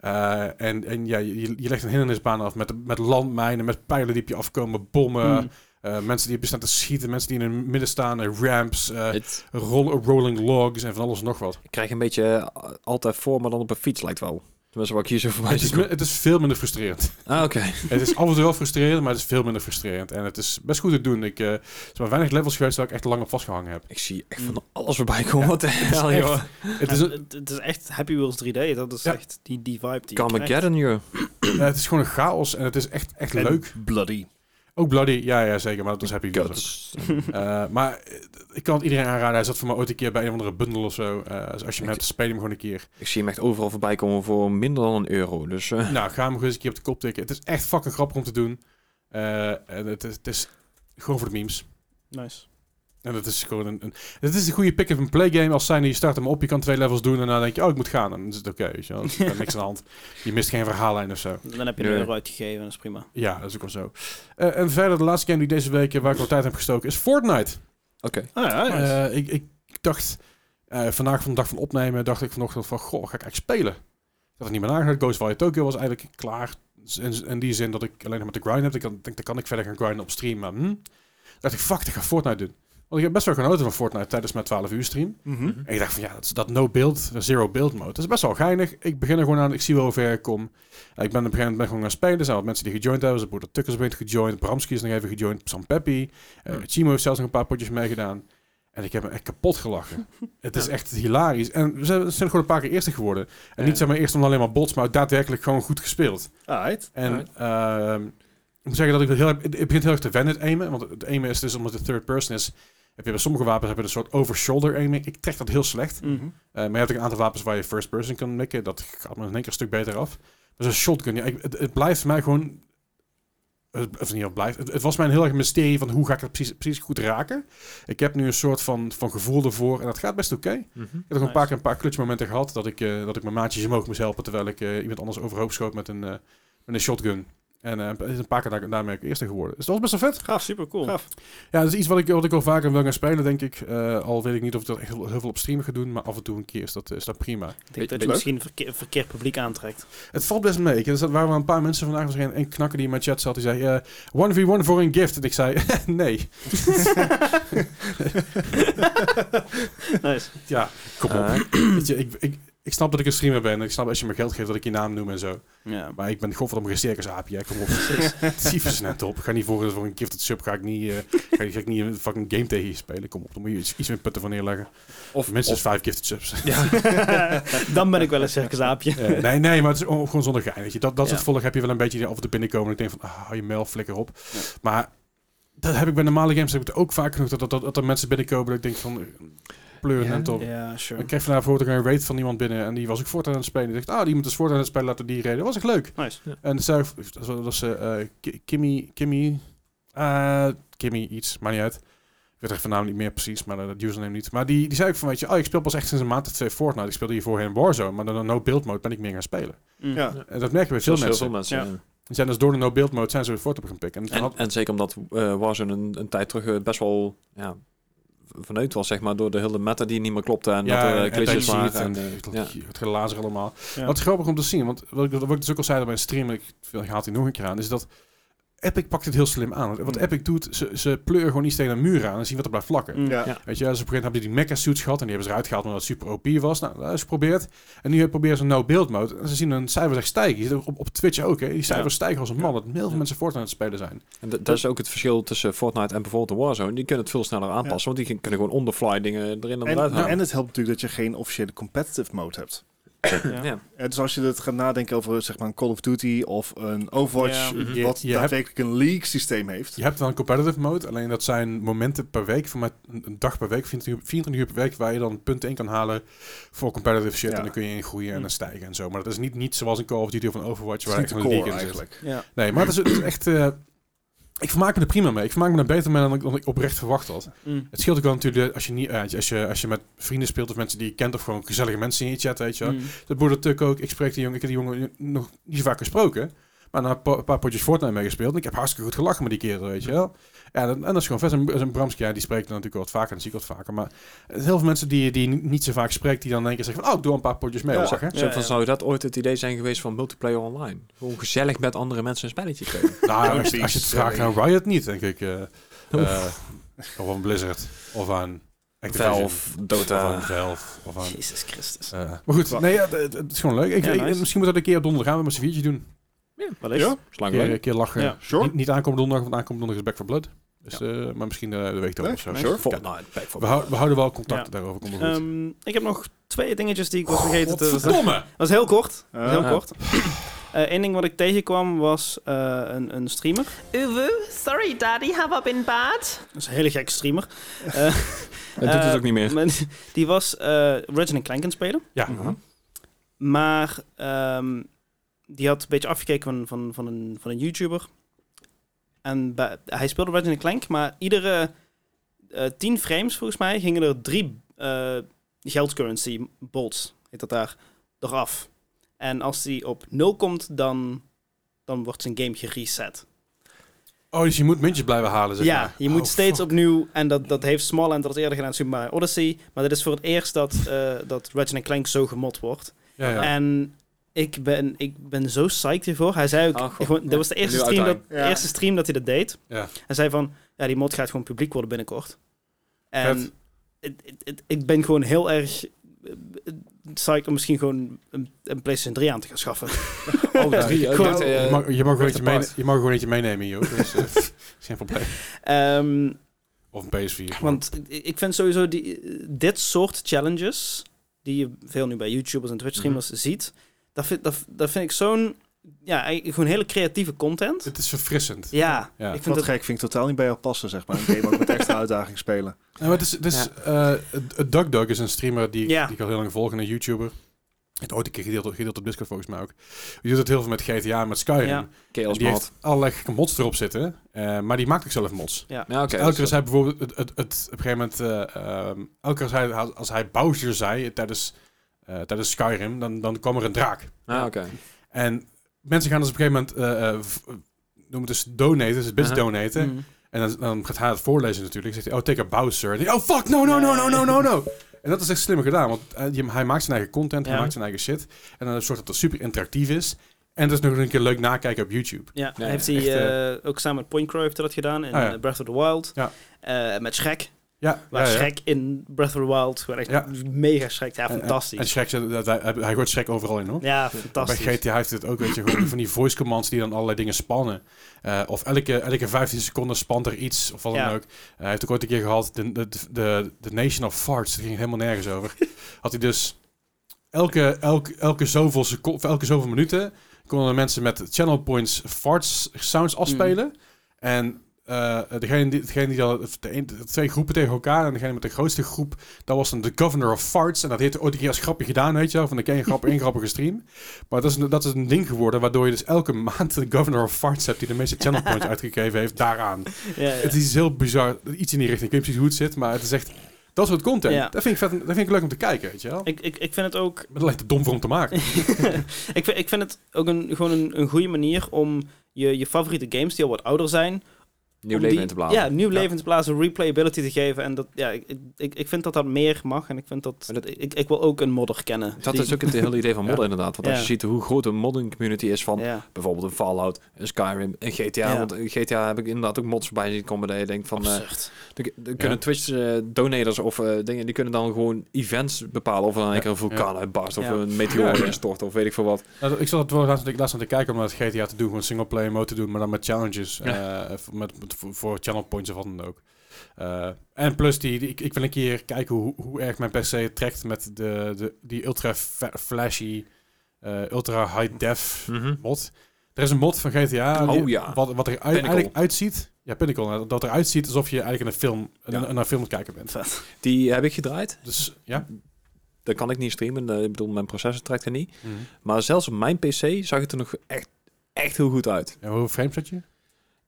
S1: Eh, en en ja, je, je legt een hindernisbaan af met, met landmijnen, met pijlen die op je afkomen, bommen.
S3: Mm.
S1: eh, mensen die op je staan te schieten, mensen die in het midden staan, eh, ramps, eh,
S2: Het-
S1: roll- rolling logs en van alles en nog wat.
S2: ik krijg een beetje eh, altijd voor, maar dan op een fiets lijkt wel. Tenminste, wat ik hier zo voorbij
S1: Het is,
S2: zie.
S1: me- het is veel minder frustrerend.
S2: Ah, oké.
S1: het is af en toe wel frustrerend, maar het is veel minder frustrerend. En het is best goed te doen. Ik, eh er zijn maar weinig levels geweest waar ik echt lang op vastgehangen heb.
S2: Ik zie echt
S1: Mm.
S2: van alles voorbij komen. Wat de hel,
S1: echt-
S2: joh.
S1: Het is, eh,
S3: Het,
S1: een-
S3: het, is echt Happy Wheels 3D. Dat is
S1: Ja.
S3: echt die, die vibe die je krijgt.
S2: Carmageddon, joh.
S1: eh, het is gewoon een chaos en het is echt, echt
S4: En
S1: leuk.
S4: bloody.
S1: Ook Bloody, ja, ja zeker, maar dat was Happy Wheels. ook.
S2: Guts.
S1: Eh, maar eh, ik kan het iedereen aanraden. Hij zat voor mij ooit een keer bij een of andere bundel of zo. Eh, dus als je hem
S2: Ik-
S1: hebt, speel hem gewoon een keer.
S2: Ik zie hem echt overal voorbij komen voor minder dan een euro. Dus eh,
S1: Nou, ga hem gewoon eens een keer op de kop tikken. Het is echt fucking grappig om te doen. Eh, en het, is- het is gewoon voor de memes.
S3: Nice.
S1: En dat is gewoon een, een, het is een goede pick-up-and-play game als zijnde. Je start hem op, je kan twee levels doen en dan denk je, oh, ik moet gaan. En dan is het oké, weet je wel. Er is verder niks aan de hand. Je mist geen verhaallijn of zo.
S3: Dan heb je een
S2: Ja.
S3: euro uitgegeven. Dat is prima.
S1: Ja, dat is ook wel zo. Eh, en verder, de laatste game die ik deze week, eh, waar ik wat tijd heb gestoken, is Fortnite.
S2: oké.
S3: Ah, ja, nice.
S1: Eh, ik, ik dacht, eh, vandaag van de dag van opnemen, dacht ik vanochtend van, goh, ga ik eigenlijk spelen? Ik had er niet meer nagedacht. Ghostwire Tokyo was eigenlijk klaar. Dus In, in die zin dat ik alleen nog maar te grind heb. Ik kan- denk, dan kan ik verder gaan grinden op stream. Maar hm, dacht ik, fuck, ik ga Fortnite doen. Want ik heb best wel genoten van Fortnite tijdens mijn 12 uur stream.
S4: Mhm.
S1: En ik dacht van ja, dat, dat no build, zero build mode. Dat is best wel geinig. Ik begin er gewoon aan, ik zie wel hoe ver ik kom. Eh, ik ben op een gegeven moment ben gewoon gaan spelen. Er zijn wat mensen die gejoind hebben. Dus Boerder Tukkers bent gejoind. Bramski is nog even gejoind. Sam Peppy. eh Chimo heeft zelfs nog een paar potjes meegedaan. En ik heb me echt kapot gelachen. het is echt hilarisch. En we zijn, we zijn gewoon een paar keer eerste geworden. En
S3: Ja.
S1: niet zeg maar eerst om alleen maar bots, maar daadwerkelijk gewoon goed gespeeld.
S4: Alright.
S1: En
S2: Alright.
S1: ehm, ik moet zeggen dat ik wel heel erg- het, het begint heel erg te wennen, het aimen. Want het aimen is dus omdat het third person is. Heb je bij sommige wapens heb je een soort over-shoulder aiming. Ik trek dat heel slecht.
S3: Mhm.
S1: Eh, maar je hebt ook een aantal wapens waar je first person kan mikken. Dat gaat me in één keer een stuk beter af. Dus een shotgun, ja, ik- het, het blijft voor mij gewoon... het- Of niet, het blijft. Het, het was mij een heel erg mysterie van hoe ga ik het precies, precies goed raken. Ik heb nu een soort van, van gevoel ervoor en dat gaat best oké.
S2: Mhm.
S1: Ik heb nog een paar
S3: Nice.
S1: keer een paar clutchmomenten gehad dat ik, eh, dat ik mijn maatjes omhoog moest helpen terwijl ik eh, iemand anders overhoop schoot met een, eh, met een shotgun. En eh, het is een paar keer daar- daarmee ook eerste geworden. Dus dat was best wel vet.
S3: Gaaf, super cool.
S4: Gaaf.
S1: Ja, dat is iets wat ik, wat ik al vaker wil gaan spelen, denk ik. Eh, al weet ik niet of ik dat echt heel, heel veel op stream ga doen, maar af en toe een keer is dat, is dat prima.
S3: Ik denk
S2: Beetje
S3: dat je
S4: leuk.
S3: misschien verkeer, verkeerd publiek aantrekt.
S1: Het valt best mee. Ik- Er zat- waren wel een paar mensen vandaag, was er een, een knakker die in mijn chat zat, die zei eh, 1v1 voor een gift. En ik zei, nee.
S3: nice.
S1: Ja, kom op.
S2: Eh,
S1: Weet je, ik, ik, ik snap dat ik een streamer ben en ik snap als je me geld geeft dat ik je naam noem en zo.
S3: Ja.
S1: Maar ik ben godverdomme geen circusaapje. hè. Kom op. Tyfus net op. Ga niet voor, voor een gifted sub. Ga ik niet, eh, ga, ik- ga ik niet een fucking game tegen je spelen. Kom op. Dan moet je iets, iets meer putten van neerleggen. Of
S2: of
S1: minstens
S2: of-
S1: vijf gifted subs.
S3: Dan ben ik wel een circusaapje.
S1: Eh, nee, nee, maar het is on- gewoon zonder gein. Weet je. Dat, dat
S3: Ja.
S1: soort volk heb je wel een beetje die af en toe binnenkomen. En ik denk van, ah, hou je mail flikker op. Maar dat heb ik bij normale games heb ik het ook vaak genoeg. Dat, dat, dat, dat er mensen binnenkomen dat ik denk van, eh, pleur
S2: Ja.
S1: net op.
S3: Ja,
S1: Ik
S3: sure.
S1: kreeg vandaag bijvoorbeeld ook een raid van iemand binnen. En die was ook voortaan aan het spelen. Die dacht, ah, die iemand is voortaan aan het spelen. Laten we die reden. Dat was echt leuk.
S3: Nice.
S1: En zij, dat was- dat was eh, eh, Ki- Kimmy, Kimmy, eh, Kimmy iets, maar niet uit. Ik weet echt van naam niet meer precies, maar eh, dat username niet. Maar die, die zei ook van, weet je, oh, ik speel pas echt sinds een maand of twee Fortnite. Ik speelde hier voorheen Warzone, maar door de no-build mode ben ik meer gaan spelen.
S3: Mm.
S4: Ja.
S1: En dat merk je bij veel
S2: heel
S1: mensen.
S2: veel mensen.
S3: Ja.
S2: ja.
S1: Die zijn dus door de no-build mode zijn ze weer Fortnite gaan pikken. En, toen
S2: En,
S1: had-
S2: en zeker omdat eh Warzone een, een tijd terug eh, best wel ja, vanuit was, zeg maar, door de hele meta die niet meer klopte en dat er eh, glitches
S1: en,
S2: waren.
S1: en, en,
S2: en,
S1: eh,
S2: ja.
S1: het gelazer allemaal.
S3: Ja.
S1: Wat is grappig om te zien, want wat ik, wat ik dus ook al zei bij een stream, en ik haalt hij nog een keer aan, is dat Epic pakt het heel slim aan. Want
S2: Hmm.
S1: Wat
S4: Mm.
S1: Epic doet, ze, ze pleuren gewoon iets tegen een muur aan en zien wat er blijft vlakken.
S3: Mm.
S4: Ja.
S2: Ja.
S1: Weet je, dus op een gegeven moment hebben die mecha suits gehad en die hebben ze eruit gehaald omdat het super OP was. Nou, dat is geprobeerd. En nu proberen ze een no-build mode. En ze zien hun cijfers echt stijgen. Je ziet het op, op Twitch ook, hè. Die cijfers stijgen als een man. Dat heel veel
S2: Ja.
S1: mensen Fortnite aan het spelen zijn.
S2: en dat dat is ook het verschil tussen Fortnite en bijvoorbeeld de Warzone. Die kunnen het veel sneller aanpassen, want die kunnen gewoon on the fly dingen erin en
S4: En, nou,
S2: eruit halen.
S4: en het helpt natuurlijk dat je geen officiële competitive mode hebt.
S3: Ja.
S2: Ja.
S4: En dus als je het gaat nadenken over zeg maar, een Call of Duty of een Overwatch,
S3: Ja.
S1: Mhm.
S4: wat
S1: Je- je hebt-
S4: daadwerkelijk een league systeem heeft.
S1: Je hebt wel een competitive mode, alleen dat zijn momenten per week, van mij een een dag per week, 24 uur, 24 uur per week, waar je dan punten in kan halen voor competitive shit.
S4: Ja.
S1: En dan kun je in groeien en
S3: Hm.
S1: dan stijgen en zo. Maar dat is niet, niet zoals een Call of Duty of een Overwatch,
S4: Het is
S1: waar
S4: niet
S1: echt
S4: de
S1: een
S4: core
S1: league in zit.
S4: eigenlijk.
S3: Ja.
S1: Nee, maar het is, het is echt... eh, ik vermaak me er prima mee. Ik vermaak me er beter mee dan ik, dan ik oprecht verwacht had.
S3: Mm.
S1: Het scheelt ook wel natuurlijk eh, als je, niet, eh, als, je, als je met vrienden speelt of mensen die je kent of gewoon gezellige mensen in je chat, weet je wel.
S3: Mm.
S1: Dat boerdertuk ook. Ik spreek die jongen, ik heb die jongen nog niet zo vaak gesproken. Maar na een pa- paar potjes Fortnite meegespeeld. En ik heb hartstikke goed gelachen met die kerel, weet je wel. En, dat- en dat is gewoon vet. En, en Bramski, ja, die spreekt dan natuurlijk wel wat vaker. En dat zie ik wat vaker. Maar heel veel mensen die, die je niet zo vaak spreekt, die dan in één keer zeggen van... Oh, ik doe een paar potjes mee.
S4: Ja.
S1: lachen.
S2: Zo
S3: Ja,
S2: van,
S3: ja.
S2: zou dat ooit het idee zijn geweest van multiplayer online? Gewoon gezellig met andere mensen een spelletje spelen.
S1: Nou, als, je- als je het
S4: Sorry.
S1: vraagt aan Riot niet, denk ik. eh, eh, of aan Blizzard. Of aan Activision.
S2: Valve,
S1: Of aan
S2: Dota.
S1: Valve. Of aan...
S3: Jezus Christus.
S1: eh, maar goed, nee, ja, het, het is gewoon leuk. Ik,
S3: Ja,
S1: ik-
S3: nice.
S1: misschien moet dat een keer op donderdag gaan we met z'n viertje doen.
S3: Wel eens.
S4: Ja.
S1: Een
S2: Slang
S1: keer,
S2: leuk.
S1: een keer lachen.
S3: Ja.
S4: Sure.
S1: Niet, niet aankomende donderdag, want aankomende donderdag is Back for Blood. Dus, eh, maar misschien eh, de week daarop
S4: Nee,
S1: of zo.
S4: nice. Sure.
S1: Kijk,
S2: Fortnite, Back for
S1: we, hou- we houden wel contact
S3: Ja.
S1: daarover. Komt wel goed.
S3: Ehm, eh, ik heb nog twee dingetjes die ik was vergeten te...
S1: Godverdomme!
S3: was heel kort.
S4: Eh,
S3: was heel
S2: Ja.
S3: kort. Eén ding wat ik tegenkwam was eh, een, een streamer.
S5: Uwu, sorry daddy, have I been bad?
S3: Dat is een hele gekke streamer.
S2: En doet het
S3: Eh,
S2: ook niet meer.
S3: Maar die was eh Resident Clank aan het spelen.
S1: Ja.
S2: Mhm.
S3: Maar ehm, die had een beetje afgekeken van, van, van, een, van een YouTuber. En bij- hij speelde Resident Clank, maar iedere eh tien frames volgens mij gingen er drie eh, geldcurrency bolts, heet dat daar, eraf. En als die op nul komt, dan, dan wordt zijn game gereset.
S1: Oh, dus je moet muntjes blijven halen, zeg
S3: ja,
S1: maar.
S3: je moet
S1: Oh,
S3: steeds
S1: fuck.
S3: opnieuw, en dat, dat heeft Smallland dat eerder gedaan in Super Mario Odyssey, maar dit is voor het eerst dat, eh, dat Resident Clank zo gemod wordt.
S1: Ja, ja.
S3: En ik ben, ik ben zo psyched hiervoor. Hij zei ook,
S2: Ah, goh.
S3: gewoon, dat was de
S2: Ja.
S3: eerste
S2: Nu
S3: stream dat,
S4: uiteindelijk. Ja.
S3: eerste stream dat hij dat deed.
S1: Ja.
S3: Hij zei van, ja, die mod gaat gewoon publiek worden binnenkort.
S1: Vet.
S3: En het- het- het- ik ben gewoon heel erg eh, psyched om misschien gewoon een, een PlayStation 3 aan te gaan schaffen.
S2: Oh, drie.
S1: Je
S2: Ik
S1: mag-
S2: dacht,
S1: je,
S2: eh,
S1: mag, je, mag gewoon
S2: werd
S1: eentje mee,
S2: apart.
S1: je mag gewoon eentje meenemen, joh. Dus, eh, is geen probleem.
S3: Ehm,
S1: Of een PS4. maar-
S3: want ik ik vind sowieso die, eh, dit soort challenges, die je veel nu bij YouTubers en
S1: Mhm.
S3: Twitch-streamers ziet, dat vind, dat, dat vind ik zo'n, ja, eigenlijk gewoon hele creatieve content.
S1: Het is verfrissend.
S3: Ja,
S1: Ja.
S3: ik vind
S4: Wat
S3: dat
S4: gek, vind ik totaal niet bij jou passen, zeg maar. Een game ook met extra uitdaging spelen.
S1: Nou, maar het is, het is, Duck Duck is een streamer die, ik-
S3: Ja.
S1: die ik al heel lang volg en een YouTuber. Het ooit een keer gedeeld, gedeeld op Discord volgens mij ook. Die doet het heel veel met GTA en met Skyrim.
S3: Ja.
S2: Chaos
S1: die
S2: Mod.
S1: heeft allerlei gekke mods erop zitten. eh, maar die maakt ook zelf mods.
S2: Ja, oké. dus
S1: elke keer als hij bijvoorbeeld het, het, het- op een gegeven moment... eh, ehm, elke keer als hij, als hij Bowser zei eh, tijdens, eh, tijdens Skyrim, dan, dan kwam er een draak.
S2: Ah, oké.
S1: En mensen gaan dus op een gegeven moment... eh, eh, v- noem het dus donaten, dus het best
S2: Aha.
S1: donaten.
S3: Mm.
S1: En dan, dan gaat hij het voorlezen natuurlijk. Zegt hij, oh, take a Bowser. En hij, oh, fuck, no, no, no, no, no, no, no. En dat is echt slimmer gedaan, want eh, je- hij maakt zijn eigen content, hij
S3: Ja.
S1: maakt zijn eigen shit. En dan zorgt dat het super interactief is. En dat is nog een keer leuk nakijken op YouTube.
S3: Ja,
S2: Ja,
S3: heeft
S1: ja,
S3: hij
S1: echt,
S3: eh, ook samen met Point Crow heeft hij dat gedaan in
S1: Ah, ja.
S3: eh, Breath of the Wild.
S1: Ja.
S3: Eh, met Shrek.
S1: Ja,
S3: Waar
S1: ja, ja.
S3: Shrek in Breath of the Wild gewoon echt
S1: Ja.
S3: mega Shrek. Ja,
S1: En- en-
S3: fantastisch.
S1: En Shrek, zegt dat hij, hij- hij hoort Shrek overal in, hoor.
S3: ja,
S1: Bij
S3: fantastisch.
S1: GTA heeft het ook, weet je, gewoon van die voice commands die dan allerlei dingen spannen. Eh, of elke, elke 15 seconden spant er iets, of wat dan
S3: Ja.
S1: ook. Eh, hij heeft ook ooit een keer gehad, de, de, de, de Nation of Farts, daar ging het helemaal nergens over. Had hij dus elke, elke, elke, zoveel seco- of elke zoveel minuten konden er mensen met channel points farts sounds afspelen.
S3: Hmm.
S1: En eh, degene die, degene die dan, de, een- de twee groepen tegen elkaar en degene met de grootste groep, dat was dan de governor of farts. En dat heeft hij ooit een keer als grapje gedaan, weet je wel, van de ken je grap, één grappige stream. Maar dat is, een- dat is een ding geworden, waardoor je dus elke maand de governor of farts hebt die de meeste channel points uitgegeven heeft daaraan.
S3: Ja, ja.
S1: Het is heel bizar, iets in die richting. Ik weet niet precies hoe het zit, maar het is echt, dat soort content,
S3: Ja.
S1: dat, vind ik vet, dat vind ik leuk om te kijken, weet je wel.
S3: Ik, ik, ik vind het ook...
S1: Maar dat lijkt het dom voor om te maken.
S3: ik, vind, ik vind het ook een, gewoon een, een goede manier om je, je favoriete games die al wat ouder zijn...
S2: Nieuw
S3: om
S2: leven
S3: die-
S2: in te blazen.
S3: Ja, nieuw
S1: Ja.
S3: leven in te blazen, replayability te geven. En dat, ja, ik, ik, ik vind dat dat meer mag. En ik vind dat...
S2: Maar dat-
S3: ik, ik wil ook een modder kennen.
S2: Dat
S3: Die-
S2: is ook het hele idee van modden inderdaad. Want als
S3: Ja.
S2: je ziet hoe groot een modding community is van
S3: Ja.
S2: bijvoorbeeld een Fallout, een Skyrim, een GTA.
S3: Ja.
S2: Want in GTA heb ik inderdaad ook mods bij zien komen dat je denkt van... eh
S3: Absurd.
S2: er er kunnen
S1: Ja.
S2: Twitch-donators of eh, dingen, die kunnen dan gewoon events bepalen. Of er dan een
S1: Ja.
S2: keer een vulkaan uitbarst of
S3: Ja.
S2: een meteor
S1: Ja, ja.
S2: instort of weet ik veel wat.
S1: Nou, dat- ik zat het wel laatst, ik laatst aan te kijken om dat GTA te doen, gewoon single player mode te doen, maar dan met challenges, eh, met, met- voor, voor channel points of wat dan ook. Eh, en plus, die, die- ik, ik wil een keer kijken hoe, hoe erg mijn PC het trekt met de, de, die ultra fa- flashy, eh, ultra high
S3: Hmm.
S1: def mod. Er is een mod van GTA. die-
S2: Oh ja.
S1: Wat, wat er uit,
S2: Pinnacle.
S1: eigenlijk uitziet. Ja, Pinnacle. hè, Dat eruit ziet alsof je eigenlijk in een film,
S2: Ja.
S1: naar, naar film aan het kijken bent.
S3: Vet.
S2: Die heb ik gedraaid.
S1: Dus ja.
S2: Dat kan ik niet streamen. eh, Ik bedoel, mijn processor trekt er niet. Maar zelfs op mijn PC zag het er nog echt, echt heel goed uit.
S1: En hoeveel frames had je?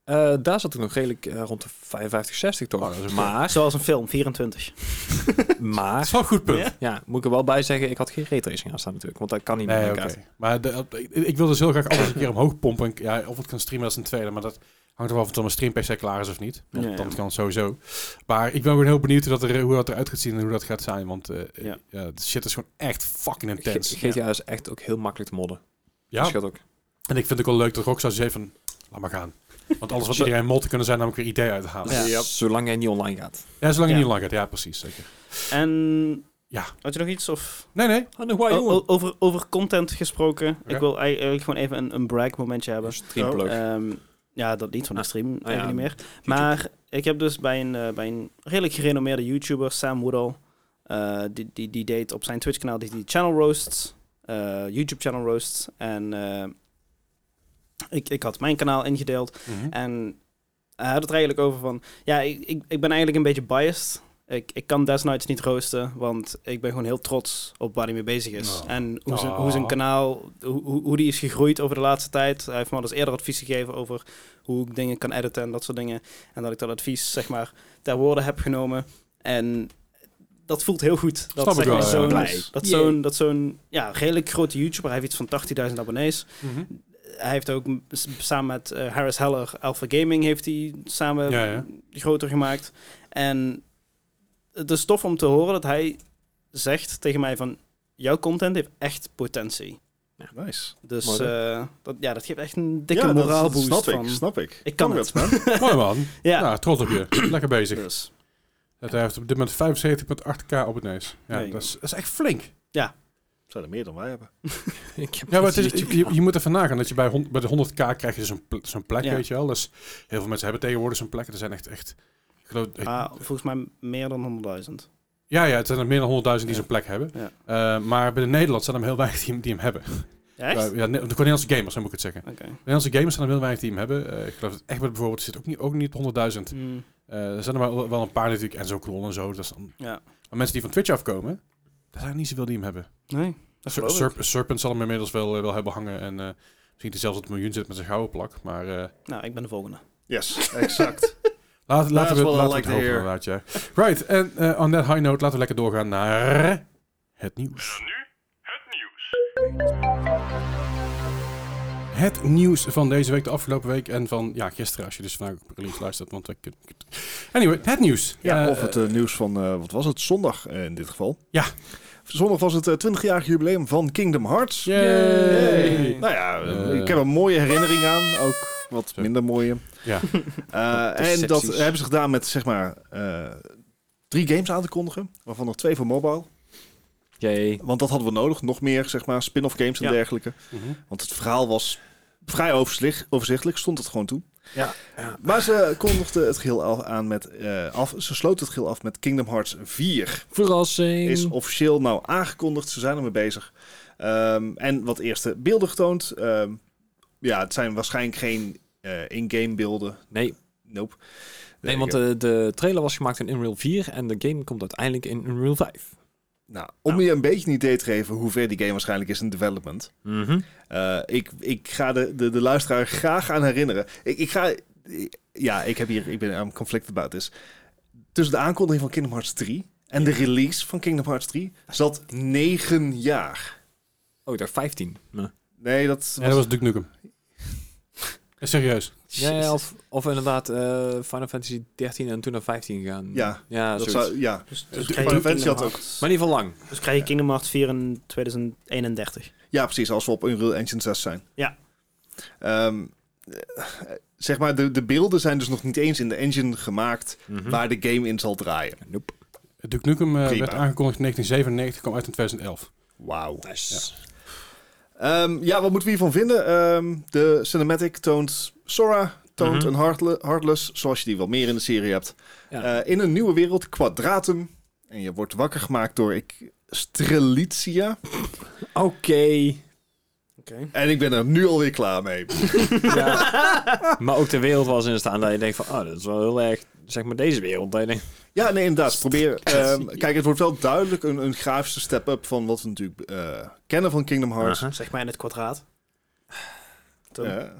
S2: Eh, daar zat ik nog redelijk eh, rond de 55, 60 toch.
S1: Oh, dat is ook
S2: maar,
S3: Zoals een film, 24.
S1: Dat is
S2: maar,
S1: wel een goed punt.
S2: ja, moet ik er wel bij zeggen, ik had geen raytracing aan staan natuurlijk. Want dat kan niet
S1: Nee,
S2: met
S1: oké.
S2: elkaar.
S1: Maar de, ik, ik wil dus heel graag alles een keer omhoog pompen. En, ja, of het kan streamen, dat is een tweede. Maar dat hangt er wel van of mijn stream PC klaar is of niet. Want
S3: Ja, ja.
S1: dat kan sowieso. Maar ik ben gewoon heel benieuwd hoe dat, er, hoe dat eruit gaat zien en hoe dat gaat zijn. Want eh
S3: Ja.
S1: ja. de shit is gewoon echt fucking
S2: G-
S1: intens.
S2: GTA is echt ook heel makkelijk te modden.
S1: Ja,
S2: Dus je had ook
S1: en ik vind het ook wel leuk dat Rockstar zei van, laat maar gaan. Want alles wat
S2: Zo-
S1: iedereen mod kunnen zijn namelijk weer ideeën uithalen. Ja,
S3: Ja.
S2: Dus Zolang hij niet online gaat.
S1: zolang je
S3: Ja.
S1: niet lang gaat. Ja, precies, zeker.
S3: En...
S1: Ja.
S3: Had je nog iets? Of...
S1: Nee, nee.
S2: Oh, nog wel,
S3: O- o- over, over content gesproken.
S1: Ja.
S3: Ik wil eigenlijk gewoon even een, een brag momentje hebben.
S2: Streamplug.
S3: Ehm, ja, dat niet, van de
S2: Ah.
S3: stream
S2: ja,
S3: eigenlijk niet meer. Maar ik heb dus bij een, eh, bij een redelijk gerenommeerde YouTuber, Sam Woodall, eh, die, die, die deed op zijn Twitch-kanaal die, die channel roasts, eh, YouTube-channel roasts. En eh, ik, ik had mijn kanaal ingedeeld.
S1: Mhm.
S3: En hij had het er eigenlijk over van... Ja, ik, ik, ik ben eigenlijk een beetje biased. Ik, ik kan Desnights niet roosten, want ik ben gewoon heel trots op waar hij mee bezig is.
S1: Oh.
S3: En hoe zijn,
S1: Oh.
S3: hoe zijn kanaal, hoe, hoe- hoe die is gegroeid over de laatste tijd. Hij heeft me al eens eerder advies gegeven over hoe ik dingen kan editen en dat soort dingen. En dat ik dat advies, zeg maar, ter woorden heb genomen. En dat voelt heel goed. Dat,
S1: Snap ik
S3: zeg
S1: wel,
S3: maar,
S1: ja.
S3: zo'n-
S2: Blij.
S3: dat
S2: Yay.
S3: zo'n, dat zo'n ja, redelijk grote YouTuber, hij heeft iets van 80.000 abonnees
S1: Mhm.
S3: hij heeft ook m- s- samen met eh, Harris Heller, Alpha Gaming, heeft hij samen
S1: Ja, ja.
S3: groter gemaakt. En het is tof om te horen dat hij zegt tegen mij van, jouw content heeft echt potentie.
S4: Nice.
S3: Dus
S2: Mooi,
S3: eh, dat, ja, dat geeft echt een dikke
S4: Ja, dat-
S3: moraalboost
S4: Snap
S3: van...
S4: ik, snap ik.
S3: Ik kan
S4: Congrats,
S3: het.
S4: man.
S1: Mooi man.
S3: Ja,
S1: Nou, trots op je. Lekker bezig.
S3: dus.
S1: Dat hij heeft op dit moment 75,8k op het neus. Ja,
S3: Nee,
S1: dat, is, dat is echt flink.
S4: Zijn er meer dan wij hebben.
S2: Ik heb
S1: Ja, maar het
S2: geen
S1: is, je,
S2: YouTube-kanaal.
S1: je moet ervan nagaan dat je bij, hond- bij de 100k krijg je zo'n pl- zo'n plek,
S3: Ja.
S1: weet je wel. Dus heel veel mensen hebben tegenwoordig zo'n plek. Er zijn echt, echt ik geloof, ik-
S3: Maar Ah, volgens mij meer dan 100.000.
S1: ja, ja, het zijn er meer dan 100.000 die
S3: Ja.
S1: zo'n plek hebben.
S3: Ja.
S1: Eh, maar binnen Nederland zijn er heel weinig die, hem- die hem hebben.
S3: Ja, echt?
S1: Ja, ja, ne- de Nederlandse gamers, zo moet ik het zeggen.
S3: Oké.
S1: Nederlandse gamers zijn er heel weinig die hem hebben. Eh, ik geloof dat Egbert bijvoorbeeld zit ook niet, ook niet op 100.000.
S3: Mm,
S1: Eh, er zijn er wel, wel een paar natuurlijk, en zo klon en zo. Dat is dan,
S3: ja.
S1: maar mensen die van Twitch afkomen, daar zijn er niet zoveel die hem hebben.
S3: Nee, dat
S1: Ser-
S3: geloof ik.
S1: Serp- Serpent zal hem inmiddels wel, eh, wel hebben hangen. En eh, misschien die zelfs op het miljoen zit met zijn gouden plak. Maar eh,
S3: Nou, ik ben de volgende.
S4: Yes, exact.
S1: laat, laten we
S4: wel
S1: laten we
S4: like
S1: het
S4: to
S1: hopen
S4: hear.
S1: inderdaad, ja. Right, en eh on that high note laten we lekker doorgaan naar het nieuws. Het nieuws van deze week, de afgelopen week en van ja, gisteren als je dus vandaag op release luistert. Want, ik- ik- anyway, het nieuws.
S4: Ja,
S1: Eh,
S4: of het eh, nieuws van, eh, wat was het, zondag eh, in dit geval.
S1: Ja.
S4: Zondag was het eh, 20-jarig jubileum van Kingdom Hearts.
S1: yay.
S2: Yay.
S4: Nou ja, eh,
S1: Eh.
S4: ik heb een mooie herinnering aan, ook wat
S1: Zo.
S4: minder mooie.
S1: Ja.
S4: Eh,
S2: Wat
S4: en dat
S2: decepties.
S4: hebben ze gedaan met, zeg maar, eh, drie games aan te kondigen, waarvan er twee voor mobile.
S2: Jee.
S4: Want dat hadden we nodig, nog meer, zeg maar, spin-off games en
S3: Ja.
S4: dergelijke.
S1: Mhm.
S4: Want het verhaal was vrij overzicht- overzichtelijk, stond het gewoon toe.
S2: Ja. ja.
S4: Maar ze kondigden het geheel af aan met, eh, af, ze sloten het geheel af met Kingdom Hearts 4.
S2: Verrassing.
S4: is officieel nou aangekondigd. Ze zijn ermee bezig. Ehm, en wat eerste beelden getoond. Ehm, ja, het zijn waarschijnlijk geen eh, in-game beelden.
S2: Nee,
S4: Nope.
S2: nee
S4: Eh,
S2: want
S4: ik-
S2: de, de trailer was gemaakt in Unreal 4 en de game komt uiteindelijk in Unreal 5.
S4: nou, om je een beetje een idee te geven hoe ver die game waarschijnlijk is in development.
S1: Mhm.
S4: eh, ik, ik ga de, de, de luisteraar graag aan herinneren. Ik, ik ga... ik- ja, ik heb hier... Ik ben aan conflict about this. Tussen de aankondiging van Kingdom Hearts 3 en de release van Kingdom Hearts 3 zat negen jaar.
S2: Oh, ik dacht 15. Nee.
S4: Nee, dat...
S1: Ja, dat was Duke Nukem. Eh, Serieus.
S2: Ja, of, of inderdaad eh, Final Fantasy 13 en toen naar 15 gegaan.
S4: Ja,
S2: ja
S4: dat
S2: zoiets.
S4: zou, ja.
S3: Dus,
S1: Dus
S3: krijg je
S4: Final Fantasy
S3: Kingdom
S4: had ook.
S3: Hearts-
S2: Maar in ieder geval lang.
S3: Dus krijg je Kingdom Hearts 4 in 2031.
S4: Ja, precies, als we op Unreal Engine 6 zijn.
S3: Ja.
S4: Ehm, eh, zeg maar, de, de beelden zijn dus nog niet eens in de engine gemaakt
S2: Mhm.
S4: waar de game in zal draaien.
S2: Nope.
S1: Duke Nukem eh,
S4: Prima.
S1: werd aangekondigd in 1997, kwam uit in 2011.
S4: Wauw.
S2: Nice.
S4: Ehm, ja, wat moeten we hiervan vinden? Ehm, de cinematic toont Sora toont,
S2: Mhm.
S4: een heartle- Heartless, zoals je die wel meer in de serie hebt.
S2: Ja.
S4: Eh, in een nieuwe wereld, Quadratum. En je wordt wakker gemaakt door ik, Strelitzia.
S2: Oké.
S4: En ik ben er nu alweer klaar mee.
S2: Ja. maar ook de wereld was in staan dat je denkt van, oh, dat is wel heel erg, zeg maar deze wereld. Dat je denkt,
S4: Ja, nee, inderdaad. Probeer, ehm, kijk, het wordt wel duidelijk een, een grafische step-up van wat we natuurlijk eh, kennen van Kingdom Hearts. Eh,
S2: aha.
S3: Zeg maar in het kwadraat. Tom,
S4: Ja.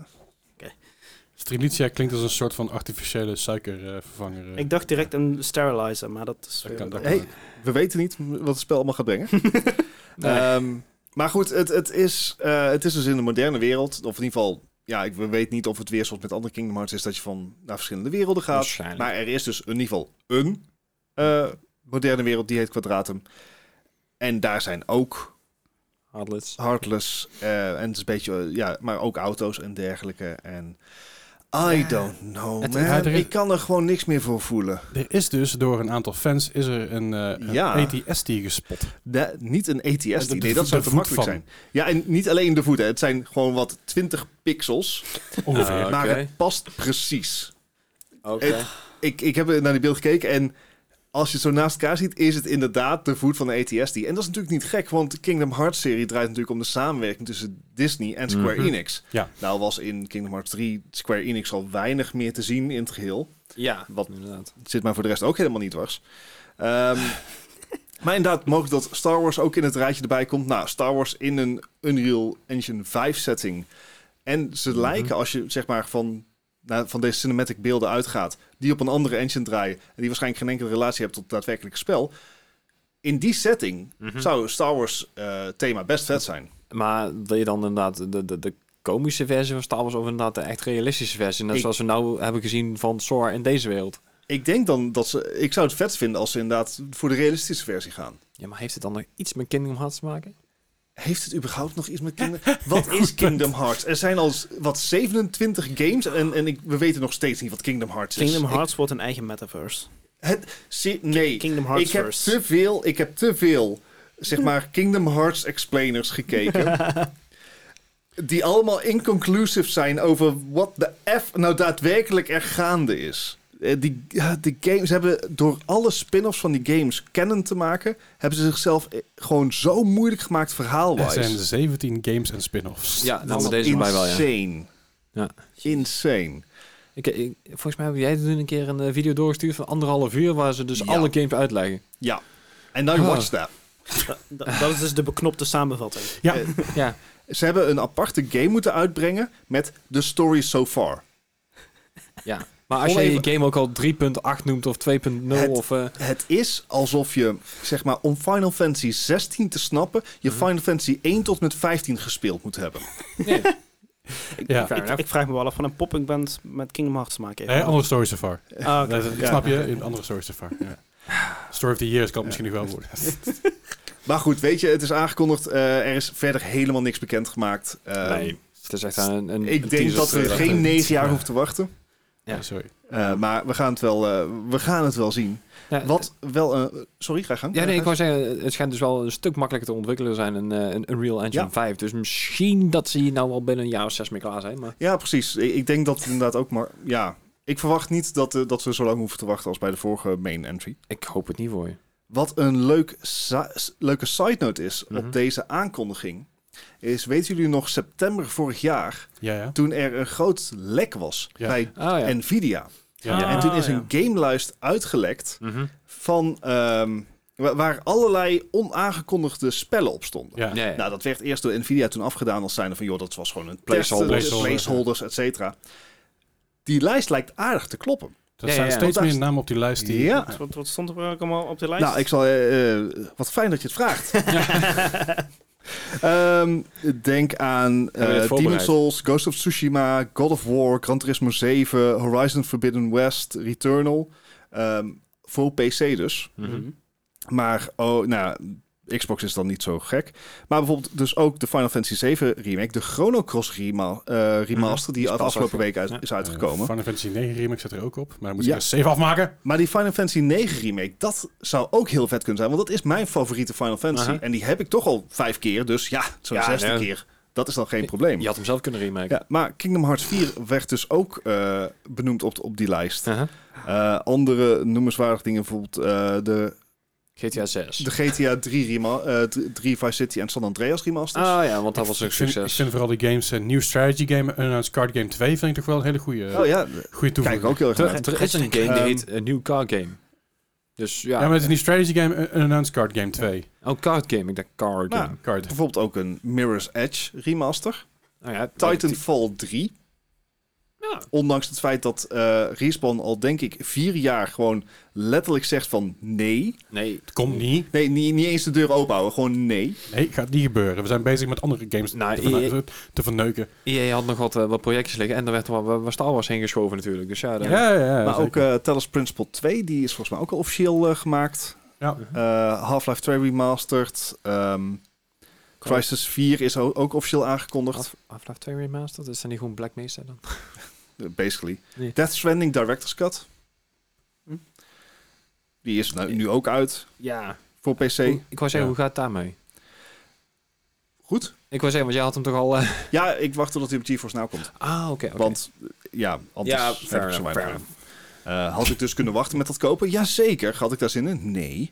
S1: Strelitzia Dus klinkt als een soort van artificiële suikervervanger. eh.
S3: Ik dacht direct een sterilizer, maar dat is...
S1: Dat kan- dat kan.
S4: hey, we weten niet wat het spel allemaal gaat brengen.
S2: Nee.
S4: Ehm, maar goed, het, het, is, eh, het is dus in de moderne wereld. Of in ieder geval, ja, ik weet niet of het weer zoals met andere Kingdom Hearts is dat je van naar verschillende werelden gaat.
S2: waarschijnlijk.
S4: Maar er is dus in ieder geval een eh, moderne wereld, die heet Quadratum. En daar zijn ook
S2: Heartless.
S4: Heartless. eh, en het is een beetje, eh, ja, maar ook auto's en dergelijke. En I don't know,
S1: Het-
S4: man.
S1: ja, er is-
S4: Ik kan er gewoon niks meer voor voelen.
S1: Er is dus door een aantal fans is er een, eh
S4: Ja.
S1: een ATST gespot.
S4: Da- niet een ATS,
S1: de-
S4: die
S1: de
S4: nee, dat
S1: vo-
S4: zou
S1: de
S4: te makkelijk
S1: voet van.
S4: zijn. Ja, en niet alleen de voeten. Het zijn gewoon wat 20 pixels.
S1: Ongeveer.
S2: Ah,
S4: Maar
S2: oké.
S4: het past precies.
S2: Oké.
S4: Ik, ik heb naar die beeld gekeken en als je het zo naast elkaar ziet, is het inderdaad de voet van de E ATST. En dat is natuurlijk niet gek, want de Kingdom Hearts serie draait natuurlijk om de samenwerking tussen Disney en Square
S2: Mhm.
S4: Enix.
S1: Ja.
S4: Nou was in Kingdom Hearts 3 Square Enix al weinig meer te zien in het geheel.
S2: Ja,
S4: Wat-
S2: wat inderdaad.
S4: Het zit mij voor de rest ook helemaal niet dwars. Ehm, maar inderdaad, mogelijk dat Star Wars ook in het rijtje erbij komt. Nou, Star Wars in een Unreal Engine 5 setting. En ze
S2: Mhm.
S4: lijken, als je zeg maar van, nou, van deze cinematic beelden uitgaat, die op een andere engine draaien, en die waarschijnlijk geen enkele relatie hebben tot het daadwerkelijke spel. In die setting
S2: Mhm.
S4: zou Star Wars eh, thema best vet zijn.
S2: Maar wil je dan inderdaad de, de, de komische versie van Star Wars of inderdaad de echt realistische versie? Net
S4: Ik-
S2: zoals we nou hebben gezien van Sora in deze wereld.
S4: Ik denk dan dat ze. Ik zou het vet vinden als ze inderdaad voor de realistische versie gaan.
S2: Ja, maar heeft het dan nog iets met Kingdom Hearts te maken?
S4: Heeft het überhaupt nog iets met Kingdom Wat is Kingdom Hearts? Er zijn al s- wat 27 games en, en ik, we weten nog steeds niet wat Kingdom Hearts is.
S3: Kingdom Hearts wordt een eigen metaverse.
S4: Het, zie- nee,
S3: Kingdom
S4: ik
S3: Hearts
S4: heb te veel, ik heb te veel, zeg maar, Kingdom Hearts explainers gekeken. die allemaal inconclusive zijn over wat de F nou daadwerkelijk er gaande is. Eh, Die, ja, die games hebben door alle spin-offs van die games kennen te maken, hebben ze zichzelf eh, gewoon zo moeilijk gemaakt
S1: Er
S4: verhaalwijs.
S1: zijn 17 games en spin-offs.
S2: Ja,
S4: Dat
S2: nou,
S4: is
S2: met deze bij wel, ja.
S4: Insane.
S2: Ja.
S4: Insane.
S2: Ik, ik- volgens mij heb jij toen een keer een eh, video doorgestuurd van anderhalf uur, waar ze dus
S4: Ja.
S2: alle games uitleggen.
S4: Ja. En dan
S2: Huh.
S4: watch that.
S3: Da- da- dat is dus de beknopte samenvatting.
S1: Ja.
S4: Eh,
S2: Ja.
S4: Ze hebben een aparte game moeten uitbrengen met The Story So Far.
S2: ja. Maar als
S4: Om
S2: je je
S4: even-
S2: game ook al 3.8 noemt of 2.0
S4: Het-
S2: of... eh,
S4: Het is alsof je, zeg maar, om Final Fantasy 16 te snappen, je
S2: Mhm.
S4: Final Fantasy 1 tot met 15 gespeeld moet hebben.
S2: nee.
S1: Ja.
S2: Fair
S3: Ik,
S2: enough.
S3: ik vraag me wel af van een popping band met Kingdom Hearts te maken heeft.
S1: Nee, andere story so far.
S3: Ah, oké.
S1: Dat is-
S4: Ja.
S1: Snap je? Een andere story so far. Ja. Story of the Years kan het misschien nog wel worden.
S4: Maar goed, weet je, het is aangekondigd. eh, er is verder helemaal niks bekend gemaakt. Eh,
S2: nee, het is echt een, een
S4: Ik
S2: een
S4: denk
S2: teaser
S4: dat we
S2: trailer.
S4: geen 9 jaar
S1: Ja.
S4: hoeven te wachten.
S2: Ja.
S1: Sorry.
S4: Eh, maar we gaan het wel, eh, we gaan het wel zien.
S2: Ja,
S4: Wat wel... eh, sorry, ga gaan.
S2: Ja, nee, ik wou zeggen, het schijnt dus wel een stuk makkelijker te ontwikkelen zijn een, eh, een Unreal Engine
S4: Ja.
S2: 5. Dus misschien dat ze hier nou al binnen een jaar of zes mee klaar zijn. Maar
S4: Ja, precies. Ik, ik denk dat het inderdaad ook maar... Ja, ik verwacht niet dat, eh, dat we zo lang hoeven te wachten als bij de vorige main entry.
S2: ik hoop het niet voor je.
S4: Wat een leuk sa- s- leuke side note is
S2: Mhm.
S4: op deze aankondiging... is, weten jullie nog, september vorig jaar...
S1: Ja, ja.
S4: toen er een groot lek was
S1: Ja.
S4: bij
S2: Oh ja.
S4: Nvidia.
S1: Ja.
S3: Ah,
S4: en toen is
S3: ja.
S4: een gamelijst uitgelekt
S2: Mhm.
S4: van... ehm, wa- waar allerlei onaangekondigde spellen op stonden.
S1: Ja.
S2: Ja, ja.
S4: Nou, dat werd eerst door Nvidia toen afgedaan als zijnde van... joh, dat was gewoon een
S2: Placeholder.
S4: placeholders,
S1: Placeholder,
S4: placeholders et cetera. Die lijst lijkt aardig te kloppen.
S1: Er
S2: Ja,
S1: zijn
S2: ja, ja.
S1: steeds
S4: Want
S1: meer
S4: daar-
S1: namen op die lijst. Die,
S4: Ja.
S3: Wat, wat stond er ook allemaal op de lijst?
S4: Nou, ik zal... eh, eh, wat fijn dat je het vraagt. Ehm, denk aan
S2: we dit
S4: eh Demon
S2: voorbereid?
S4: Souls, Ghost of Tsushima, God of War, Gran Turismo 7, Horizon Forbidden West, Returnal. Ehm, voor PC dus.
S2: Mhm.
S4: Maar, oh, nou, Xbox is dan niet zo gek. Maar bijvoorbeeld dus ook de Final Fantasy 7 remake, de Chrono Cross rema- eh, remaster, die
S2: Mhm. pas
S4: de afgelopen
S2: uit-
S4: week uit-
S2: ja.
S4: is
S1: Eh,
S4: uitgekomen.
S1: Final Fantasy 9 remix zit er ook op. Maar dan moet je
S4: Ja.
S1: een save afmaken.
S4: Maar die Final Fantasy 9 remake, dat zou ook heel vet kunnen zijn, want dat is mijn favoriete Final Fantasy.
S2: Aha.
S4: En die heb ik toch al vijf keer, dus ja, zo'n
S2: Ja,
S4: zesde
S2: nee.
S4: keer. Dat is dan geen probleem.
S2: Je had hem zelf kunnen remaken.
S4: Ja, maar Kingdom Hearts 4 werd dus ook eh, benoemd op, op die lijst.
S2: Uh-huh.
S4: Eh, andere noemenswaardige dingen, bijvoorbeeld eh, de,
S2: GTA 6.
S4: de GTA 3, rema- eh, d- 3 Vice City en San Andreas remasters.
S2: Ah ja, want dat was een
S1: Ik vind, ik
S2: succes.
S1: vind vooral die games, een nieuw strategy game, en Unnounced Card Game 2, vind ik toch wel een hele goede
S4: oh ja,
S1: goede
S4: kijk
S1: Eh, toevoeging.
S4: ik ook heel erg naar.
S2: Er, er is een game die
S4: Ehm,
S2: heet een nieuw Card Game. Dus ja,
S1: Ja, maar het is niet strategy game, eh, een Unnounced Card Game 2.
S2: oh, Card Game. Ik dacht Card
S4: Nou,
S2: Game.
S1: Card.
S4: Bijvoorbeeld ook een Mirror's Edge remaster.
S2: Nou ja,
S4: Titanfall 3.
S2: Ja.
S4: Ondanks het feit dat eh Respawn al denk ik vier jaar gewoon letterlijk zegt van nee.
S2: Nee,
S1: Het komt niet.
S4: Nee, niet, niet eens de deur openhouden, gewoon nee.
S1: Nee, gaat niet gebeuren. We zijn bezig met andere games
S2: Nou,
S1: te, verne-
S2: je-
S1: te verneuken.
S2: EA had nog wat, eh, wat projectjes liggen en er werd wat, wat Star Wars heen geschoven natuurlijk. Dus ja, daar-
S1: Ja, ja, ja.
S4: maar ook
S1: zeker.
S4: eh Talos Principle 2, die is volgens mij ook al officieel eh, gemaakt.
S1: Ja.
S4: Eh, Half-Life 2 remastered. ehm Crisis 4 is o- ook officieel aangekondigd.
S2: Half- Half-Life 2 Remastered, is dat niet gewoon Black Mesa dan?
S4: Eh, basically.
S2: Nee.
S4: Death Stranding Director's Cut.
S3: Hm.
S4: Die is nou nu, nu ook uit
S2: Ja.
S4: voor PC.
S2: Ik wou zeggen,
S1: Ja.
S2: hoe gaat het daarmee?
S4: Goed.
S2: Ik wou zeggen, want jij had hem toch al... eh,
S4: Ja, ik wacht totdat hij op GeForce nou komt.
S2: Ah, oké. oké.
S4: Want eh, ja, anders
S2: Ja,
S4: heb
S2: fair
S4: ik zo
S2: enough,
S4: weinig
S2: fair
S4: aan. Eh, had ik dus kunnen wachten met dat kopen? Jazeker. Had ik daar zin in? Nee.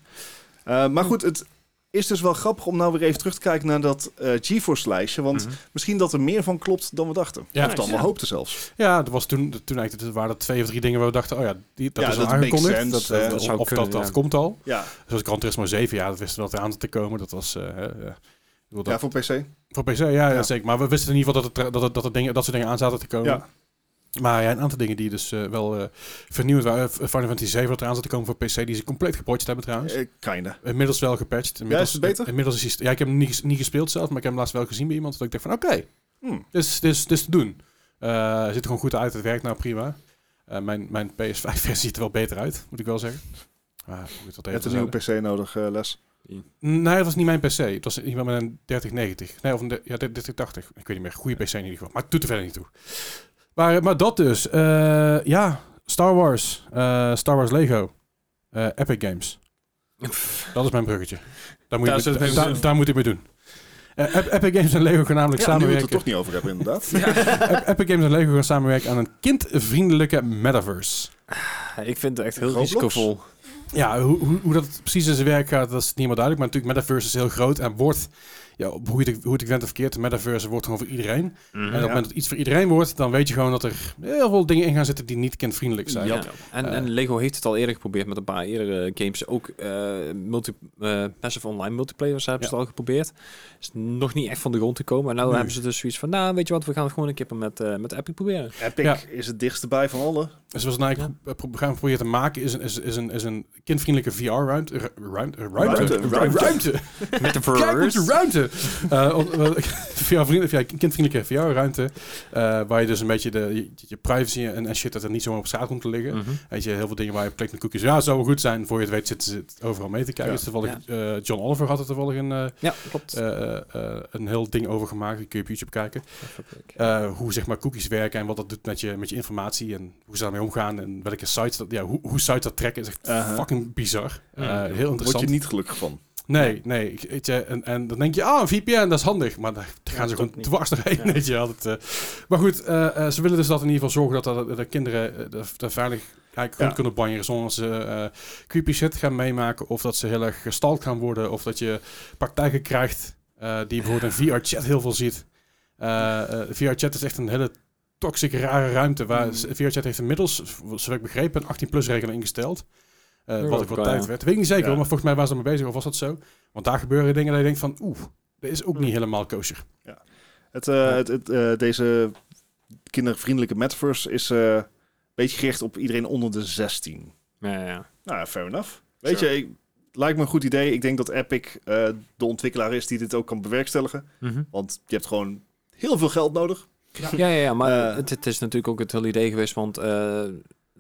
S4: Eh,
S2: Hm.
S4: maar goed, het is dus wel grappig om nou weer even terug te kijken naar dat eh, GeForce-lijstje. Want
S2: Mhm.
S4: misschien dat er meer van klopt dan we dachten.
S1: Ja.
S4: of dan
S1: Nice.
S4: we hoopten zelfs.
S1: Ja, er was toen, toen eigenlijk, er waren er twee of drie dingen waar we dachten, oh ja, die, dat
S4: Ja,
S1: is al
S4: dat makes
S1: aangekondigd.
S4: sense,
S1: dat,
S4: eh,
S1: dat-
S2: dat
S1: of
S2: zou
S1: of
S2: kunnen,
S1: dat, dat
S2: ja.
S1: komt al.
S4: Ja,
S1: Zoals Gran Turismo 7, ja, dat wisten we dat er aan zat te komen. Dat was... eh, hè, eh, ik bedoel, dat-
S4: ja voor PC.
S1: Voor PC, ja, ja,
S4: Ja.
S1: zeker. Maar we wisten in ieder geval dat, het, dat, het, dat, het dingen, dat soort dingen aan zaten te komen.
S4: Ja.
S1: Maar ja, een aantal dingen die dus eh, wel eh vernieuwd waren. Eh, Final Fantasy 7 dat eraan zat te komen voor PC, die ze compleet gepatcht hebben trouwens.
S4: Eh, kinda.
S1: Inmiddels wel gepatcht. Inmiddels,
S4: is het beter?
S1: Inmiddels is hij st- ja, ik heb hem niet, ges- niet gespeeld zelf, maar ik heb hem laatst wel gezien bij iemand. Dat ik dacht van, oké,
S4: Hm.
S1: dit, is, dit, is, dit is te doen. Eh, ziet er gewoon goed uit, het werkt nou prima. Eh, mijn, mijn PS5-versie ziet er wel beter uit, moet ik wel zeggen. Ah, goed, dat
S4: Je
S1: even
S4: hebt een
S1: terzijde.
S4: nieuwe PC nodig, eh, Les.
S1: Nee, dat was niet mijn PC. Het was iemand met een 3090. Nee, of een de- ja, 3080. Ik weet niet meer. Goede PC in ieder geval. Maar het doet er verder niet toe. Maar, maar dat dus. Eh, ja, Star Wars. Eh, Star Wars Lego. Eh, Epic Games. Dat is mijn bruggetje. Daar moet,
S2: Daar
S1: ik
S2: zit
S1: mee,
S2: het
S1: daar,
S2: in.
S1: daar moet ik mee doen. Eh, Ep- Epic Games en Lego gaan namelijk
S4: Ja, nu we het
S1: samenwerken.
S4: er toch niet over hebben, inderdaad.
S1: Ep- Epic Games en Lego gaan samenwerken aan een kindvriendelijke metaverse.
S2: Ik vind het echt heel
S4: Roblox?
S2: risicovol.
S1: Ja, hoe, hoe, hoe dat precies in zijn werk gaat, dat is niet helemaal duidelijk. Maar natuurlijk, metaverse is heel groot en wordt, ja, op hoe, je het, hoe je het went of keert, de metaverse wordt gewoon voor iedereen. En op het moment dat iets voor iedereen wordt, dan weet je gewoon dat er heel veel dingen in gaan zitten die niet kindvriendelijk zijn.
S2: Ja. Eh. En, en Lego heeft het al eerder geprobeerd met een paar eerdere games. Ook eh multi, eh, Massive Online Multiplayer hebben ze
S1: Ja.
S2: het al geprobeerd. Is nog niet echt van de grond gekomen. En nu
S1: Nee.
S2: hebben ze dus zoiets van, nou weet je wat, we gaan het gewoon een keer met, eh, met Epic proberen.
S4: Epic
S1: Ja.
S4: is het dichtste bij van alle.
S1: Dus wat we nou eigenlijk pro- pro- gaan proberen te maken is een, is, is een, is een kindvriendelijke VR-ruimte. Ruimte, ruimte, ruimte,
S4: Ruimte, ruimte.
S1: ruimte.
S2: Met de
S1: Kijk met de ruimte! Eh, om- eh, via vrienden, via kindvriendelijke VR-ruimte. waar je dus een beetje de, je, je privacy en, en shit dat er niet zomaar op straat komt te liggen.
S2: Mhm.
S1: Weet je, heel veel dingen waar je op klikt met koekjes. Ja, zou wel goed zijn. Voor je het weet zitten ze het overal mee te kijken.
S4: Ja.
S1: Dus toevallig, eh, John Oliver had er toevallig een, eh,
S2: Ja, klopt.
S1: eh, eh, een heel ding over gemaakt. Die kun je op YouTube kijken. Eh, hoe zeg maar cookies werken en wat dat doet met je, met je informatie. En hoe ze daarmee omgaan. En welke sites dat, ja, hoe, hoe sites dat trekken is echt
S4: Uh-huh.
S1: fucking bizar. Eh,
S2: Ja.
S1: heel interessant.
S4: Word je niet gelukkig van.
S1: Nee, nee. ik- Weet je, en, en dan denk je, ah, een VPN, dat is handig. Maar daar gaan ze
S3: dat
S1: gewoon
S3: ook niet.
S1: dwars doorheen,
S3: Ja.
S1: weet je wel. Dat, eh. Maar goed, eh, eh, ze willen dus dat in ieder geval zorgen dat de, de kinderen eh, de, de veiligheid rond
S4: Ja.
S1: kunnen banjeren zonder dat ze eh, creepy shit gaan meemaken. Of dat ze heel erg gestalkt gaan worden. Of dat je praktijken krijgt eh, die je bijvoorbeeld in VR-chat heel veel ziet. Eh, VR-chat is echt een hele toxische, rare ruimte. Waar
S2: Mm.
S1: VR-chat heeft inmiddels, zoals ik begrepen, een 18-plus-regeling ingesteld. Eh,
S2: Ja,
S3: Oh,
S1: wat ik
S2: dat
S1: wel
S2: kan,
S1: tijd
S2: ja.
S1: werd. Weet ik niet zeker,
S4: Ja.
S1: hoor, maar volgens mij waren ze ermee bezig. Of was dat zo? Want daar gebeuren dingen dat je denkt van... Oeh, dat is ook niet helemaal kosher.
S4: Het, eh, het, het, eh, deze kindervriendelijke metaverse is eh, een beetje gericht op iedereen onder de 16.
S2: Ja, ja.
S4: Nou, ja, fair enough. Weet
S2: Sure.
S4: je, ik, lijkt me een goed idee. Ik denk dat Epic eh, de ontwikkelaar is die dit ook kan bewerkstelligen. Want je hebt gewoon heel veel geld nodig.
S2: Ja, ja, ja, maar
S4: Eh.
S2: het, het is natuurlijk ook het hele idee geweest, want eh, ze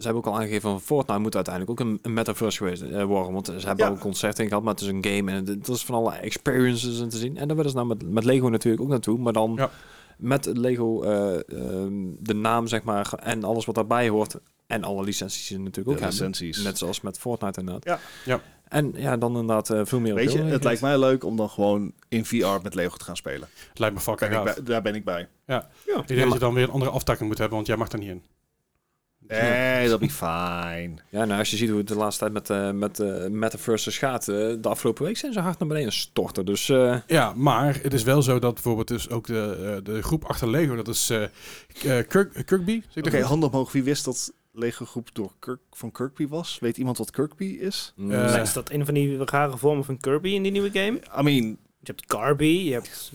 S2: hebben ook al aangegeven van Fortnite moet uiteindelijk ook een, een metaverse geweest eh, worden, want ze hebben
S4: Ja.
S2: al een concert in gehad, maar het is een game en het, het is van alle experiences en te zien. En daar willen ze nou met, met Lego natuurlijk ook naartoe, maar dan
S1: Ja.
S2: met Lego eh, ehm, de naam zeg maar en alles wat daarbij hoort en alle licenties die ze natuurlijk ook
S4: De
S2: hebben.
S4: licenties.
S2: Net zoals met Fortnite inderdaad.
S4: Ja.
S1: Ja.
S2: En ja, dan inderdaad eh, veel meer op
S4: Weet je, het
S2: deelgelegenheid.
S4: lijkt mij leuk om dan gewoon in VR met Lego te gaan spelen.
S1: Lijkt me fucking
S4: Daar ben ik
S1: gaaf.
S4: bij- daar ben ik bij.
S1: Ik denk dat je dan weer een andere aftakking moet hebben, want jij mag daar niet in.
S4: Nee, dat be fijn.
S2: Ja, nou, als je ziet hoe het de laatste tijd met, eh met eh Metaverses gaat, eh, de afgelopen week zijn ze hard naar beneden storten. Dus eh,
S1: Ja, maar het is wel zo dat bijvoorbeeld dus ook de, eh, de groep achter Lego, dat is eh eh, Kirk, Kirkby. Zeg ik dat
S4: Oké,
S1: goed?
S4: hand omhoog. Wie wist dat Lego groep door Kirk, van Kirkby was? Weet iemand wat Kirkby is?
S2: mm,
S1: Eh,
S3: Maar is dat een van die rare vormen van Kirby in die nieuwe game?
S4: I mean,
S3: Je hebt Garby, je hebt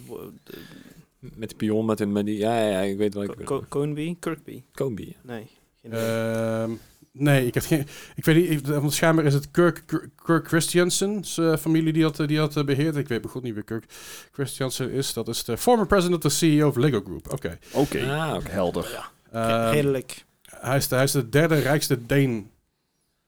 S2: met die pion, met, een- met die... Ja, ja, ja, ik weet wel.
S3: Ko- Ko- Koonby, Kirkby.
S2: Kobe.
S3: Nee. geen idee.
S1: Ehm, nee, ik heb geen. Ik weet niet, ik- want schijnbaar is het Kirk, Kirk- Kirk Christiansen's eh, familie die dat, eh, die dat eh, beheert. Ik weet goed niet wie Kirk Christiansen is. Dat is de former president of the CEO of Lego Group. Oké.
S4: oké.
S2: Ah, oké.
S4: Helder.
S1: Ehm,
S3: Redelijk.
S1: hij, is de, hij is de derde rijkste Deen.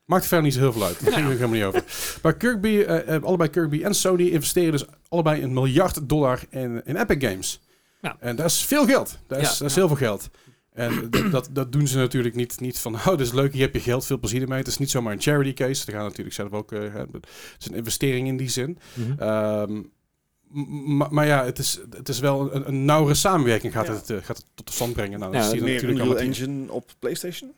S1: Maakt verder niet zo heel veel uit. Daar ging het helemaal niet over. Maar Kirkby, eh, eh, allebei Kirkby en Sony investeren dus allebei een miljard dollar in, in Epic Games.
S2: Ja.
S1: En dat is veel geld. Dat is,
S2: Ja.
S1: dat is heel veel geld. En dat- dat, dat doen ze natuurlijk niet, niet van, oh, dat is leuk, hier heb je geld, veel plezier mee. Het is niet zomaar een charity case. Ze gaan natuurlijk zelf ook, eh, het is een investering in die zin.
S2: Eh,
S1: Ehm, m- maar, maar ja, het is, het is wel een, een nauwere samenwerking gaat,
S4: Ja.
S1: het, eh, gaat het tot stand brengen. Nou,
S2: Ja,
S1: dat zie je
S2: meer
S4: Meer
S1: natuurlijk
S4: Unreal
S1: allemaal-
S4: Engine op PlayStation?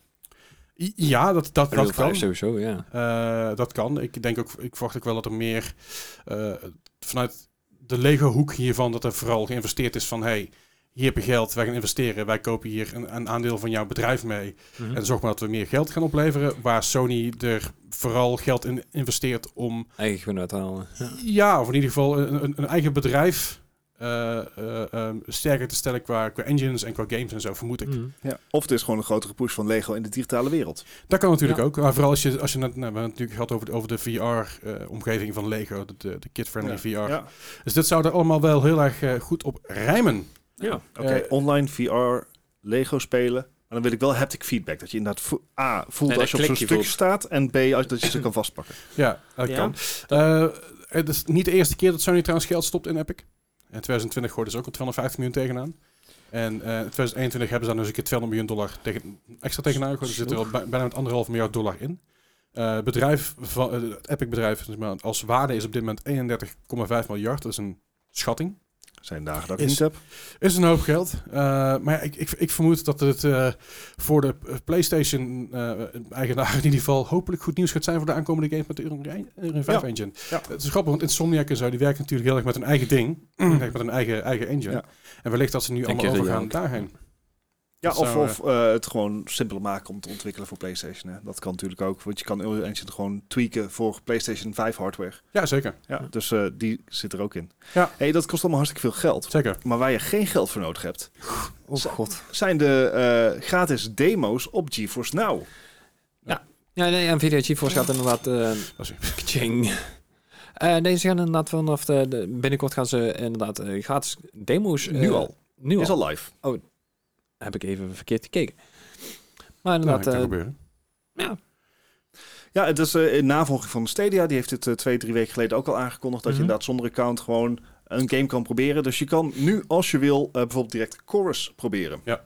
S1: I- Ja, dat, dat,
S2: Real
S1: dat
S2: Life
S1: kan.
S2: sowieso, ja.
S1: Eh, dat kan. Ik denk ook, ik verwacht ook wel dat er meer eh, vanuit de Lego-hoek hiervan, dat er vooral geïnvesteerd is van, hey, hier heb je geld, wij gaan investeren, wij kopen hier een, een aandeel van jouw bedrijf mee.
S2: Hm.
S1: En zorg maar dat we meer geld gaan opleveren, waar Sony er vooral geld in investeert om,
S2: Eigen gewin uit te halen. Ja.
S1: ja, of in ieder geval een, een- een eigen bedrijf eh, eh, ehm, sterker te stellen qua, qua engines en qua games en zo, vermoed ik.
S2: Mhm.
S4: Ja. Of het is gewoon een grotere push van Lego in de digitale wereld.
S1: Dat kan natuurlijk
S2: Ja.
S1: ook. Maar vooral als je, als je net, nou, we hebben het natuurlijk gehad over de, over de VR-omgeving van Lego, de, de, de kid-friendly VR.
S4: Ja.
S1: Dus dit zou er allemaal wel heel erg eh, goed op rijmen.
S2: Ja.
S4: Oké,
S1: Eh,
S4: online VR, Lego spelen. Maar dan wil ik wel haptic feedback. Dat je inderdaad vo- A, voelt
S2: Nee,
S4: als je
S2: dat
S4: op
S2: klikje
S4: zo'n stuk
S2: voelt.
S4: staat. En B, als, dat je ze kan vastpakken.
S1: Ja, dat
S3: Ja.
S1: kan. Eh, het is niet de eerste keer dat Sony trouwens geld stopt in Epic. In 2020 gooiden ze ook al 250 miljoen tegenaan. En eh, in 2021 hebben ze daar dus een keer 200 miljoen dollar tegen, extra tegenaan gegooid. Er zit er al bij- bijna met anderhalf miljard dollar in. Eh, het bedrijf van, eh, het Epic bedrijf zeg maar, als waarde is op dit moment 31,5 miljard. Dat is een schatting.
S4: Zijn dagen dat ik
S1: Is-
S4: niet heb.
S1: Is een hoop geld. Eh, maar ja, ik, ik, ik vermoed dat het eh, voor de eh, PlayStation eh, eigenaar in ieder geval hopelijk goed nieuws gaat zijn voor de aankomende games met de Unreal Unreal 5
S4: Ja.
S1: engine.
S4: Ja.
S1: Het is grappig, want Insomniac en zo, die werken natuurlijk heel erg met hun eigen ding. Kijk, met hun eigen, eigen engine.
S4: Ja.
S1: En wellicht dat ze nu allemaal
S2: keer
S1: overgaan
S2: jank.
S1: daarheen.
S4: Ja,
S1: Dat
S4: of,
S1: zou,
S4: of eh, het gewoon simpeler maken om te ontwikkelen voor PlayStation. Hè. Dat kan natuurlijk ook. Want je kan Unreal Engine gewoon tweaken voor PlayStation 5 hardware.
S1: Ja, zeker.
S4: Ja. Dus eh, die zit er ook in.
S1: Ja.
S4: Hey, dat kost allemaal hartstikke veel geld.
S1: Zeker.
S4: Maar waar je geen geld voor nodig hebt,
S2: Oh god.
S4: zijn de eh, gratis demo's op GeForce Now.
S2: Ja, nee, NVIDIA GeForce gaat inderdaad...
S1: Dat is-
S2: eh kaching. Eh, nee, ze gaan inderdaad vanaf de, de- Binnenkort gaan ze inderdaad eh, gratis demo's... eh,
S4: Nu al.
S2: Nu
S4: Is
S2: al.
S4: al live.
S2: Heb ik even verkeerd gekeken. Maar
S1: Nou, dat
S2: inderdaad...
S1: kan
S2: eh,
S1: gebeuren.
S2: ja.
S4: Ja, het is eh in navolging van Stadia. Die heeft het eh, twee, drie weken geleden ook al aangekondigd. Dat
S2: Mhm.
S4: je inderdaad zonder account gewoon een game kan proberen. Dus je kan nu, als je wil, eh, bijvoorbeeld direct Chorus proberen. Dus-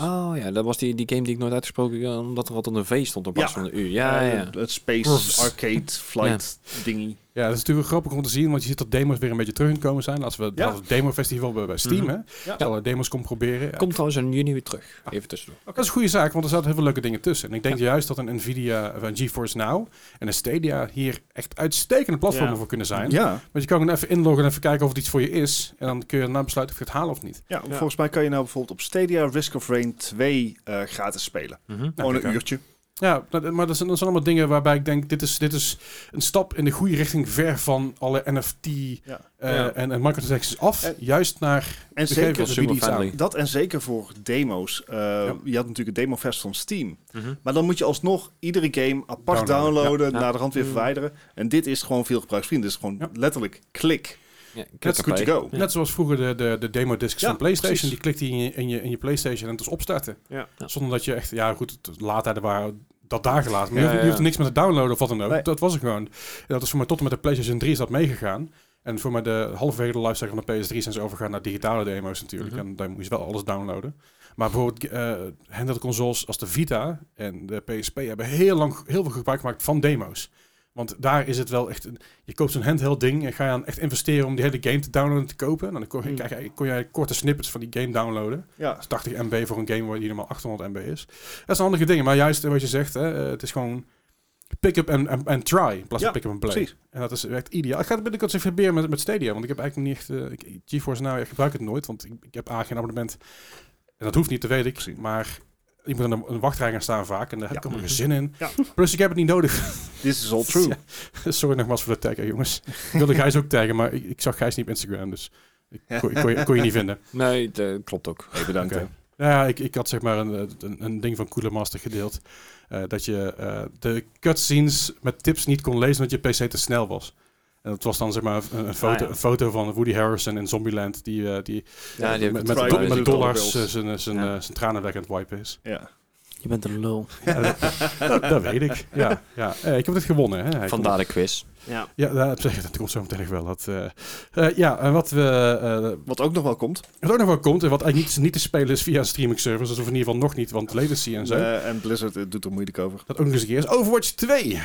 S2: Oh ja, dat was die, die game die ik nooit uitgesproken heb, omdat er altijd een V stond op
S4: Ja.
S2: plaats van de U. Ja,
S4: Eh,
S2: ja.
S4: Het Space
S2: Oeps.
S4: Arcade Flight dingy.
S1: Ja, dat is natuurlijk grappig om te zien, want je ziet dat demos weer een beetje terug in komen zijn. Als we
S4: Ja.
S1: dat het demo-festival bij bij Steam,
S2: Mhm.
S1: hè. Dat alle demos kon proberen. Ja.
S2: Komt trouwens in juni weer terug. Even tussendoor.
S1: Dat is een goede zaak, want er zaten heel veel leuke dingen tussen. En ik denk juist dat een Nvidia, of een GeForce Now en een Stadia hier echt uitstekende platformen
S3: Ja.
S1: voor kunnen zijn.
S4: Ja,
S1: Want je kan gewoon even inloggen en even kijken of het iets voor je is. En dan kun je daarna besluiten of je het haalt of niet.
S4: ja, volgens mij kan je nou bijvoorbeeld op Stadia Risk of Rain 2 eh, gratis spelen.
S1: Nou,
S4: Gewoon
S1: kijk
S4: een
S1: aan.
S4: uurtje.
S1: Ja, dat- maar dat zijn, dat zijn allemaal dingen waarbij ik denk, dit is, dit is een stap in de goede richting ver van alle NFT eh,
S4: Ja.
S2: Ja.
S1: en, en microtransactions af.
S4: En-
S1: juist naar
S4: En
S1: de gegeven
S4: zeker,
S1: dat bieden iets aan.
S2: superfriendly.
S4: dat en zeker voor demo's. Eh, Je had natuurlijk een demofest van Steam.
S2: Mhm.
S4: Maar dan moet je alsnog iedere game apart
S1: Downloaden, Mhm.
S4: downloaden,
S2: ja.
S4: naar de hand weer
S2: Mm.
S4: verwijderen. En dit is gewoon veel gebruiksvriendelijk. Dit is gewoon letterlijk klik.
S2: Ja,
S4: That's
S2: klik
S4: good to
S2: erbij.
S4: go.
S1: Net zoals vroeger de, de, de demo-discs
S4: Ja,
S1: van PlayStation.
S4: precies.
S1: Die klikte je in je, in je in je PlayStation en het was opstarten.
S4: Ja.
S2: Ja.
S1: Zonder dat je echt... Ja, goed, het laadtijden waren dat daar gelaten. Maar
S2: Ja,
S1: je, hoefde, je
S2: ja.
S1: hoefde niks meer te downloaden of wat dan ook.
S4: Nee.
S1: Dat was het gewoon. En dat is voor mij tot en met de PlayStation 3 is dat meegegaan. En voor mij de halverwege de lifecycle van de PS3 zijn ze overgegaan naar digitale demo's natuurlijk.
S2: Mhm.
S1: En daar moet je wel alles downloaden. Maar bijvoorbeeld eh handheld consoles als de Vita en de PSP hebben heel lang heel veel gebruik gemaakt van demo's. Want daar is het wel echt... een- je koopt zo'n handheld ding en ga je aan echt investeren om die hele game te downloaden en te kopen. En dan kon,
S3: Hmm.
S1: krijg je, kon jij korte snippets van die game downloaden.
S4: Ja.
S1: Dat is 80 MB voor een game waar die normaal 800 MB is. Dat zijn handige dingen. Maar juist eh, wat je zegt, hè, eh, het is gewoon pick-up en, en, en try in plaats
S4: Ja,
S1: van pick-up en play.
S4: precies.
S1: En dat is echt ideaal. Ik ga het binnenkort eens even proberen met, met Stadia, want ik heb eigenlijk niet echt... eh, ik- ik, GeForce Now, ik gebruik het nooit, want ik, ik heb A, geen abonnement. En dat hoeft niet, dat weet ik.
S4: Precies.
S1: Maar ik moet aan de- aan de wachtrij gaan staan vaak en daar heb
S4: Ja.
S1: ik allemaal geen zin in.
S4: Ja.
S1: Plus, ik heb het niet nodig.
S4: This is all true.
S1: Ja. Sorry nogmaals voor de tag, hè, jongens. Ik wilde Gijs ook taggen, maar ik, ik zag Gijs niet op Instagram, dus ik kon, kon je, kon je niet vinden.
S2: Nee, dat klopt ook.
S4: Hey, bedankt.
S1: Oké.
S4: hè.
S1: Nou ja, ik, ik had zeg maar een, eh, een, een ding van Cooler Master gedeeld. eh, dat je eh, de cutscenes met tips niet kon lezen omdat je PC te snel was. En dat was dan zeg maar een, een foto,
S2: Ah, ja.
S1: een foto van Woody Harrison in Zombieland. Die, eh, die
S2: Ja, die heb ik
S1: met,
S2: getried,
S1: met,
S2: die
S1: met
S2: doet
S1: dollars
S4: wel
S1: eh,
S4: veel.
S1: zijn, eh, zijn,
S2: Ja.
S1: eh, zijn tranen weg aan het wipen is.
S4: Ja.
S3: Je bent een lul.
S1: Ja, dat, dat- dat weet ik. Ja, ja. Eh, ik heb dit gewonnen. Hè. Hij komt-
S2: Vandaar de quiz.
S3: Ja.
S1: Ja, dat, dat komt zo meteen nog wel. Dat, eh, eh, ja, en wat we eh,
S4: Wat ook nog wel komt.
S1: Wat ook nog wel komt, en wat eigenlijk niet, niet te spelen is via een streaming service, of in ieder geval nog niet, want latency en zo.
S4: Eh, en Blizzard eh, doet er moeilijk over.
S1: Dat ook nog eens een keer is Overwatch 2.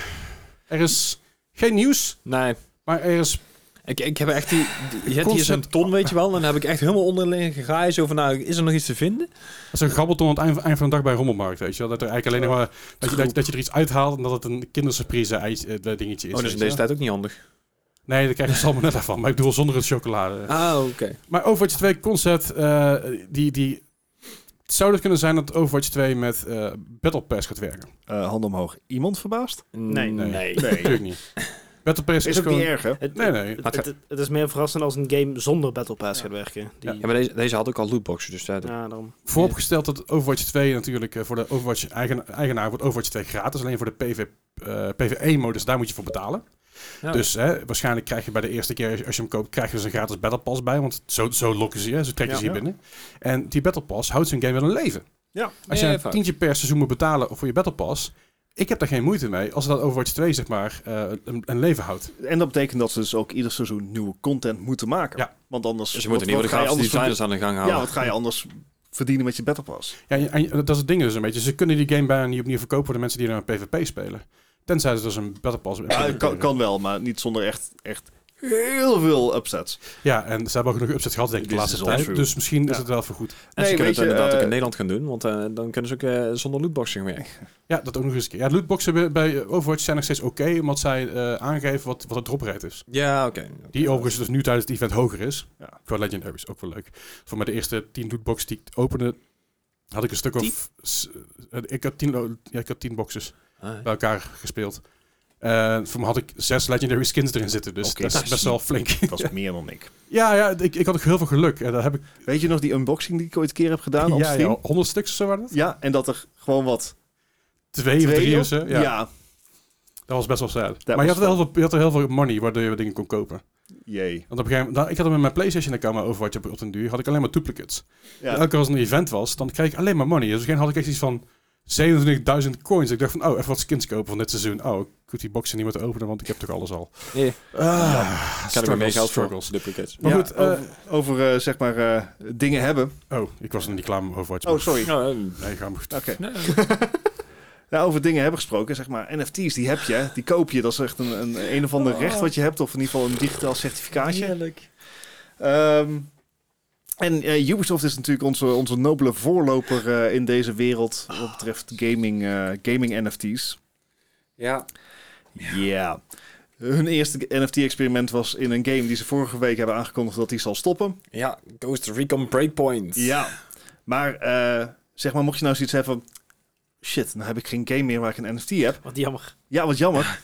S1: Er is geen nieuws,
S2: Nee,
S1: maar er is...
S2: Ik, ik heb echt die... die je hebt hier zo'n
S1: Constant-
S2: ton, weet je wel. En dan heb ik echt helemaal onderling gegraaid over... Nou, is er nog iets te vinden?
S1: Dat is een grabbelton aan het eind, eind van de dag bij Rommelmarkt, weet je wel. Dat er eigenlijk alleen nog maar... Dat je, dat, je- dat je er iets uithaalt en dat het een kindersurprise ijs- eh, dingetje is.
S2: Oh,
S1: weet
S2: dat is in
S1: je
S2: deze
S1: wel.
S2: tijd ook niet handig.
S1: Nee, daar krijg je salmonella van. Maar ik bedoel, zonder het chocolade.
S2: Ah, oké.
S1: Maar Overwatch 2 concept, eh, die... die het zou dus kunnen zijn dat Overwatch 2 met eh, Battle Pass gaat werken.
S4: Eh hand omhoog. Iemand verbaasd?
S3: Nee.
S2: nee.
S1: Natuurlijk niet. Battle Pass is,
S4: Is ook
S1: gewoon...
S4: niet erg, hè?
S3: Het,
S1: Nee, nee.
S3: Het, het- het is meer verrassend als een game zonder Battle Pass gaat werken. Die,
S2: Ja, maar deze, deze had ook al lootboxen, dus daar...
S3: ja, daarom.
S1: Vooropgesteld dat Overwatch 2 natuurlijk eh, voor de Overwatch-eigenaar wordt Overwatch 2 gratis. Alleen voor de eh, PV, PvE-modus, E daar moet je voor betalen.
S2: Ja.
S1: Dus hè, waarschijnlijk krijg je bij de eerste keer, als je- als je hem koopt, krijg je dus een gratis Battle Pass bij. Want zo, zo lokken ze je, zo trekken ze je
S4: Ja.
S1: binnen. En die Battle Pass houdt zijn game wel een leven.
S4: Ja.
S1: Als je
S2: Ja,
S1: een
S2: vaak.
S1: tientje per seizoen moet betalen voor je Battle Pass... Ik heb daar geen moeite mee als dat Overwatch 2 zeg maar eh, een, een leven houdt.
S4: En dat betekent dat ze dus ook ieder seizoen nieuwe content moeten maken.
S1: Ja.
S4: Want anders...
S2: Dus je
S4: wat-
S2: moet in ieder
S4: wat ga je
S2: geval de
S4: anders
S2: designers aan de gang
S4: verdi- Ja,
S2: houden.
S4: wat ga je anders verdienen met je Battle Pass?
S1: Ja, en, en dat is het ding dus een beetje. Ze kunnen die game bijna niet opnieuw verkopen voor de mensen die er aan PvP spelen. Tenzij ze dus een Battle Pass...
S4: Ja, kan, kan wel, maar niet zonder echt, echt heel veel upsets.
S1: Ja, en ze hebben ook nog upset gehad, denk ik, de
S4: This
S1: laatste
S4: is all
S1: tijd.
S4: true.
S1: Dus misschien is
S4: Ja.
S1: het wel vergoed.
S2: En ze
S4: Nee,
S2: kunnen
S4: weet
S2: het
S4: je,
S2: inderdaad ook
S4: eh,
S2: in Nederland gaan doen, want eh, dan kunnen ze ook eh, zonder lootboxing werken.
S1: Ja, dat ook nog eens een keer. Ja, de lootboxen bij- bij Overwatch zijn nog steeds oké, omdat zij eh, aangeven wat, wat de droprate is.
S2: Ja, oké.
S1: Die overigens dus nu tijdens het event hoger is.
S4: Ja.
S1: Qua Legendaries, ook wel leuk. Voor mij de eerste 10 lootboxen die ik opende, had ik een stuk of... s- eh, ik, had 10 lo- ja, ik had 10 boxes
S2: Ah,
S1: bij elkaar gespeeld. En voor me had ik zes Legendary skins erin zitten, dus
S4: Oké,
S1: dat is
S4: nice.
S1: best wel flink.
S4: Dat was meer dan ik.
S1: ja, ja ik, ik had ook heel veel geluk. En daar heb ik
S4: Weet je nog die unboxing die ik ooit een keer heb gedaan op
S1: ja, ja,
S4: stream?
S1: 100 stuks of zo waren dat?
S4: Ja, en dat er gewoon wat...
S1: Twee, of drie
S4: op-
S1: of zo.
S4: Ja.
S1: ja. Dat was best wel sad. maar
S4: was
S1: je had, er heel veel, je had er heel veel money waardoor je dingen kon kopen.
S4: jee.
S1: Want op een gegeven moment, nou, ik had hem in mijn PlayStation account maar over wat je op, op den duur had ik alleen maar duplicates.
S4: Ja.
S1: En elke keer als er een event was, dan kreeg ik alleen maar money. Dus op een gegeven moment had ik echt iets van 27.000 coins. Ik dacht van, oh, even wat skins kopen van dit seizoen. Oh, ik moet die boxen niet moeten openen, want ik heb toch alles al.
S2: nee,
S1: Ah,
S2: kan ik maar meer
S1: struggles,
S2: geld voor
S1: struggles.
S2: duplicates.
S1: Maar
S4: Ja,
S1: goed, eh,
S4: over, over eh, zeg maar eh, dingen hebben.
S1: oh, ik was nog niet klaar met Overwatch.
S4: Oh,
S1: maar-
S4: sorry.
S2: Ja, eh,
S1: Nee, ga maar goed.
S4: Oké.
S2: nee.
S4: Nou, over dingen hebben gesproken, zeg maar. NFT's, die heb je, hè. die koop je. Dat is echt een, een, een of ander recht wat je hebt, of in ieder geval een digitaal certificaatje. Ehm, en eh, Ubisoft is natuurlijk onze, onze nobele voorloper eh, in deze wereld wat betreft gaming, eh, gaming NFT's.
S2: Ja.
S4: Ja. Hun eerste NFT-experiment was in een game die ze vorige week hebben aangekondigd dat die zal stoppen.
S2: ja, Ghost Recon Breakpoint.
S4: Ja. Maar eh, zeg maar, mocht je nou zoiets hebben van... Shit, nou heb ik geen game meer waar ik een NFT heb.
S3: Wat jammer.
S4: Ja, wat jammer.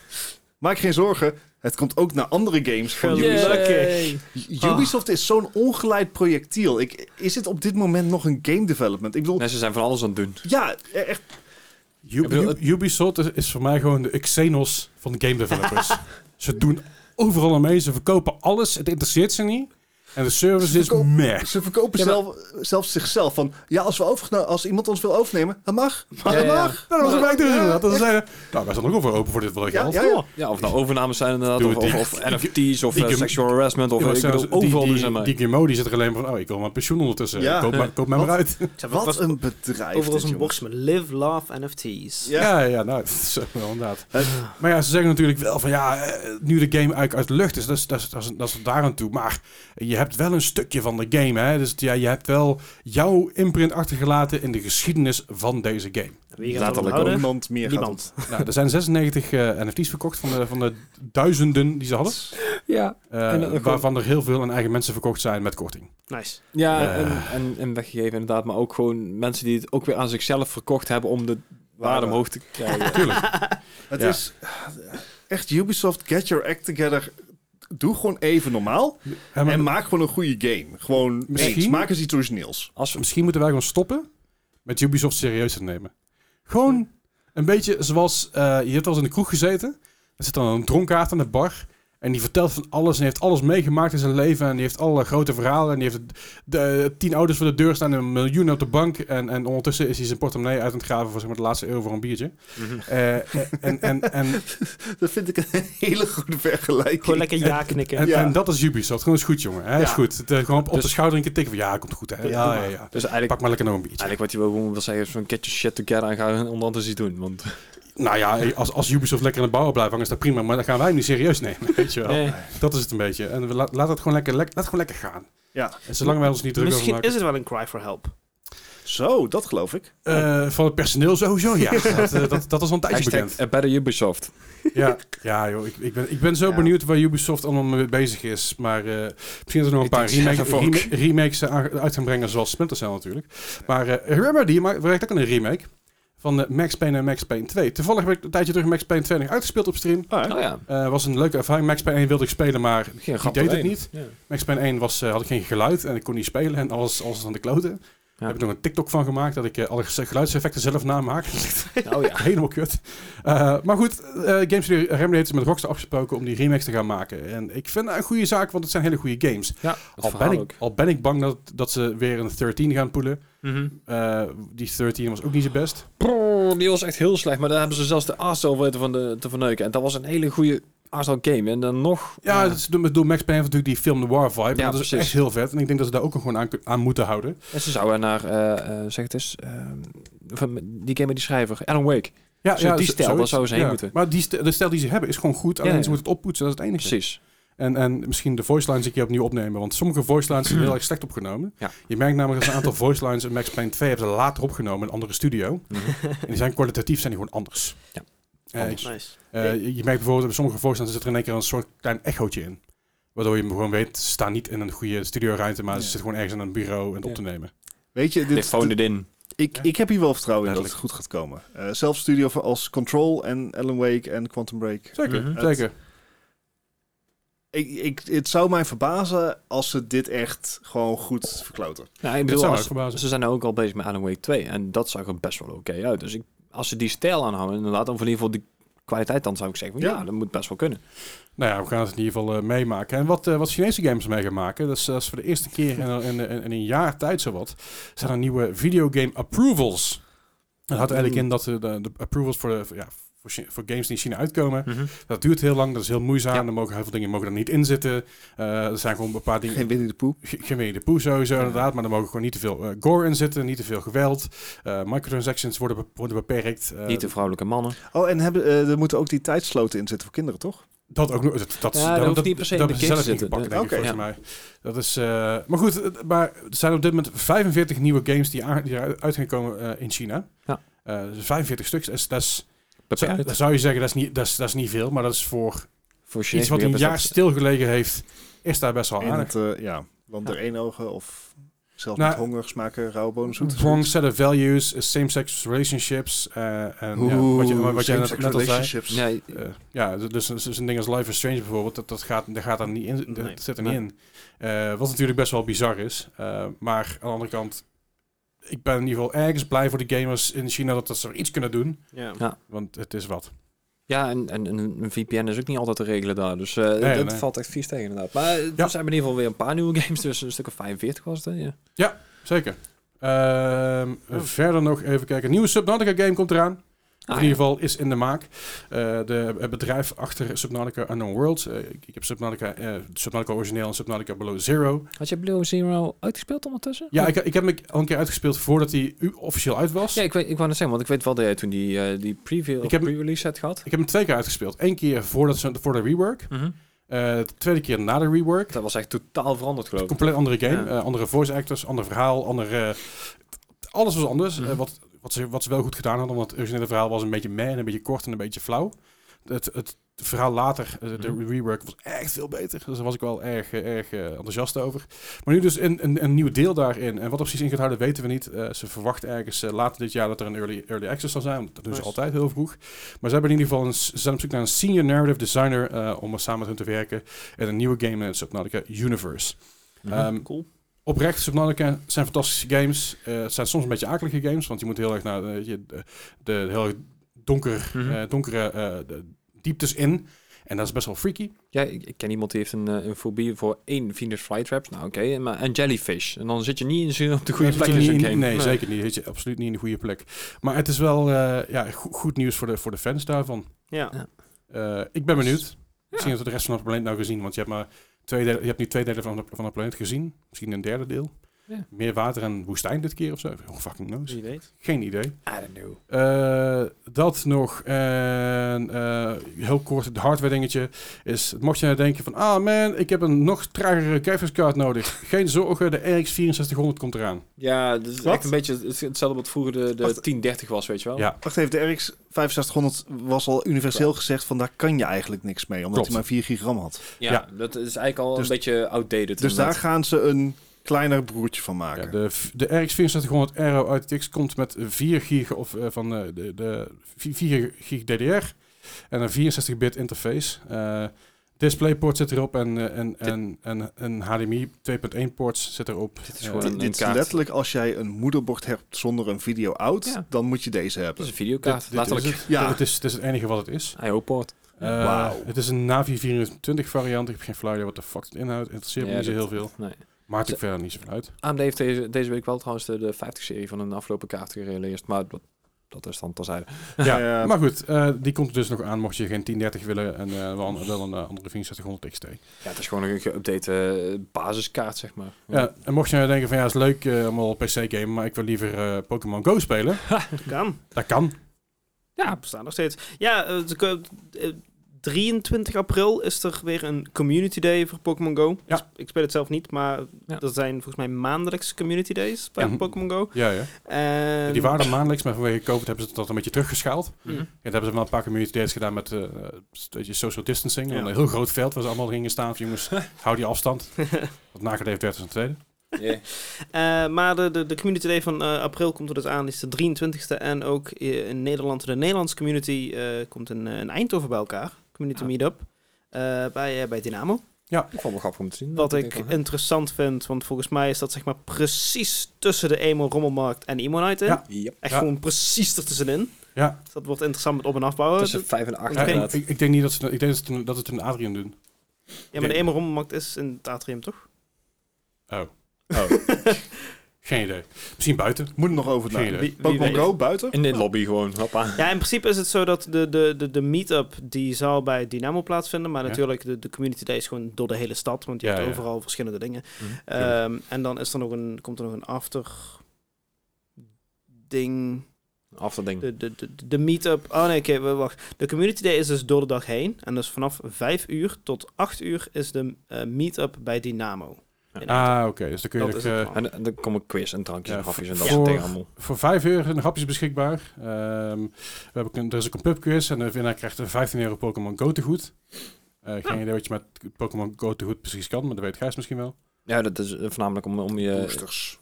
S4: Maak geen zorgen. Het komt ook naar andere games van
S3: Gelukkig.
S4: Ubisoft.
S2: Yay.
S4: Ubisoft is zo'n ongeleid projectiel. Ik, is dit op dit moment nog een game development? Ik bedoel,
S2: Nee, ze zijn van alles aan het doen.
S4: ja, e- echt.
S1: U-
S2: Ik bedoel,
S1: U- Ubisoft is, is voor mij gewoon de Xenos van de game developers. ze doen overal aan mee, ze verkopen alles, het interesseert ze niet. En de service
S4: Ze
S1: is
S4: verkopen-
S1: meh.
S4: Ze verkopen
S3: Ja, maar-
S4: zelf, zelfs zichzelf van, ja, als, we overgena- als iemand ons wil overnemen, dat mag.
S3: Ja, ja,
S4: dat
S3: ja.
S4: mag.
S1: Nou, dat was het
S4: Maar-
S1: eigenlijk dus
S4: ja,
S1: inderdaad. Dat ze
S4: echt.
S1: zeiden, nou, wij staan ook wel voor open voor dit bedrag
S4: Ja,
S1: geld.
S4: ja, ja.
S2: Ja, of nou overnames zijn inderdaad,
S1: Doe
S2: of,
S1: het
S2: of,
S1: niet.
S2: of NFT's, of
S1: die-
S2: eh, sexual harassment, of
S1: Ja, maar
S2: ik
S1: zelfs
S2: bedoel, overal
S1: die,
S2: doen
S1: die,
S2: ze mee.
S1: die Gimo die zit er alleen maar van, oh, ik wil mijn pensioen ondertussen.
S4: Ja.
S1: Koop, maar, koop mij maar
S4: Wat?
S1: uit.
S3: Ik zei,
S4: Wat
S3: was
S4: een bedrijf
S3: Overal
S4: dit,
S3: zo'n
S4: jongen.
S3: box met live, love, NFT's.
S4: Ja.
S1: Ja, ja, nou, dat is wel inderdaad.
S4: Eh.
S1: Maar ja, ze zeggen natuurlijk wel van ja, eh, nu de game eigenlijk uit de lucht is, dat is, dat is, dat is, dat is daar aan toe. Maar je hebt wel een stukje van de game, hè? Dus ja, je hebt wel jouw imprint achtergelaten in de geschiedenis van deze game.
S3: Wie gaat ervan
S2: Letterlijk
S3: houden?
S4: Niemand meer gaat
S3: Niemand.
S1: nou, er zijn 96 eh, NFT's verkocht van de, van de duizenden die ze hadden.
S2: Ja,
S1: Eh,
S2: En dat- dat
S1: waarvan er heel veel aan eigen mensen verkocht zijn met korting.
S3: Nice.
S2: ja
S1: Eh.
S2: en, en, en weggegeven inderdaad, maar ook gewoon mensen die het ook weer aan zichzelf verkocht hebben om de waarde omhoog te krijgen.
S1: Tuurlijk.
S4: Het
S1: Ja.
S4: is eh, echt Ubisoft, get your act together. Doe gewoon even normaal
S1: Ja, maar
S4: en maak gewoon een goede game. Gewoon
S1: Misschien-
S4: eens, maak eens iets origineels.
S2: Als we,
S1: Misschien moeten wij gewoon stoppen met Ubisoft serieus te nemen. Gewoon een beetje zoals... eh, je hebt al eens in de kroeg gezeten. Er zit dan een dronkaart aan de bar. En die vertelt van alles en heeft alles meegemaakt in zijn leven. En die heeft alle grote verhalen. En die heeft de, eh, tien ouders voor de deur staan en een miljoen op de bank. En, en ondertussen is hij zijn portemonnee uit aan het graven voor zeg maar, de laatste euro voor een biertje. Eh, en, en, en,
S4: Dat vind ik een hele goede vergelijking.
S3: Gewoon lekker ja knikken.
S1: en,
S4: Ja.
S1: en dat is Ubisoft. Gewoon is goed, jongen. Hè? Is
S4: Ja.
S1: goed. Het, eh, gewoon op, op de
S2: Dus-
S1: schouder een keer tikken van ja, komt goed. Hè?
S2: Ja,
S1: Ja,
S2: doe
S1: ja,
S2: maar.
S1: ja.
S2: dus eigenlijk,
S1: Pak maar lekker nog een biertje.
S2: eigenlijk wat je wil, gewoon wil zeggen is van get your shit together en ga onder andere iets doen. Want
S1: Nou ja, als, als Ubisoft lekker aan de bouwen blijft hangen, is dat prima. Maar dan gaan wij hem niet serieus nemen, weet je wel.
S2: Nee.
S1: Dat is het een beetje. En we la- laat het gewoon lekker, lek- laat het gewoon lekker gaan.
S4: Ja,
S1: En zolang wij ons niet druk over
S3: Misschien
S1: maken...
S3: is het wel een cry for help.
S4: zo, dat geloof ik.
S1: Eh, van het personeel sowieso, ja. dat, eh, dat, dat is al een tijdje
S2: hashtag
S1: bekend.
S2: a better Ubisoft.
S1: Ja, ja joh, ik, ik, ben, ik ben zo
S4: Ja.
S1: benieuwd waar Ubisoft allemaal mee bezig is. Maar eh, misschien dat er nog een
S4: Ik
S1: paar
S4: denk
S1: remake,
S4: zelf ook.
S1: remake- remakes eh, aan- uit gaan brengen, zoals Splinter Cell natuurlijk. Maar eh Remedy maakt werkt ook aan een remake van eh, Max Payne en Max Payne 2. Toevallig heb ik een tijdje terug Max Payne 2 nog uitgespeeld op stream.
S2: Oh ja,
S1: Eh, was een leuke ervaring. Max Payne 1 wilde ik spelen, maar
S2: geen
S1: die
S2: grap
S1: deed het
S2: alleen.
S1: niet.
S2: Ja.
S1: Max Payne 1 was, eh, had ik geen geluid en ik kon niet spelen en alles, alles was aan de kloten. Daar heb ik nog een TikTok van gemaakt dat ik eh, alle ge- geluidseffecten zelf namaak. Dat is echt
S2: Oh ja.
S1: helemaal kut. Eh, maar goed, eh Games Studio Remedy heeft dus met Rockstar afgesproken om die remakes te gaan maken. En ik vind dat een goede zaak, want het zijn hele goede games.
S2: Ja,
S1: Al ben, ik, al ben ik bang dat, dat ze weer een 13 gaan poelen.
S2: Mhm.
S1: Eh, die 13 was ook niet zo best.
S2: Brrr, die was echt heel slecht, maar daar hebben ze zelfs de aartstel weten van de, te verneuken. En dat was een hele goede aartstel game. En dan nog...
S1: Ja,
S2: eh,
S1: dat is door, door Max Payne heeft natuurlijk die film noir vibe. en dat is
S2: precies.
S1: echt heel vet. En ik denk dat ze daar ook gewoon aan, aan moeten houden.
S2: en ze zouden naar, eh, eh, zeg het eens, eh, van die game met die schrijver, Alan Wake.
S1: Ja,
S2: Zo- die
S1: zo-
S2: stijl,
S1: zoiets.
S2: daar zouden ze heen moeten.
S1: Maar die stel, de stijl die ze hebben is gewoon goed. Alleen
S2: Ja, ja.
S1: ze moeten het oppoetsen, dat is het enige.
S2: Precies.
S1: En, en misschien de voice lines een keer opnieuw opnemen. Want sommige voice lines zijn heel erg slecht opgenomen.
S2: Ja.
S1: Je merkt namelijk dat ze een aantal voice lines in Max Payne 2 hebben ze later opgenomen in een andere studio. En die zijn kwalitatief zijn die gewoon anders.
S2: Ja.
S1: Eh,
S2: Anders.
S3: Nice.
S1: eh, je merkt bijvoorbeeld dat bij sommige voice lines zit er in één keer een soort klein echootje in. Waardoor je hem gewoon weet, ze staan niet in een goede studioruimte, maar ze
S4: Ja.
S1: zitten gewoon ergens aan een bureau en het
S2: Ja.
S1: op te nemen.
S4: Weet je,
S2: They
S4: dit,
S2: phoned it in.
S4: ik, ik heb hier wel vertrouwen in dat het
S1: Letterlijk.
S4: goed gaat komen. Eh zelfs studio voor- als Control en Alan Wake en Quantum Break.
S1: Zeker,
S2: Mhm.
S1: zeker.
S4: Ik, ik, het zou mij verbazen als ze dit echt gewoon goed verkloten.
S2: Nou, ik
S1: Dat
S2: bedoel,
S1: zou me
S2: als-
S1: ook verbazen.
S2: ze zijn nou ook al bezig met Alan Wake 2. En dat zag er best wel oké uit. Dus ik, als ze die stijl aanhouden, inderdaad, of in ieder geval die kwaliteit dan zou ik zeggen, van, ja.
S4: Ja.
S2: dat moet best wel kunnen.
S1: Nou ja, we gaan het in ieder geval eh, meemaken. En wat, eh, wat Chinese games mee gaan maken, dat is, dat is voor de eerste keer in, eh, in, in, in een jaar tijd zowat, zijn er nieuwe videogame approvals. Dat houdt eigenlijk in dat eh, de, de approvals voor, de- voor- ja, voor, Chi- voor games die in China uitkomen, dat duurt heel lang, dat is heel moeizaam,
S2: Mhm. Ja.
S1: er mogen heel veel dingen mogen er niet in zitten. Eh, er zijn gewoon een paar dingen...
S4: Geen Winnie de Poep.
S1: Ge- Geen Winnie de Pooh sowieso inderdaad, maar er mogen gewoon niet te veel eh, gore in zitten, niet te veel geweld. Eh, microtransactions worden, be- worden beperkt. Eh,
S2: Niet de vrouwelijke mannen.
S4: Oh, en hebben, eh, er moeten ook die tijdsloten in zitten voor kinderen, toch?
S1: Dat ook nog. Dat, dat,
S2: Ja, dat hoeft niet per se in
S1: dat
S2: de
S1: hebben ze
S2: game
S1: zelf niet
S2: te zitten.
S1: gepakt, denk ik,
S4: Oké.
S1: volgens mij. Dat is, eh, maar goed, het- maar er zijn op dit moment 45 nieuwe games die, aan, die eruit gaan komen eh, in China.
S2: Ja.
S1: Eh, dus 45 stuks. Dat is, dat is- zou,
S2: Beperkt.
S1: dan zou je zeggen, dat is, niet, dat, is, dat is niet veel. Maar dat is voor
S2: Voor
S1: iets
S2: Chinees
S1: wat een
S2: begrip is
S1: jaar
S2: dat-
S1: stilgelegen heeft, is daar best wel
S4: In
S1: aardig.
S4: het, eh, ja, land der eenogen of zelf
S1: Nou,
S4: met honger smaken, rauwe bonenzoet.
S1: Wrong set of values, eh, same-sex relationships. eh, en ja, wat, je, wat jij net, net al zei.
S2: Ja,
S1: Eh, ja, d- dus, dus een ding als Life is Strange bijvoorbeeld, dat, dat, gaat, dat gaat daar niet in, dat
S3: Nee.
S1: zit er niet in. Eh, wat natuurlijk best wel bizar is. Eh, maar aan de andere kant, ik ben in ieder geval ergens blij voor de gamers in China dat, dat ze er iets kunnen doen.
S3: Ja.
S2: Ja.
S1: Want het is wat.
S2: Ja, en, en en een VPN is ook niet altijd te regelen daar. Dus eh,
S1: Nee,
S2: dat
S1: nee.
S2: valt echt vies tegen inderdaad. Maar eh, er
S1: Ja.
S2: zijn in ieder geval weer een paar nieuwe games. Dus een stuk of 45 was het. hè? Ja.
S1: Zeker. Ehm, Verder nog even kijken. Een nieuwe Subnautica game komt eraan.
S2: Ah,
S1: in ieder geval is in de maak. Eh, de, het bedrijf achter Subnautica Unknown World. eh, ik, ik heb Subnautica, eh, Subnautica origineel en Subnautica Below Zero.
S2: Had je Blue Zero uitgespeeld ondertussen? Oh.
S1: Ja, ik, ik heb hem al een keer uitgespeeld voordat hij u- officieel uit was.
S2: Ja, ik, weet, ik wou net zeggen, want ik weet wel dat jij toen die, eh, die preview,
S1: Ik
S2: of
S1: heb-
S2: pre-release set gehad.
S1: Ik heb hem twee keer uitgespeeld. Eén keer voordat ze, voor de rework. eh, de tweede keer na de rework.
S2: Dat was echt totaal veranderd, geloof ik.
S1: Compleet andere game.
S2: Ja.
S1: eh, andere voice actors, ander verhaal, andere... alles was anders.
S2: Mhm.
S1: Eh, wat, wat, ze, wat ze wel goed gedaan hadden, want het originele verhaal was een beetje meh en een beetje kort en een beetje flauw. Het, het verhaal later, eh, de
S2: Mhm.
S1: rework, was echt veel beter. Dus daar was ik wel erg, eh, erg eh, enthousiast over. Maar nu dus een, een, een nieuw deel daarin. En wat er precies in gaat houden, weten we niet. Eh, ze verwacht ergens eh, later dit jaar dat er een early, early access zal zijn. want Dat doen ze
S3: Nice.
S1: altijd heel vroeg. Maar ze, hebben in ieder geval een, s- ze zijn op zoek naar een senior narrative designer eh, om er samen met hun te werken. En een nieuwe game in het Subnautica Universe.
S2: Mhm.
S1: Ehm,
S3: Cool.
S1: Oprecht, Subnautica zijn fantastische games. Eh, het zijn soms een beetje akelige games, want je moet heel erg naar eh, je- de, de heel erg donker,
S2: Mhm.
S1: eh, donkere eh, de dieptes in. En dat is best wel freaky.
S2: Ja, ik, ik ken iemand die heeft een, eh, een fobie voor één Venus flytraps. Nou, oké. maar en jellyfish. En dan zit je niet in op de goede
S1: Dan
S2: plek
S1: zit
S2: in
S1: je
S2: zo'n
S1: niet
S2: game.
S1: in- Nee, zeker niet. Zit je absoluut niet in de goede plek. Maar het is wel eh, ja, go- goed nieuws voor de, voor de fans daarvan.
S3: Ja.
S1: Eh, ik
S2: Dus,
S1: ben benieuwd. Misschien dat we de rest van de planeet nou gezien. Want je hebt, maar twee delen, je hebt nu twee delen van de, van de planeet gezien. Misschien een derde deel.
S2: Ja.
S1: Meer water en woestijn dit keer of zo. Who fucking knows?
S3: Wie weet.
S1: Geen idee.
S2: I don't know.
S1: Eh, dat nog. En eh, heel kort, het hardware dingetje is... Mocht je nou denken van... Ah man, ik heb een nog tragere graphics card nodig. Geen zorgen, de RX 6400 komt eraan.
S2: Ja, dat is
S4: Wat?
S2: echt een beetje het- hetzelfde wat vroeger de, de
S4: Wacht.
S2: 1030 was, weet je wel.
S1: Ja.
S4: Wacht even, de RX 6500 was al universeel gezegd van daar kan je eigenlijk niks mee, omdat
S1: Klopt.
S4: hij maar 4 gigram had.
S2: Ja,
S1: Ja.
S2: dat is eigenlijk al
S4: Dus-
S2: een beetje outdated.
S4: Dus daar
S2: inderdaad.
S4: gaan ze een kleiner broertje van
S1: Ja, dus
S4: maken.
S1: de, f- de RX 6400 Aero RTX komt met 4 gig, of, eh, van, eh, de, de 4 gig DDR en een 64-bit interface. Eh, DisplayPort zit erop en, eh, en, en, en, en HDMI 2.1 ports zit erop.
S2: Dit is
S1: Eh,
S2: gewoon
S4: Dit-
S2: een, een
S4: Dit is
S2: kaart.
S4: letterlijk als jij een moederbord hebt zonder een video-out,
S2: Ja. Dus
S4: dan moet je deze
S2: Dat is
S4: hebben.
S2: een videokaart,
S1: dit- dit
S2: letterlijk.
S1: is
S2: Is
S1: het.
S4: Ja.
S1: Het, is, het is het enige wat het is.
S2: IO-port.
S1: Eh,
S4: Wauw.
S1: Het is een Navi 24 variant. Ik heb geen flauw idee wat de fuck het inhoudt. Interesseert me
S2: Ja,
S1: niet zo
S2: dat-
S1: heel veel.
S2: Nee.
S1: Maakt ik verder niet zo van uit.
S2: AMD heeft deze, deze week wel trouwens de, de 50-serie van een afgelopen kaart gereleased, maar dat, dat is dan terzijde.
S1: Ja,
S4: Ja.
S1: maar goed, eh, die komt er dus nog aan mocht je geen 1030 willen en eh, wel, een- wel een eh, andere 6400 XT.
S2: Ja, het is gewoon een geüpdate eh, basiskaart, zeg maar.
S1: Ja, en mocht je nou denken van ja, is leuk eh, allemaal PC game, maar ik wil liever eh, Pokémon Go spelen.
S3: Kan.
S1: Dat kan.
S2: Ja,
S3: Bestaan nog steeds. Ja, eh, ze kun- eh, 23 april is er weer een community day voor Pokémon Go.
S1: Ja.
S3: Ik sp- Ik speel het zelf niet, maar
S2: Ja.
S3: er zijn volgens mij maandelijks community days bij
S1: Ja.
S3: Pokémon Go. Ehm,
S1: Ja, ja.
S3: En
S1: Die waren maandelijks, maar vanwege COVID hebben ze dat een beetje teruggeschaald.
S3: Mhm.
S1: En dat hebben ze wel een paar community days gedaan met eh, een beetje social distancing.
S4: Ja.
S1: Een heel groot veld waar ze allemaal gingen staan van jongens, hou die afstand. Wat nageleefd werd is een tweede.
S2: Ja.
S3: Eh, maar de, de, de Community Day van eh, april komt er dus aan, is de 23e. En ook eh, in Nederland, de Nederlandse community, eh, komt een, een Eindhoven bij elkaar. Community
S2: Ah.
S3: Meetup. eh, bij, eh, bij Dynamo.
S2: Ik vond het wel grappig om te zien.
S3: Wat ik
S2: denk wel, hè.
S3: interessant vind, want volgens mij is dat zeg maar precies tussen de Emo Rommelmarkt en Emo Night in.
S1: Ja.
S2: Yep.
S3: Echt
S1: Ja.
S3: gewoon precies ertussenin.
S1: Ja.
S3: Dus dat wordt interessant met op- en afbouwen.
S2: Tussen 5 en 8
S3: Ja,
S1: Eh,
S2: inderdaad.
S1: ik, ik denk niet dat ze ik denk dat ze het in- dat ze het in Adrian doen.
S3: ja, maar de Emo Rommelmarkt is in het atrium, toch?
S1: Oh. Geen idee. Misschien buiten.
S4: Moet er nog over
S1: Geen
S4: nadenken.
S1: idee.
S3: Wie- wie
S4: Pokémon
S3: weet.
S4: Go buiten?
S2: In de lobby gewoon, hoppa.
S3: Ja, in principe is het zo dat de, de, de, de meet-up die zal bij Dynamo plaatsvinden. Maar
S1: Ja.
S3: natuurlijk, de, de community day is gewoon door de hele stad. Want je
S1: Ja,
S3: hebt
S1: ja.
S3: overal verschillende dingen.
S2: Mhm.
S3: Ehm, en dan is er nog een, komt er nog een after ding.
S2: Af dat ding.
S3: De, de, de, de meet-up. Oh nee, oké, w- wacht. De community day is dus door de dag heen. En dus vanaf 5 uur tot 8 uur is de eh, meet-up bij Dynamo.
S2: Ja.
S3: In-
S1: Ah, oké. Dus dan kun je
S3: dat
S1: ook,
S3: is het
S1: eh,
S3: plan.
S2: En eh, dan komen quiz en drankjes
S1: Ja,
S2: en hapjes en
S1: v-
S2: dat soort dingen
S1: voor-
S2: allemaal.
S1: voor 5 euro zijn de hapjes beschikbaar. Ehm, we hebben, ook een- er is ook een pubquiz en de winnaar krijgt een 15 euro Pokémon Go tegoed. Eh geen
S3: Ah.
S1: idee wat je met Pokémon Go tegoed precies kan, maar dat weet Gijs misschien wel.
S2: Ja, dat is eh, voornamelijk om, om je...
S4: Boosters.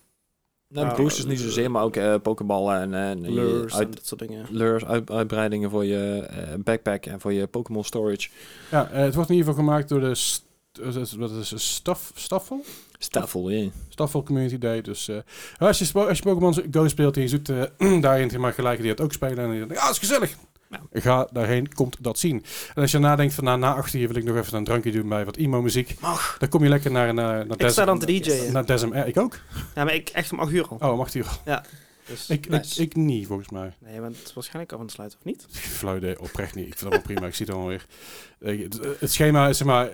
S2: Nou,
S3: Nou,
S2: boosters niet
S3: eh,
S2: zozeer, maar ook eh pokeballen en, en je
S3: Lures en
S2: uit,
S3: dat soort dingen.
S2: lures, uit- uitbreidingen voor je eh, backpack en voor je Pokémon storage.
S1: Ja, eh, het wordt in ieder geval gemaakt door de st- eh, dat is- wat is het, Staff- Staffel?
S2: Staffel, ja.
S1: Staffel Community Day. Dus eh, als je, spo- als je Pokémon Go speelt en je zoekt eh, daarin maar gelijken die het ook spelen, en je denkt, ah, dat is gezellig.
S3: Nou.
S1: Ga daarheen, komt dat zien. En als je nadenkt van nou, na achter hier wil ik nog even een drankje doen bij wat emo-muziek. Dan kom je lekker naar, naar, naar
S3: Ik sta dan te DJ'en.
S1: Naar Desm R. Ik ook.
S3: Ja, maar ik echt om 8 uur al.
S1: Oh, mag hier.
S3: Dus,
S1: Ik,
S3: nice.
S1: ik, ik niet, volgens mij.
S3: Nee, want het is waarschijnlijk af aan het sluiten, of niet?
S1: Fluide oprecht niet. Ik vind dat wel prima. Ik zie het allemaal weer. Eh, Het, het schema is zeg maar...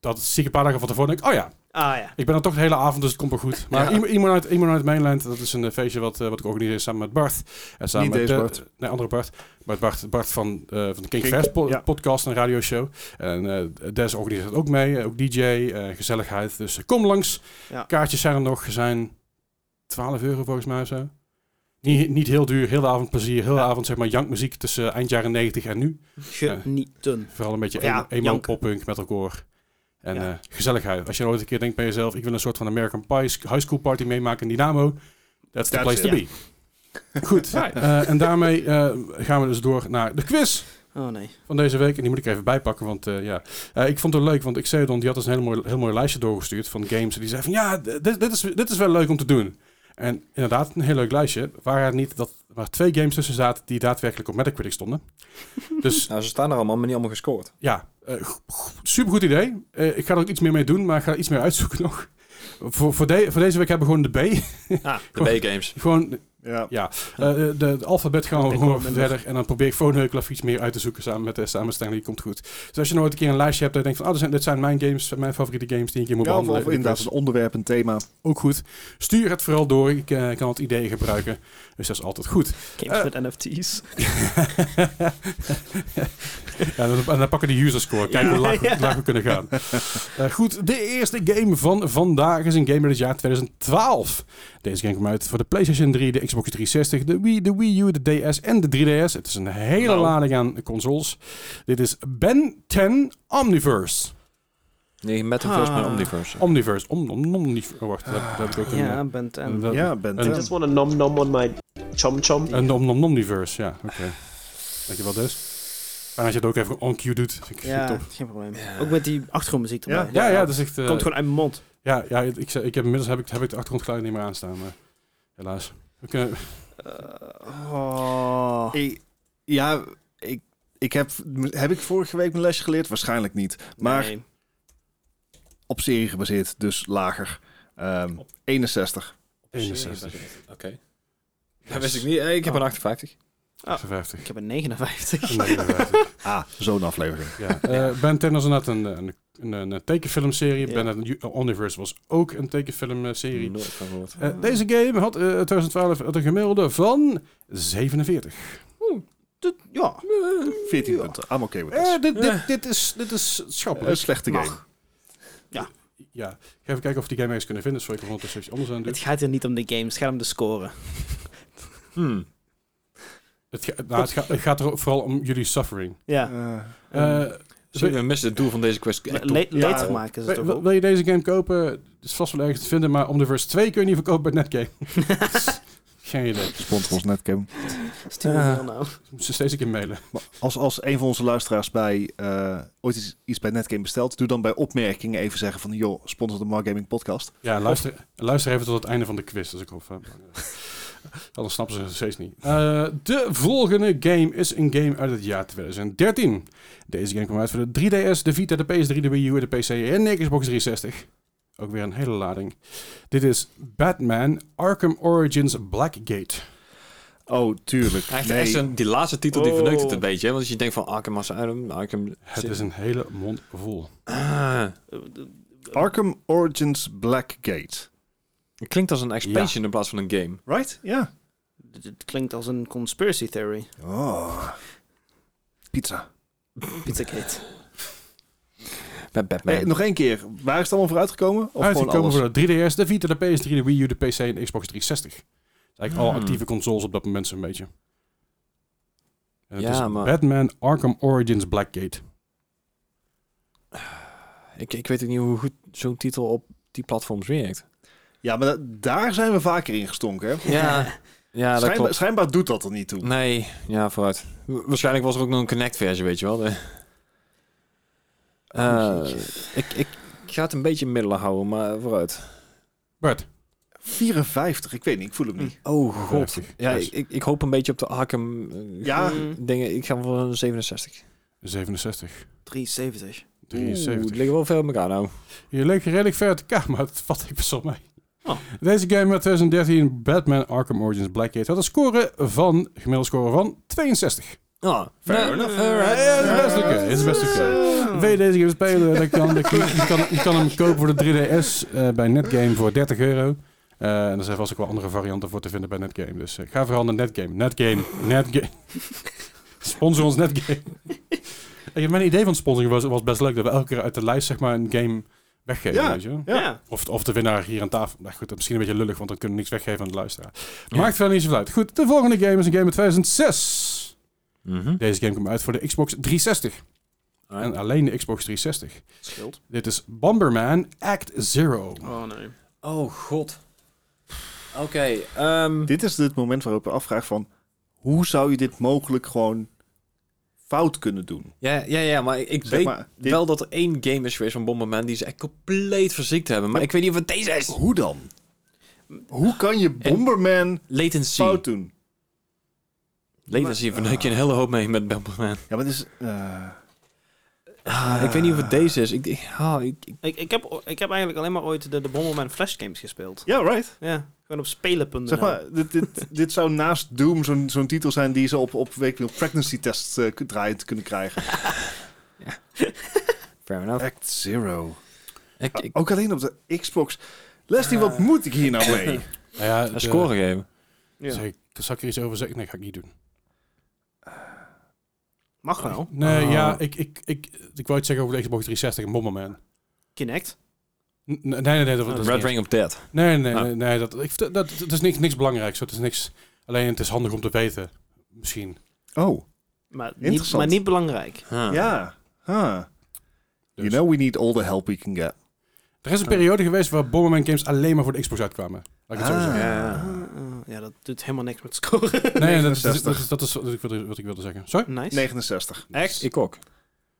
S1: Dat zie ik een paar dagen van tevoren. denk ik, oh ja,
S3: Ah ja.
S1: Ik ben er toch de hele avond, dus het komt wel goed. Maar
S4: Ja.
S1: iemand- iemand, uit, iemand uit Mainland, dat is een eh, feestje wat, eh, wat ik organiseer samen met Bart. En samen
S4: Niet
S1: met
S4: deze
S1: eh,
S4: Bart.
S1: Nee, andere Bart. Bart, Bart, Bart van, eh, van de King,
S4: King,
S1: Fest po-
S4: ja.
S1: podcast en radioshow. En eh Des organiseert ook mee, eh, ook DJ, eh, gezelligheid. Dus eh, kom langs.
S3: Ja.
S1: Kaartjes zijn er nog, zijn 12 euro volgens mij of zo. Niet, niet heel duur, heel de avond plezier, heel de avond zeg maar jankmuziek tussen eind jaren 90 en nu.
S3: Genieten.
S1: Vooral een beetje
S3: Ja,
S1: emo, emo
S3: jank.
S1: poppunk, metalcore. En
S3: Ja.
S1: eh, gezelligheid. Als je ooit een keer denkt bij jezelf, ik wil een soort van American Pie sc- high school party meemaken in Dynamo. That's the
S4: That's
S1: place
S4: it.
S1: to be. Goed, eh, en daarmee eh, gaan we dus door naar de quiz
S3: Oh nee.
S1: van deze week. En die moet ik even bijpakken, want eh, ja. Eh, ik vond het leuk, want Xeodon die had dus een heel mooi, heel mooi lijstje doorgestuurd van games. En die zei van, ja, d- dit, dit, is, dit is wel leuk om te doen. En inderdaad, een heel leuk lijstje. Waar er niet dat er maar twee games tussen zaten die daadwerkelijk op Metacritic stonden. Dus
S2: Nou, ze staan er allemaal, maar niet allemaal gescoord.
S1: ja, eh, super goed idee. Eh, ik ga er ook iets meer mee doen, maar ik ga er iets meer uitzoeken nog. Voor, voor, de- voor deze week hebben we gewoon de B.
S2: Ah, de B-games.
S1: gewoon,
S4: Ja.
S1: eh, de, de alfabet gaan we
S3: Ik
S1: gewoon
S3: wel minder.
S1: verder. En dan probeer ik Phoneukel even iets meer uit te zoeken samen met de samenstelling. Die komt goed. Dus als je nou ooit een keer een lijstje hebt dat je denkt van... Oh, dit zijn, dit zijn mijn games, mijn favoriete games die ik een keer moet
S4: Ja, of,
S1: behandelen.
S4: of inderdaad een onderwerp, een thema.
S1: Ook goed. Stuur het vooral door. Ik eh, kan het idee gebruiken. Dus dat is altijd goed.
S3: Games
S1: Eh.
S3: met NFT's.
S1: Ja, dan, en dan pakken we de user score. Kijken hoe laag, we-
S3: Ja.
S1: laag we kunnen gaan. Eh, goed, de eerste game van vandaag is een game uit het jaar 2012. Deze game kwam uit voor de PlayStation 3, de Xbox 360, de Wii, de Wii U, de DS en de 3DS. Het is een hele
S2: Nou.
S1: lading aan consoles. Dit is Ben 10 Omniverse.
S2: Nee, Metaverse,
S3: Ah.
S2: maar Omniverse.
S1: Omniverse. Om, om, omniverse. Oh, wacht, dat, dat heb ik ook een... eh,
S3: Ja, bent en.
S1: dat-
S4: ja, Ben
S1: en-
S6: I
S1: Yeah.
S6: just want to nom nom on my chom chom.
S1: Een om, om, omniverse, ja. Oké. Dankjewel,
S2: dus?
S1: Des. En als je het ook even on cue doet, vind ik
S3: Ja,
S1: top.
S3: geen probleem.
S2: Ja.
S3: Ook met die achtergrondmuziek erbij.
S4: Ja.
S1: Ja, ja, dat is echt... eh,
S3: Komt gewoon uit mijn mond.
S1: Ja, ja ik, ik, zei- ik heb, inmiddels heb ik, heb ik de achtergrondgeluid niet meer aanstaan, maar helaas. We kunnen,
S3: Eh, oh.
S4: Ik- ja, ik, ik heb, heb ik vorige week mijn lesje geleerd? Waarschijnlijk niet. Maar
S3: Nee.
S4: op serie gebaseerd, dus lager. Ehm, 61.
S1: 61,
S2: Oké. Dat wist ik niet. Eh, Ik heb
S3: Oh.
S2: een 58.
S3: Ah.
S1: 56.
S3: Ik heb een 59.
S1: en 59.
S4: Ah, zo'n aflevering.
S1: ja. Eh, ben 10 was inderdaad een, een, een, een tekenfilmserie.
S3: Ja.
S1: Ben het U- Universe was ook een tekenfilmserie.
S2: Nooit van gehoord.
S1: Eh, deze game had eh 2012 had een gemiddelde van 47.
S3: Ja.
S4: 14 punten. I'm okay with
S1: Eh,
S4: this.
S1: dit, dit, dit, is, dit is
S4: Een
S1: schappelijk.
S4: slechte
S3: Mag.
S4: game.
S1: Ja, ik ga even kijken of die game ergens kunnen vinden. Sorry, ik kan ondertussen iets anders aan doen.
S3: Het gaat hier niet om de games, het gaat om de scoren.
S2: Hmm.
S1: Het, ga- nou, het, ga- het gaat er vooral om jullie suffering.
S3: Ja.
S4: Eh,
S1: Eh,
S2: Zie je, we missen het doel van deze quest. echt
S3: Le-
S2: op.
S3: le-
S4: Ja.
S3: later maken is
S1: Wil,
S3: het toch
S1: wil-
S3: ook?
S1: wil je deze game kopen? Het is vast wel ergens te vinden, maar Omniverse 2 kun je niet verkopen bij Netgame. Geen idee.
S4: Sponsor ons netcam.
S3: Stuur me
S1: Ja.
S3: wel nou.
S1: Dus moet ze steeds een keer mailen.
S4: Maar als, als een van onze luisteraars bij, eh, ooit iets, iets bij netcam bestelt, doe dan bij opmerkingen even zeggen van, joh, sponsor de Mark Gaming podcast.
S1: Ja, luister, luister even tot het einde van de quiz. Dus ik hoop... eh, anders snappen ze het steeds niet. Eh, de volgende game is een game uit het jaar 2013. Deze game kwam uit voor de 3DS, de Vita, de PS3, de Wii U, de PC en de Xbox 360. Ook weer een hele lading. Dit is Batman Arkham Origins Blackgate.
S4: Oh, tuurlijk.
S2: Echt,
S4: Nee.
S2: echt zo'n- die laatste titel die verneukt het
S3: Oh.
S2: een beetje. hè, Want als je denkt van ah, Arkham Asylum, Arkham...
S1: Het is een hele mond vol.
S2: Ah,
S4: Arkham Origins Blackgate.
S2: het klinkt als een expansion in plaats van een game.
S4: Right? Ja.
S3: Het- Het klinkt als een conspiracy theory.
S4: Oh. Pizza.
S3: Pizzagate.
S2: Met Batman.
S4: Hey, nog één keer. Waar is het allemaal voor uitgekomen? Of
S1: Uitgekomen
S4: gewoon alles?
S1: voor de 3DS, de Vita, de PS3, de Wii U, de PC en de Xbox 360. Dat is eigenlijk
S2: Hmm.
S1: al actieve consoles op dat moment zo'n beetje. En het
S2: Ja,
S1: is
S2: maar-
S1: Batman Arkham Origins Blackgate.
S2: Ik, ik weet ook niet hoe goed zo'n titel op die platforms werkt.
S4: Ja, maar da- daar zijn we vaker in gestonken. Hè?
S2: Ja, ja dat
S4: Schijnbaar,
S2: klopt.
S4: schijnbaar doet dat er niet toe.
S2: Nee, ja, vooruit. Wa- Waarschijnlijk was er ook nog een Connect-versie, weet je wel. De-
S4: Oh,
S2: Eh, ik, ik, ik ga het een beetje in het midden houden, maar vooruit.
S1: Bart,
S4: 54, ik weet niet, ik voel hem niet.
S2: Oh god.
S1: Vijftig.
S2: Ja,
S1: Yes.
S2: ik, ik hoop een beetje op de Arkham eh,
S4: Ja.
S3: Mm,
S2: dingen. Ik ga voor een 67.
S1: 67.
S3: 73.
S2: Oeh,
S1: 73.
S2: het ligt wel veel op elkaar nou.
S1: Je leek redelijk ver uit elkaar, maar dat vat ik best wel mee.
S3: Oh.
S1: Deze game uit 2013, Batman Arkham Origins Blackgate, had een score van, gemiddelde score van 62.
S2: Ah,
S4: Fair
S2: nou,
S4: enough.
S2: alright.
S1: Ja, dat is best oké. Dat is best
S3: Oh.
S1: oké. Wil je deze game spelen, dan kan, dan kun je, je kan, je kan hem kopen voor de 3DS eh, bij Netgame voor 30 euro. Eh, en er zijn vast ook wel andere varianten voor te vinden bij Netgame. Dus eh, ga vooral naar Netgame. Netgame. Netgame. Sponsor ons Netgame. Ik heb mijn idee van sponsoring was, was best leuk. Dat we elke keer uit de lijst zeg maar, een game weggeven.
S4: Ja.
S1: Weet je? wel.
S4: Ja.
S1: Of, of de winnaar hier aan tafel. Nou goed, dat is misschien een beetje lullig, want dan kunnen we niks weggeven aan de luisteraar. Maakt verder niet zoveel uit. Goed, de volgende game is een game uit 2006.
S2: Mhm.
S1: Deze game kwam uit voor de Xbox 360. En alleen de Xbox 360.
S4: Scheelt.
S1: Dit is Bomberman Act Zero.
S3: Oh nee.
S2: Oh god. Oké, ehm,
S4: Dit is het moment waarop ik afvraag van... hoe zou je dit mogelijk gewoon fout kunnen doen?
S2: ja, ja, ja, maar ik
S4: Zeg
S2: weet
S4: maar, dit-
S2: wel dat er één game is geweest van Bomberman die ze echt compleet verziekt hebben. Maar ik weet niet of het deze is.
S4: Hoe dan? Hoe kan je Bomberman
S2: Latency.
S4: fout doen?
S2: Latency verneuk je een hele hoop mee met Bomberman.
S4: Ja, maar dit is... eh,
S2: Ah, ik weet niet of het deze is. Ik, ik, ah, ik, ik-
S3: Ik, ik, heb, o- ik heb eigenlijk alleen maar ooit de, de Bomberman Flash games gespeeld.
S4: Ja, right.
S3: Ja, gewoon op nou. spelen.nl.
S4: Zeg maar, dit, dit, dit zou naast Doom zo'n zo'n titel zijn die ze op, op week pregnancy tests eh, k- draaiend kunnen krijgen.
S2: fair enough.
S4: Act Zero.
S2: Ik, ik,
S4: Ah, Ook alleen op de Xbox. Leslie, wat moet ik hier nou mee?
S1: Nou ja,
S2: een
S1: de-
S2: score geven.
S3: Ja.
S1: Zal ik, zal ik er iets over zeggen? Nee, ga ik niet doen.
S3: Mag wel.
S1: Nee,
S2: Oh.
S1: ja, ik, ik, ik, ik wou iets zeggen over de Xbox 360 en Bomberman.
S3: Kinect.
S1: N- Nee, nee, nee. Dat, dat is
S2: Red
S1: niet-
S2: Ring of Death.
S1: Nee, nee,
S2: Ah.
S1: nee. nee dat, ik, dat, dat is niks, niks belangrijks. hoor. Het is niks, alleen het is handig om te weten. Misschien.
S4: Oh,
S3: Maar niet,
S4: Interessant.
S3: maar niet belangrijk.
S2: Huh.
S4: ja. Huh.
S1: Dus.
S4: You know we need all the help we can get.
S1: Er is een periode geweest waar Bomberman games alleen maar voor de Xbox uitkwamen. Laat ik het zo
S4: Ah.
S1: zeggen.
S2: Ja.
S3: Eh, eh, ja, dat doet helemaal niks met scoren.
S1: Nee, dat is, dat is,
S4: 69.
S1: dat is, dat is wat, ik wilde, wat ik wilde zeggen. Sorry?
S3: nice.
S4: 69.
S3: Echt?
S2: Ik ook.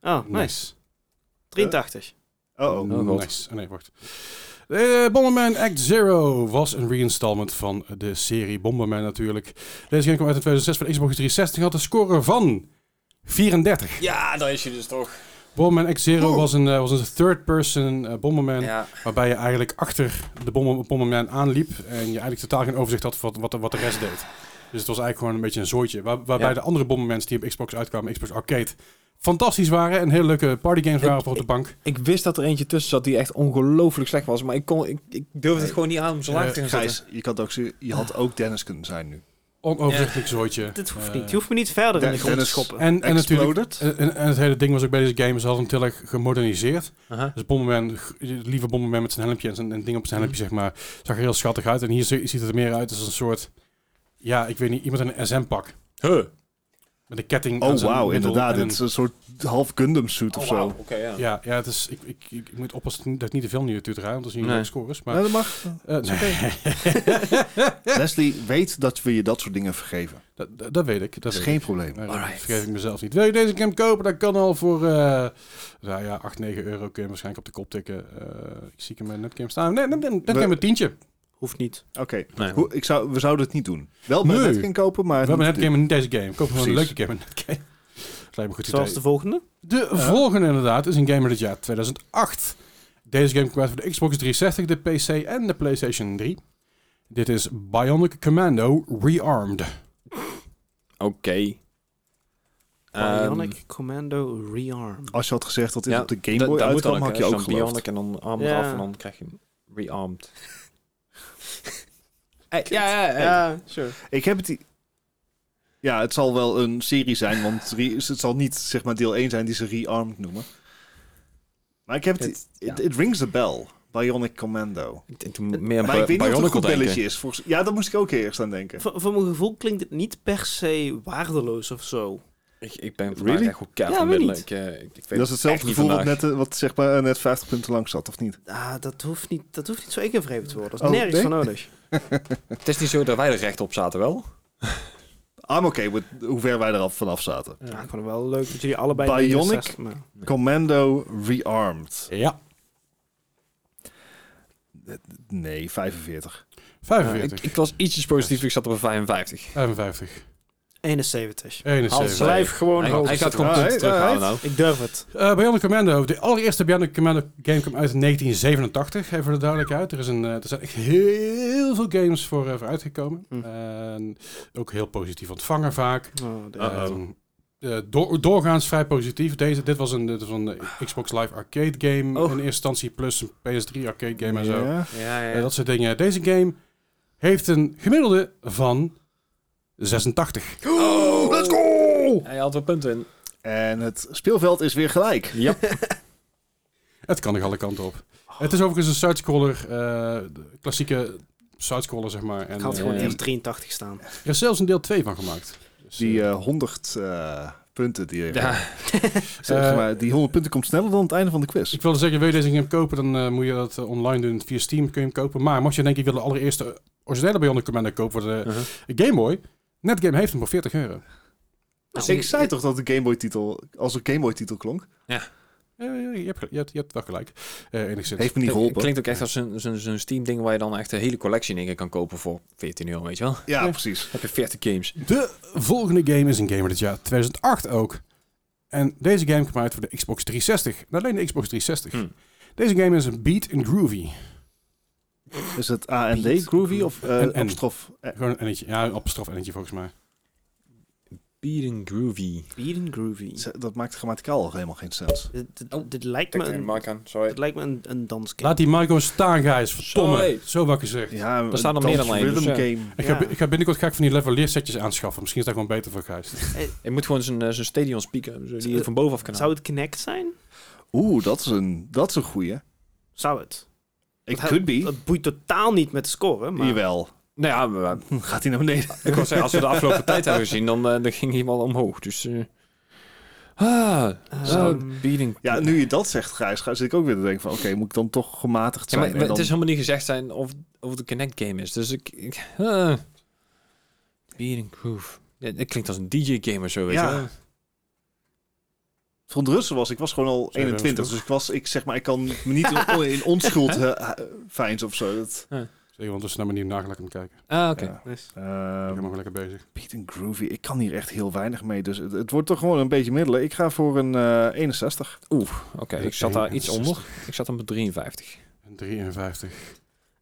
S3: Oh, nice. 83.
S4: Oh, oh.
S2: Oh, God.
S1: nice. Oh, nee, wacht. Eh, Bomberman Act Zero was een reinstallment van de serie Bomberman natuurlijk. Deze game kwam uit in 2006 voor de Xbox 360 en had een score van 34.
S2: Ja, daar is je dus toch.
S1: Bomberman Act Zero
S4: Oh.
S1: was een, eh, was een third-person eh, Bomberman
S2: Ja.
S1: waarbij je eigenlijk achter de bommen- Bomberman aanliep en je eigenlijk totaal geen overzicht had van wat, wat, de- wat de rest deed. Dus het was eigenlijk gewoon een beetje een zooitje. Waar, waarbij
S2: Ja.
S1: de andere Bombermans die op Xbox uitkwamen, Xbox Arcade, fantastisch waren en heel leuke partygames waren voor op de bank.
S2: Ik wist dat er eentje tussen zat die echt ongelooflijk slecht was, maar ik, kon, ik, ik durfde het gewoon niet aan om zo laag te gaan zetten.
S4: Gijs, je, kan het ook, zo- je had ook Dennis kunnen zijn nu.
S1: Onoverzichtelijk zooitje.
S3: Dit hoeft
S1: Eh,
S3: niet. Je hoeft me niet verder in de
S4: Dennis-
S3: grond te schoppen.
S1: En, en natuurlijk,
S4: Exploded?
S1: en, en- en het hele ding was ook bij deze game, ze hadden het heel erg gemoderniseerd.
S2: Aha.
S1: Dus Bomberman, g- lieve Bomberman met zijn helmpje en zijn en ding op zijn helmpje,
S4: Mhm.
S1: zeg maar, zag er heel schattig uit. En hier zie- ziet het er meer uit als een soort, ja, ik weet niet, iemand in een SM-pak.
S2: Huh.
S1: Met een ketting aan
S4: Oh,
S1: zijn
S4: wauw,
S1: middel
S4: inderdaad.
S1: en
S4: Dit is een soort half Gundam suit of
S2: Oh,
S4: zo.
S2: wauw. Oké, ja.
S1: een- Ja, ja het is, ik, ik, ik, ik moet oppassen dat ik niet te veel nu toe draai, want dan zie je
S2: Nee.
S1: nee. scores. Maar,
S4: Nou, dat mag.
S1: eh, nee,
S4: Leslie, weet dat we je dat soort dingen vergeven.
S1: dat, dat- dat weet ik. Dat
S4: Dat is
S1: weet ik.
S4: geen probleem.
S1: Maar dat
S2: Alright.
S1: vergeef ik mezelf niet. Wil je deze game kopen? Dat kan al voor eh nou ja, 8, 9 euro. Kun je waarschijnlijk op de kop tikken. Eh, ik zie hem in Netgame staan. Nee, net, net,
S4: We-
S1: netgame een tientje.
S3: Hoeft niet.
S4: Oké,
S2: Nee.
S4: Hoe- ik zou, we zouden het niet doen. Wel bij
S1: Nee.
S4: Netkin kopen, maar...
S1: We hebben
S4: niet
S1: Netgame en niet deze game. Koop gewoon een
S4: Precies.
S1: leuke game in Netgame. Dat lijkt me een goed
S3: Zoals
S1: idee.
S3: de volgende.
S1: De volgende inderdaad is een game uit het jaar 2008. Deze game kwam uit voor de Xbox 360, de PC en de PlayStation 3. Dit is Bionic Commando Rearmed.
S2: Oké. Ehm,
S3: Bionic Commando Rearm.
S4: Als je had gezegd dat dit
S2: ja,
S4: op de
S2: dat-
S4: Game Boy
S2: dat moet
S4: uitkwam,
S2: dan
S4: had
S2: hè.
S4: je ook
S2: Zo'n
S4: geloofd.
S2: Bionic en dan arm
S3: Ja.
S2: eraf en dan krijg je hem rearmed. Eh, ja, ja, ja.
S3: Ja, sure.
S4: Ik heb het... i- Ja, het zal wel een serie zijn, want re- het zal niet zeg maar deel 1 zijn die ze rearmed noemen. Maar ik heb het... i-
S2: Het-
S4: Het
S2: ja.
S4: it rings the bell. Bionic Commando.
S2: Ik denk toen meer aan
S4: Maar ik weet niet of het een
S2: Bionicle
S4: goed belletje
S2: denken.
S4: is. Volgens... Ja, daar moest ik ook eerst aan denken.
S3: Voor, voor mijn gevoel klinkt het niet per se waardeloos of zo.
S2: Ik, ik ben vandaag
S4: Really?
S2: echt goed kaart
S3: Ja,
S2: van
S3: weet
S2: middelen.
S3: niet.
S2: Ik, eh, ik, ik weet
S4: Dat is
S2: echt
S4: hetzelfde
S2: niet
S4: gevoel wat,
S2: vandaag.
S4: net, eh, wat zeg maar eh, net 50 punten lang zat, of niet?
S3: Ah, dat hoeft niet, dat hoeft niet zo ingevreven te worden. Dat is
S4: Oh,
S3: nergens
S4: nee?
S3: voor nodig.
S2: Het is niet zo dat wij er recht op zaten, wel?
S4: I'm okay with hoe ver wij er al vanaf zaten.
S3: Ja, ik vond het wel leuk dat jullie allebei...
S4: Bionic?
S3: 69 nou.
S4: Commando Rearmed.
S1: Ja.
S4: Nee, 45.
S2: Ja, ik,
S1: 45.
S2: ik was ietsjes positief, ik zat op een 55.
S1: 55.
S3: 71.
S1: 71.
S7: Blijf gewoon
S2: Hij,
S7: hoog.
S2: hij gaat gewoon
S4: Ah,
S2: punten
S4: hij-
S2: terughalen
S4: hij-
S2: nou.
S3: Ik durf het.
S1: Eh, Bionic Commando. De allereerste Bionic Commando game kwam uit in 1987. Even voor de duidelijkheid. Er, is een, eh, er zijn echt heel veel games voor, eh, voor uitgekomen.
S3: Hm.
S1: En ook heel positief ontvangen vaak.
S3: Oh, de-
S2: Uh-oh.
S1: Ehm, eh, door- doorgaans vrij positief. Deze, dit was een, dit was een eh, Xbox Live arcade game
S3: Oh.
S1: in eerste instantie. Plus een PS3 arcade game en zo.
S4: Ja.
S2: Ja, ja.
S1: Eh, dat soort dingen. Deze game heeft een gemiddelde van 86.
S4: Oh, let's go!
S2: Hij haalt wel punten in.
S4: En het speelveld is weer gelijk.
S2: Ja.
S1: Het kan nog alle kanten op. Het is overigens een side-scroller, eh, de klassieke side-scroller zeg maar. En,
S3: Ik had
S1: eh,
S3: gewoon
S2: Ja.
S3: eerst 83 staan.
S1: er is zelfs een deel 2 van gemaakt. Dus,
S4: Die
S1: eh,
S4: eh, 100 eh, punten die je...
S2: ja.
S4: Zeg maar, die 100 punten komt sneller dan het einde van de quiz.
S1: ik wilde zeggen, wil je deze game kopen, dan eh, moet je dat eh, online doen. Via Steam kun je hem kopen. Maar mocht je denken, ik wil de allereerste originele Bionic Commando kopen voor de
S2: Uh-huh.
S1: Game Boy. Netgame heeft hem voor 40 euro.
S3: Nou,
S4: ik zei toch dat de Game Boy titel als een Game Boy titel klonk?
S1: Eh, je, hebt, je, hebt, je hebt wel gelijk. Eh enigszins.
S4: Heeft me niet
S2: Klink-
S4: geholpen.
S2: Klinkt ook echt als een- zo'n zo'n Steam-ding waar je dan echt de hele collectie in één keer kan kopen voor 14 euro, weet je wel.
S4: Ja,
S1: Ja.
S4: precies.
S2: Dan heb je 40 games.
S1: De volgende game is een game uit het jaar 2008 ook. En deze game kwam uit voor de Xbox 360. Nou, alleen de Xbox 360.
S2: Hmm.
S1: Deze game is een beat and groovy.
S4: Is het A en D Groovy of eh
S1: En- en.
S4: apostrof? Eh,
S1: Gewoon een ennetje. Ja, een apostrof ennetje volgens mij.
S2: Beating Groovy.
S3: Beating Groovy.
S4: ze- dat maakt grammaticaal al helemaal geen sens.
S3: Dit, dit- dit lijkt me een,
S2: aan, sorry.
S3: dit lijkt me een, een dansgame.
S1: Laat die Marco staan, guys. Verdomme.
S2: Sorry.
S1: Zo wakker zeg.
S4: Ja,
S2: Er staan er
S4: een
S2: meer dan één,
S4: rhythm
S2: dus ja.
S4: game.
S1: Ik, ga,
S3: Ja.
S1: ik ga binnenkort ga ik van die levelleersetjes aanschaffen. Misschien is dat gewoon beter voor Gijs.
S2: Je moet gewoon zo'n eh, zo'n stadion speaker hebben, zo die je van bovenaf kan
S3: Zou
S2: halen.
S3: het Connect zijn?
S4: Oeh, dat is een, dat is een goeie.
S3: Zou het?
S4: Ik
S3: Dat-
S4: could be.
S3: Dat boeit totaal niet met de score, maar...
S4: Jawel.
S2: Nou ja, maar-
S4: Hm, Gaat hij naar beneden?
S2: Ik wou zeggen, als we de afgelopen tijd hebben gezien, dan, eh, dan ging hij wel omhoog. Dus. eh, ah,
S3: Ehm,
S2: zou beating.
S4: Ja, nu je dat zegt, Gijs, ga- zit ik ook weer te denken van... Oké, moet ik dan toch
S2: Ja,
S4: gematigd zijn?
S2: maar
S4: En dan-
S2: het is helemaal niet gezegd zijn of, of het een Connect game is. Dus ik. ik ah. beating Groove. Ja, Het klinkt als een DJ-game of zo, weet je
S4: Ja.
S2: wel.
S4: verontrusten was. Ik was gewoon al
S1: Zo,
S4: 21,
S1: zo.
S4: dus ik was, ik zeg maar, ik kan me niet in- in onschuld eh, eh, veinzen of zo. Dat,
S1: Zeg, want dus naar mijn nieuwe nagel hem kijken.
S2: Ah, oké.
S4: ja.
S3: nice.
S1: Ik ben
S4: Ehm,
S1: nog wel lekker bezig.
S4: Beat and Groovy, ik kan hier echt heel weinig mee, dus het, het wordt toch gewoon een beetje middelen. Ik ga voor een eh 61.
S2: Oké, ik zat daar iets
S1: 61.
S2: onder. Ik zat dan met 53.
S1: Een 53.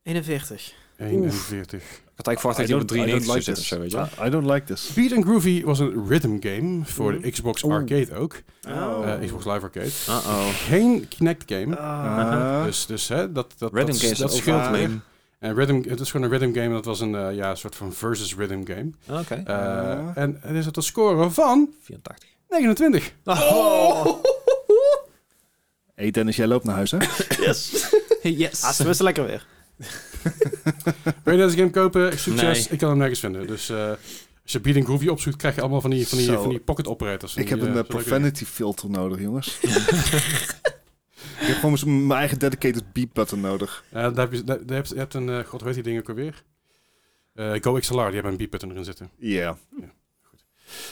S3: 41.
S1: 41.
S2: Ik had eigenlijk verwacht dat
S4: I
S2: je op
S4: don't- I don't
S2: 93
S4: like
S2: zit of
S4: this.
S2: zo, weet je wel.
S4: I don't like this.
S1: Beat and Groovy was een rhythm game voor de Xbox Arcade ook.
S3: Oh.
S1: Eh, Xbox Live Arcade.
S2: Uh-oh.
S1: Geen Kinect game.
S4: Ah.
S1: Dus, dus hè, dat, dat,
S2: Random
S1: dat,
S2: games
S1: dat
S2: dat
S1: scheelt
S4: overal.
S1: weer. En rhythm, het is gewoon een rhythm game. Dat was een eh, ja, een soort van versus rhythm game.
S2: Ah, Oké,
S1: Eh,
S4: Ja.
S1: En het is het een score van
S2: 84.
S1: 29.
S3: Oh,
S2: Oh,
S4: Hey Dennis, jij loopt naar huis, hè?
S2: Yes.
S3: Ah, ze wisten lekker weer.
S1: Wil je deze game kopen? Succes.
S2: Nee.
S1: Ik kan hem nergens vinden. Dus eh, als je Beat and Groovy opzoekt, krijg je allemaal van die, van die,
S4: Zo.
S1: van die pocket operators.
S4: ik
S1: Die,
S4: heb een
S1: eh,
S4: eh,
S1: zo leuke dingen.
S4: profanity filter nodig, jongens. ik heb gewoon eens mijn eigen dedicated beep button nodig.
S1: Eh, daar heb je, daar, daar heb je, je hebt een... eh, God, hoe heet die dingen ook alweer? Eh GoXLR, die hebben een beatbutton erin zitten.
S4: Ja.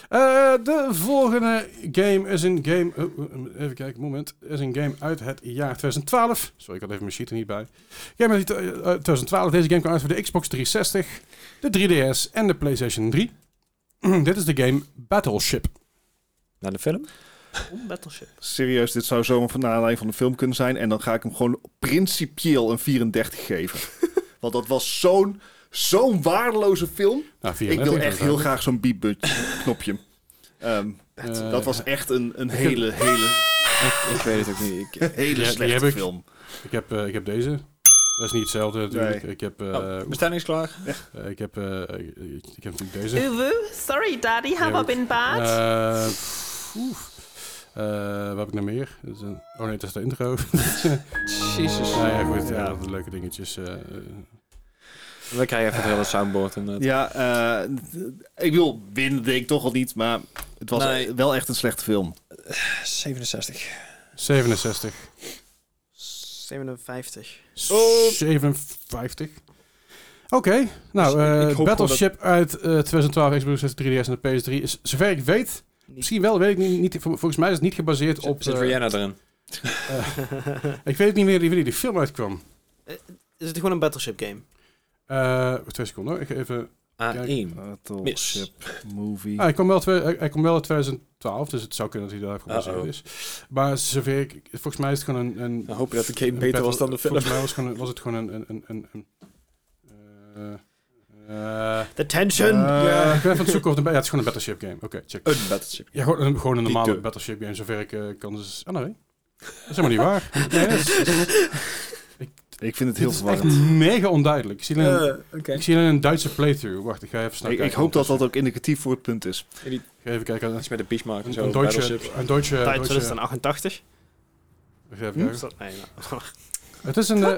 S1: Eh, de volgende game is een game. oh, oh, even kijken, moment. Is een game uit het jaar 2012. Sorry, ik had even mijn sheet er niet bij. Game uit eh, uit 2012. Deze game kwam uit voor de Xbox 360, de 3DS en de PlayStation 3. Dit is de game Battleship.
S2: Naar de film?
S3: Battleship.
S4: Serieus, dit zou zomaar van de aanleiding van de film kunnen zijn. En dan ga ik hem gewoon principieel een 34 geven. Want dat was zo'n zo'n waardeloze film.
S1: Nou, via
S4: Ik wil
S1: Netflix
S4: echt heel graag zo'n beep-knopje. Ehm,
S1: Eh,
S4: dat was echt een, een hele, hele,
S2: Ik, ik weet het ook niet. Ik,
S4: hele
S1: die heb
S4: slechte
S1: ik.
S4: film.
S1: Ik heb, eh, ik heb deze. Dat is niet hetzelfde natuurlijk.
S4: Nee.
S1: Ik heb, eh,
S2: oh, bestelling is klaar.
S1: eh, ik, heb eh, ik, ik heb natuurlijk deze.
S5: Uwu, sorry, Daddy, have
S1: Yeah,
S5: I been bad?
S1: Eh, oef. Eh, wat heb ik nou meer? Dat is een- Oh nee, dat is de intro.
S2: Jezus.
S1: Nou ja, goed. Ja,
S4: Ja.
S1: wat leuke dingetjes. eh, eh.
S2: We krijgen even het hele soundboard. En, het-
S4: Ja, eh, ik wil winnen, denk ik toch al niet. Maar het was
S2: Nee.
S4: wel echt een slechte film.
S2: 67.
S1: 67.
S3: 57.
S2: Oh.
S1: 57. Oké, nou,
S2: Dus ik- ik
S1: eh,
S2: hoop gewoon
S1: Battleship uit eh, 2012, Xbox 360, 3DS en de PS3 is, zover ik weet, misschien wel, weet ik niet, niet vol- volgens mij is het niet gebaseerd op...
S2: Op zit
S1: eh,
S2: Rihanna erin.
S1: ik weet niet meer wanneer die film uitkwam.
S3: Is het gewoon een Battleship game?
S1: Eh, Eh, twee seconden hoor. Ik ga even...
S2: A1. Miss.
S4: Battleship Movie.
S1: Ah, hij, kwam wel twee- hij, hij kwam wel uit 2012, dus het zou kunnen dat hij daar gebaseerd
S2: Uh-oh.
S1: is. Maar zover ik... Volgens mij is het gewoon een... een
S2: Dan hoop je dat de game
S1: een
S2: beter
S1: battle-
S2: was dan de film.
S1: Volgens mij was, gewoon, was het gewoon een... een, een, een, een eh, eh,
S3: The tension!
S1: eh, ik ben even aan het zoeken of het een... Ja, het is gewoon een Battleship game. Oké, check.
S4: Een Battleship.
S1: Ja, gewoon een, gewoon een normale
S4: Dieke.
S1: Battleship game, zover ik eh, kan. Dus, ah, nee. Dat is helemaal niet waar. Nee, dat is-
S4: Ik vind
S1: dit
S4: het heel
S1: is echt
S4: verwarrend.
S1: mega onduidelijk. Ik zie alleen, een-
S2: Oké.
S1: ik zie alleen een Duitse playthrough. Wacht, ik ga even snel
S4: Ik, ik
S1: kijken
S4: hoop dat dat
S1: ondertussen.
S4: ook indicatief voor het punt
S1: Eh,
S4: is.
S1: Ik ga even kijken.
S2: Iets met de Bismarck en
S1: Een,
S2: zo.
S1: een
S2: battleships.
S1: Duitse... Een Duitse...
S7: Tijd
S1: Duitse-
S7: 2088.
S1: wacht even
S7: Is
S1: kijken.
S7: dat- nee, nou.
S1: Het is een... eh,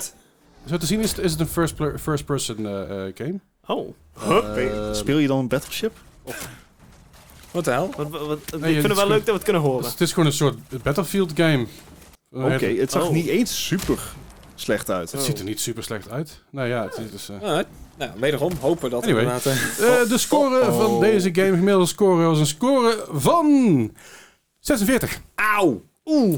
S1: zo te zien is, het- is het een first-person first person, eh, eh, game.
S7: Oh,
S1: Eh,
S4: Speel je dan een Battleship?
S1: Oh,
S2: Wat de hel?
S7: wat, wat, wat-
S1: Nee,
S7: ik vind
S1: het
S7: het wel
S1: is goed.
S7: leuk dat we het kunnen
S1: het,
S7: horen.
S1: is- het is gewoon een soort Battlefield game.
S4: Oké, het zag
S7: Oh.
S4: niet eens super slecht uit.
S1: Het ziet er niet super slecht uit. Nou ja, het is... dus, eh.
S2: Ah, nou, wederom hopen dat
S1: Anyway.
S2: inderdaad... eh,
S1: Eh, de score van deze game, gemiddelde score, was een score van 46.
S2: Auw!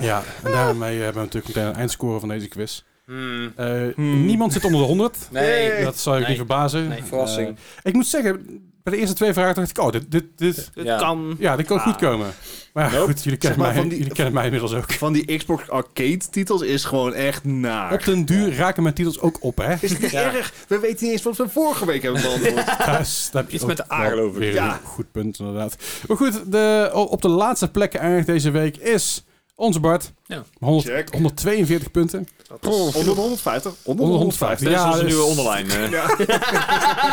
S1: Ja, en daarmee hebben we natuurlijk meteen een eindscore van deze quiz.
S2: Hmm.
S1: Eh, Niemand zit onder de 100.
S2: Nee.
S1: Dat zou ik
S7: Nee.
S1: niet verbazen.
S7: Nee,
S2: verrassing.
S1: Eh, ik moet zeggen, bij de eerste twee vragen dacht ik, oh, dit, dit, dit,
S7: Het
S2: Ja.
S7: kan.
S1: ja, dit kan goed komen. Maar ja,
S2: Nope.
S1: goed, jullie kennen,
S4: maar
S1: mij,
S4: van die-
S1: jullie kennen mij inmiddels ook.
S4: Van die Xbox Arcade titels is gewoon
S1: Op
S4: echt naar.
S1: den duur raken mijn titels ook op, hè?
S4: Is niet
S2: Ja.
S4: erg. We weten niet eens wat we vorige week hebben beantwoord.
S1: Thuis, daar heb je
S2: Iets
S1: ook
S2: met de A,
S1: wel
S2: geloof ik.
S1: Weer
S4: Ja.
S1: een goed punt, inderdaad. Maar goed, de, o- op de laatste plek eigenlijk deze week is onze Bart.
S2: Ja.
S1: 100
S4: Check.
S1: 142 punten.
S4: Onder de 150. Onder de 150.
S2: Dat is
S1: Ja,
S2: onze
S1: dus-
S2: nieuwe onderlijn. eh.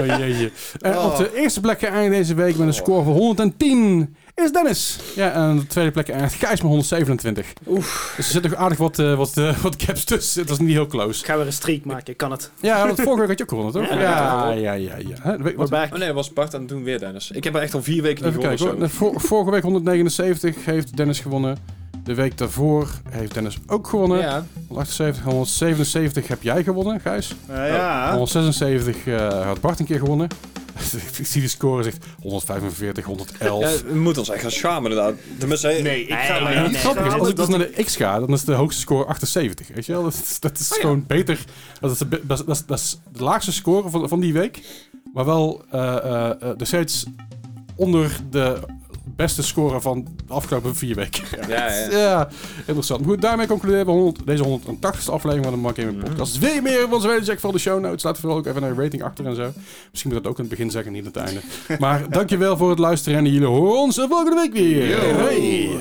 S1: Oh, jeetje. En op de eerste plek eigenlijk deze week met een score van 110 is Dennis. Ja, en op de tweede plek eigenlijk Gijs met 127. Oef. Dus er zit nog aardig wat, eh, wat, eh, wat gaps tussen. Het was niet heel close.
S7: Ik ga weer een streak maken, ik kan het.
S1: Ja, want vorige week had je ook gewonnen, toch?
S7: Ja,
S1: Ja, ja, ja. ja. Hè, de week-
S7: We're
S1: wat-
S7: back.
S2: Oh nee, was Bart aan het doen weer, Dennis. Ik heb er echt al vier weken niet
S1: Even
S2: gehoord.
S1: kijken
S2: of
S1: hoor.
S2: zo.
S1: Vor- Vorige week 179 heeft Dennis gewonnen. De week daarvoor heeft Dennis ook gewonnen.
S2: Ja,
S1: 178, 177 heb jij gewonnen, Gijs.
S4: Nou
S1: Ah.
S4: ja.
S1: 176 eh, had Bart een keer gewonnen. Ik zie de score, zegt 145, 111.
S2: ja, het moet ons echt gaan schamen inderdaad. Tenminste,
S4: Nee, ik ga
S7: Nee,
S4: mij
S7: nee,
S1: Ja,
S4: niet
S1: het grappige is, als ik
S4: schamen
S1: dus
S4: dat
S1: naar de X ga, dan is de hoogste score 78. Weet je wel? Dat is, dat is
S2: ja.
S1: gewoon beter. Dat is, de, be- dat, is, dat, is, dat is de laagste score van, van die week. Maar wel eh, eh, eh, nog steeds onder de beste score van de afgelopen vier weken.
S2: Ja, ja.
S1: Ja, interessant. Maar goed, daarmee concluderen we 100, deze 180ste aflevering van de Mark Gaming Podcast. Wil je meer van ons weten, check vooral de show notes. Laat vooral ook even een rating achter en zo. Misschien moet ik dat ook aan het begin zeggen, niet aan het einde. Maar dankjewel voor het luisteren en jullie horen ons volgende week weer. Hoi.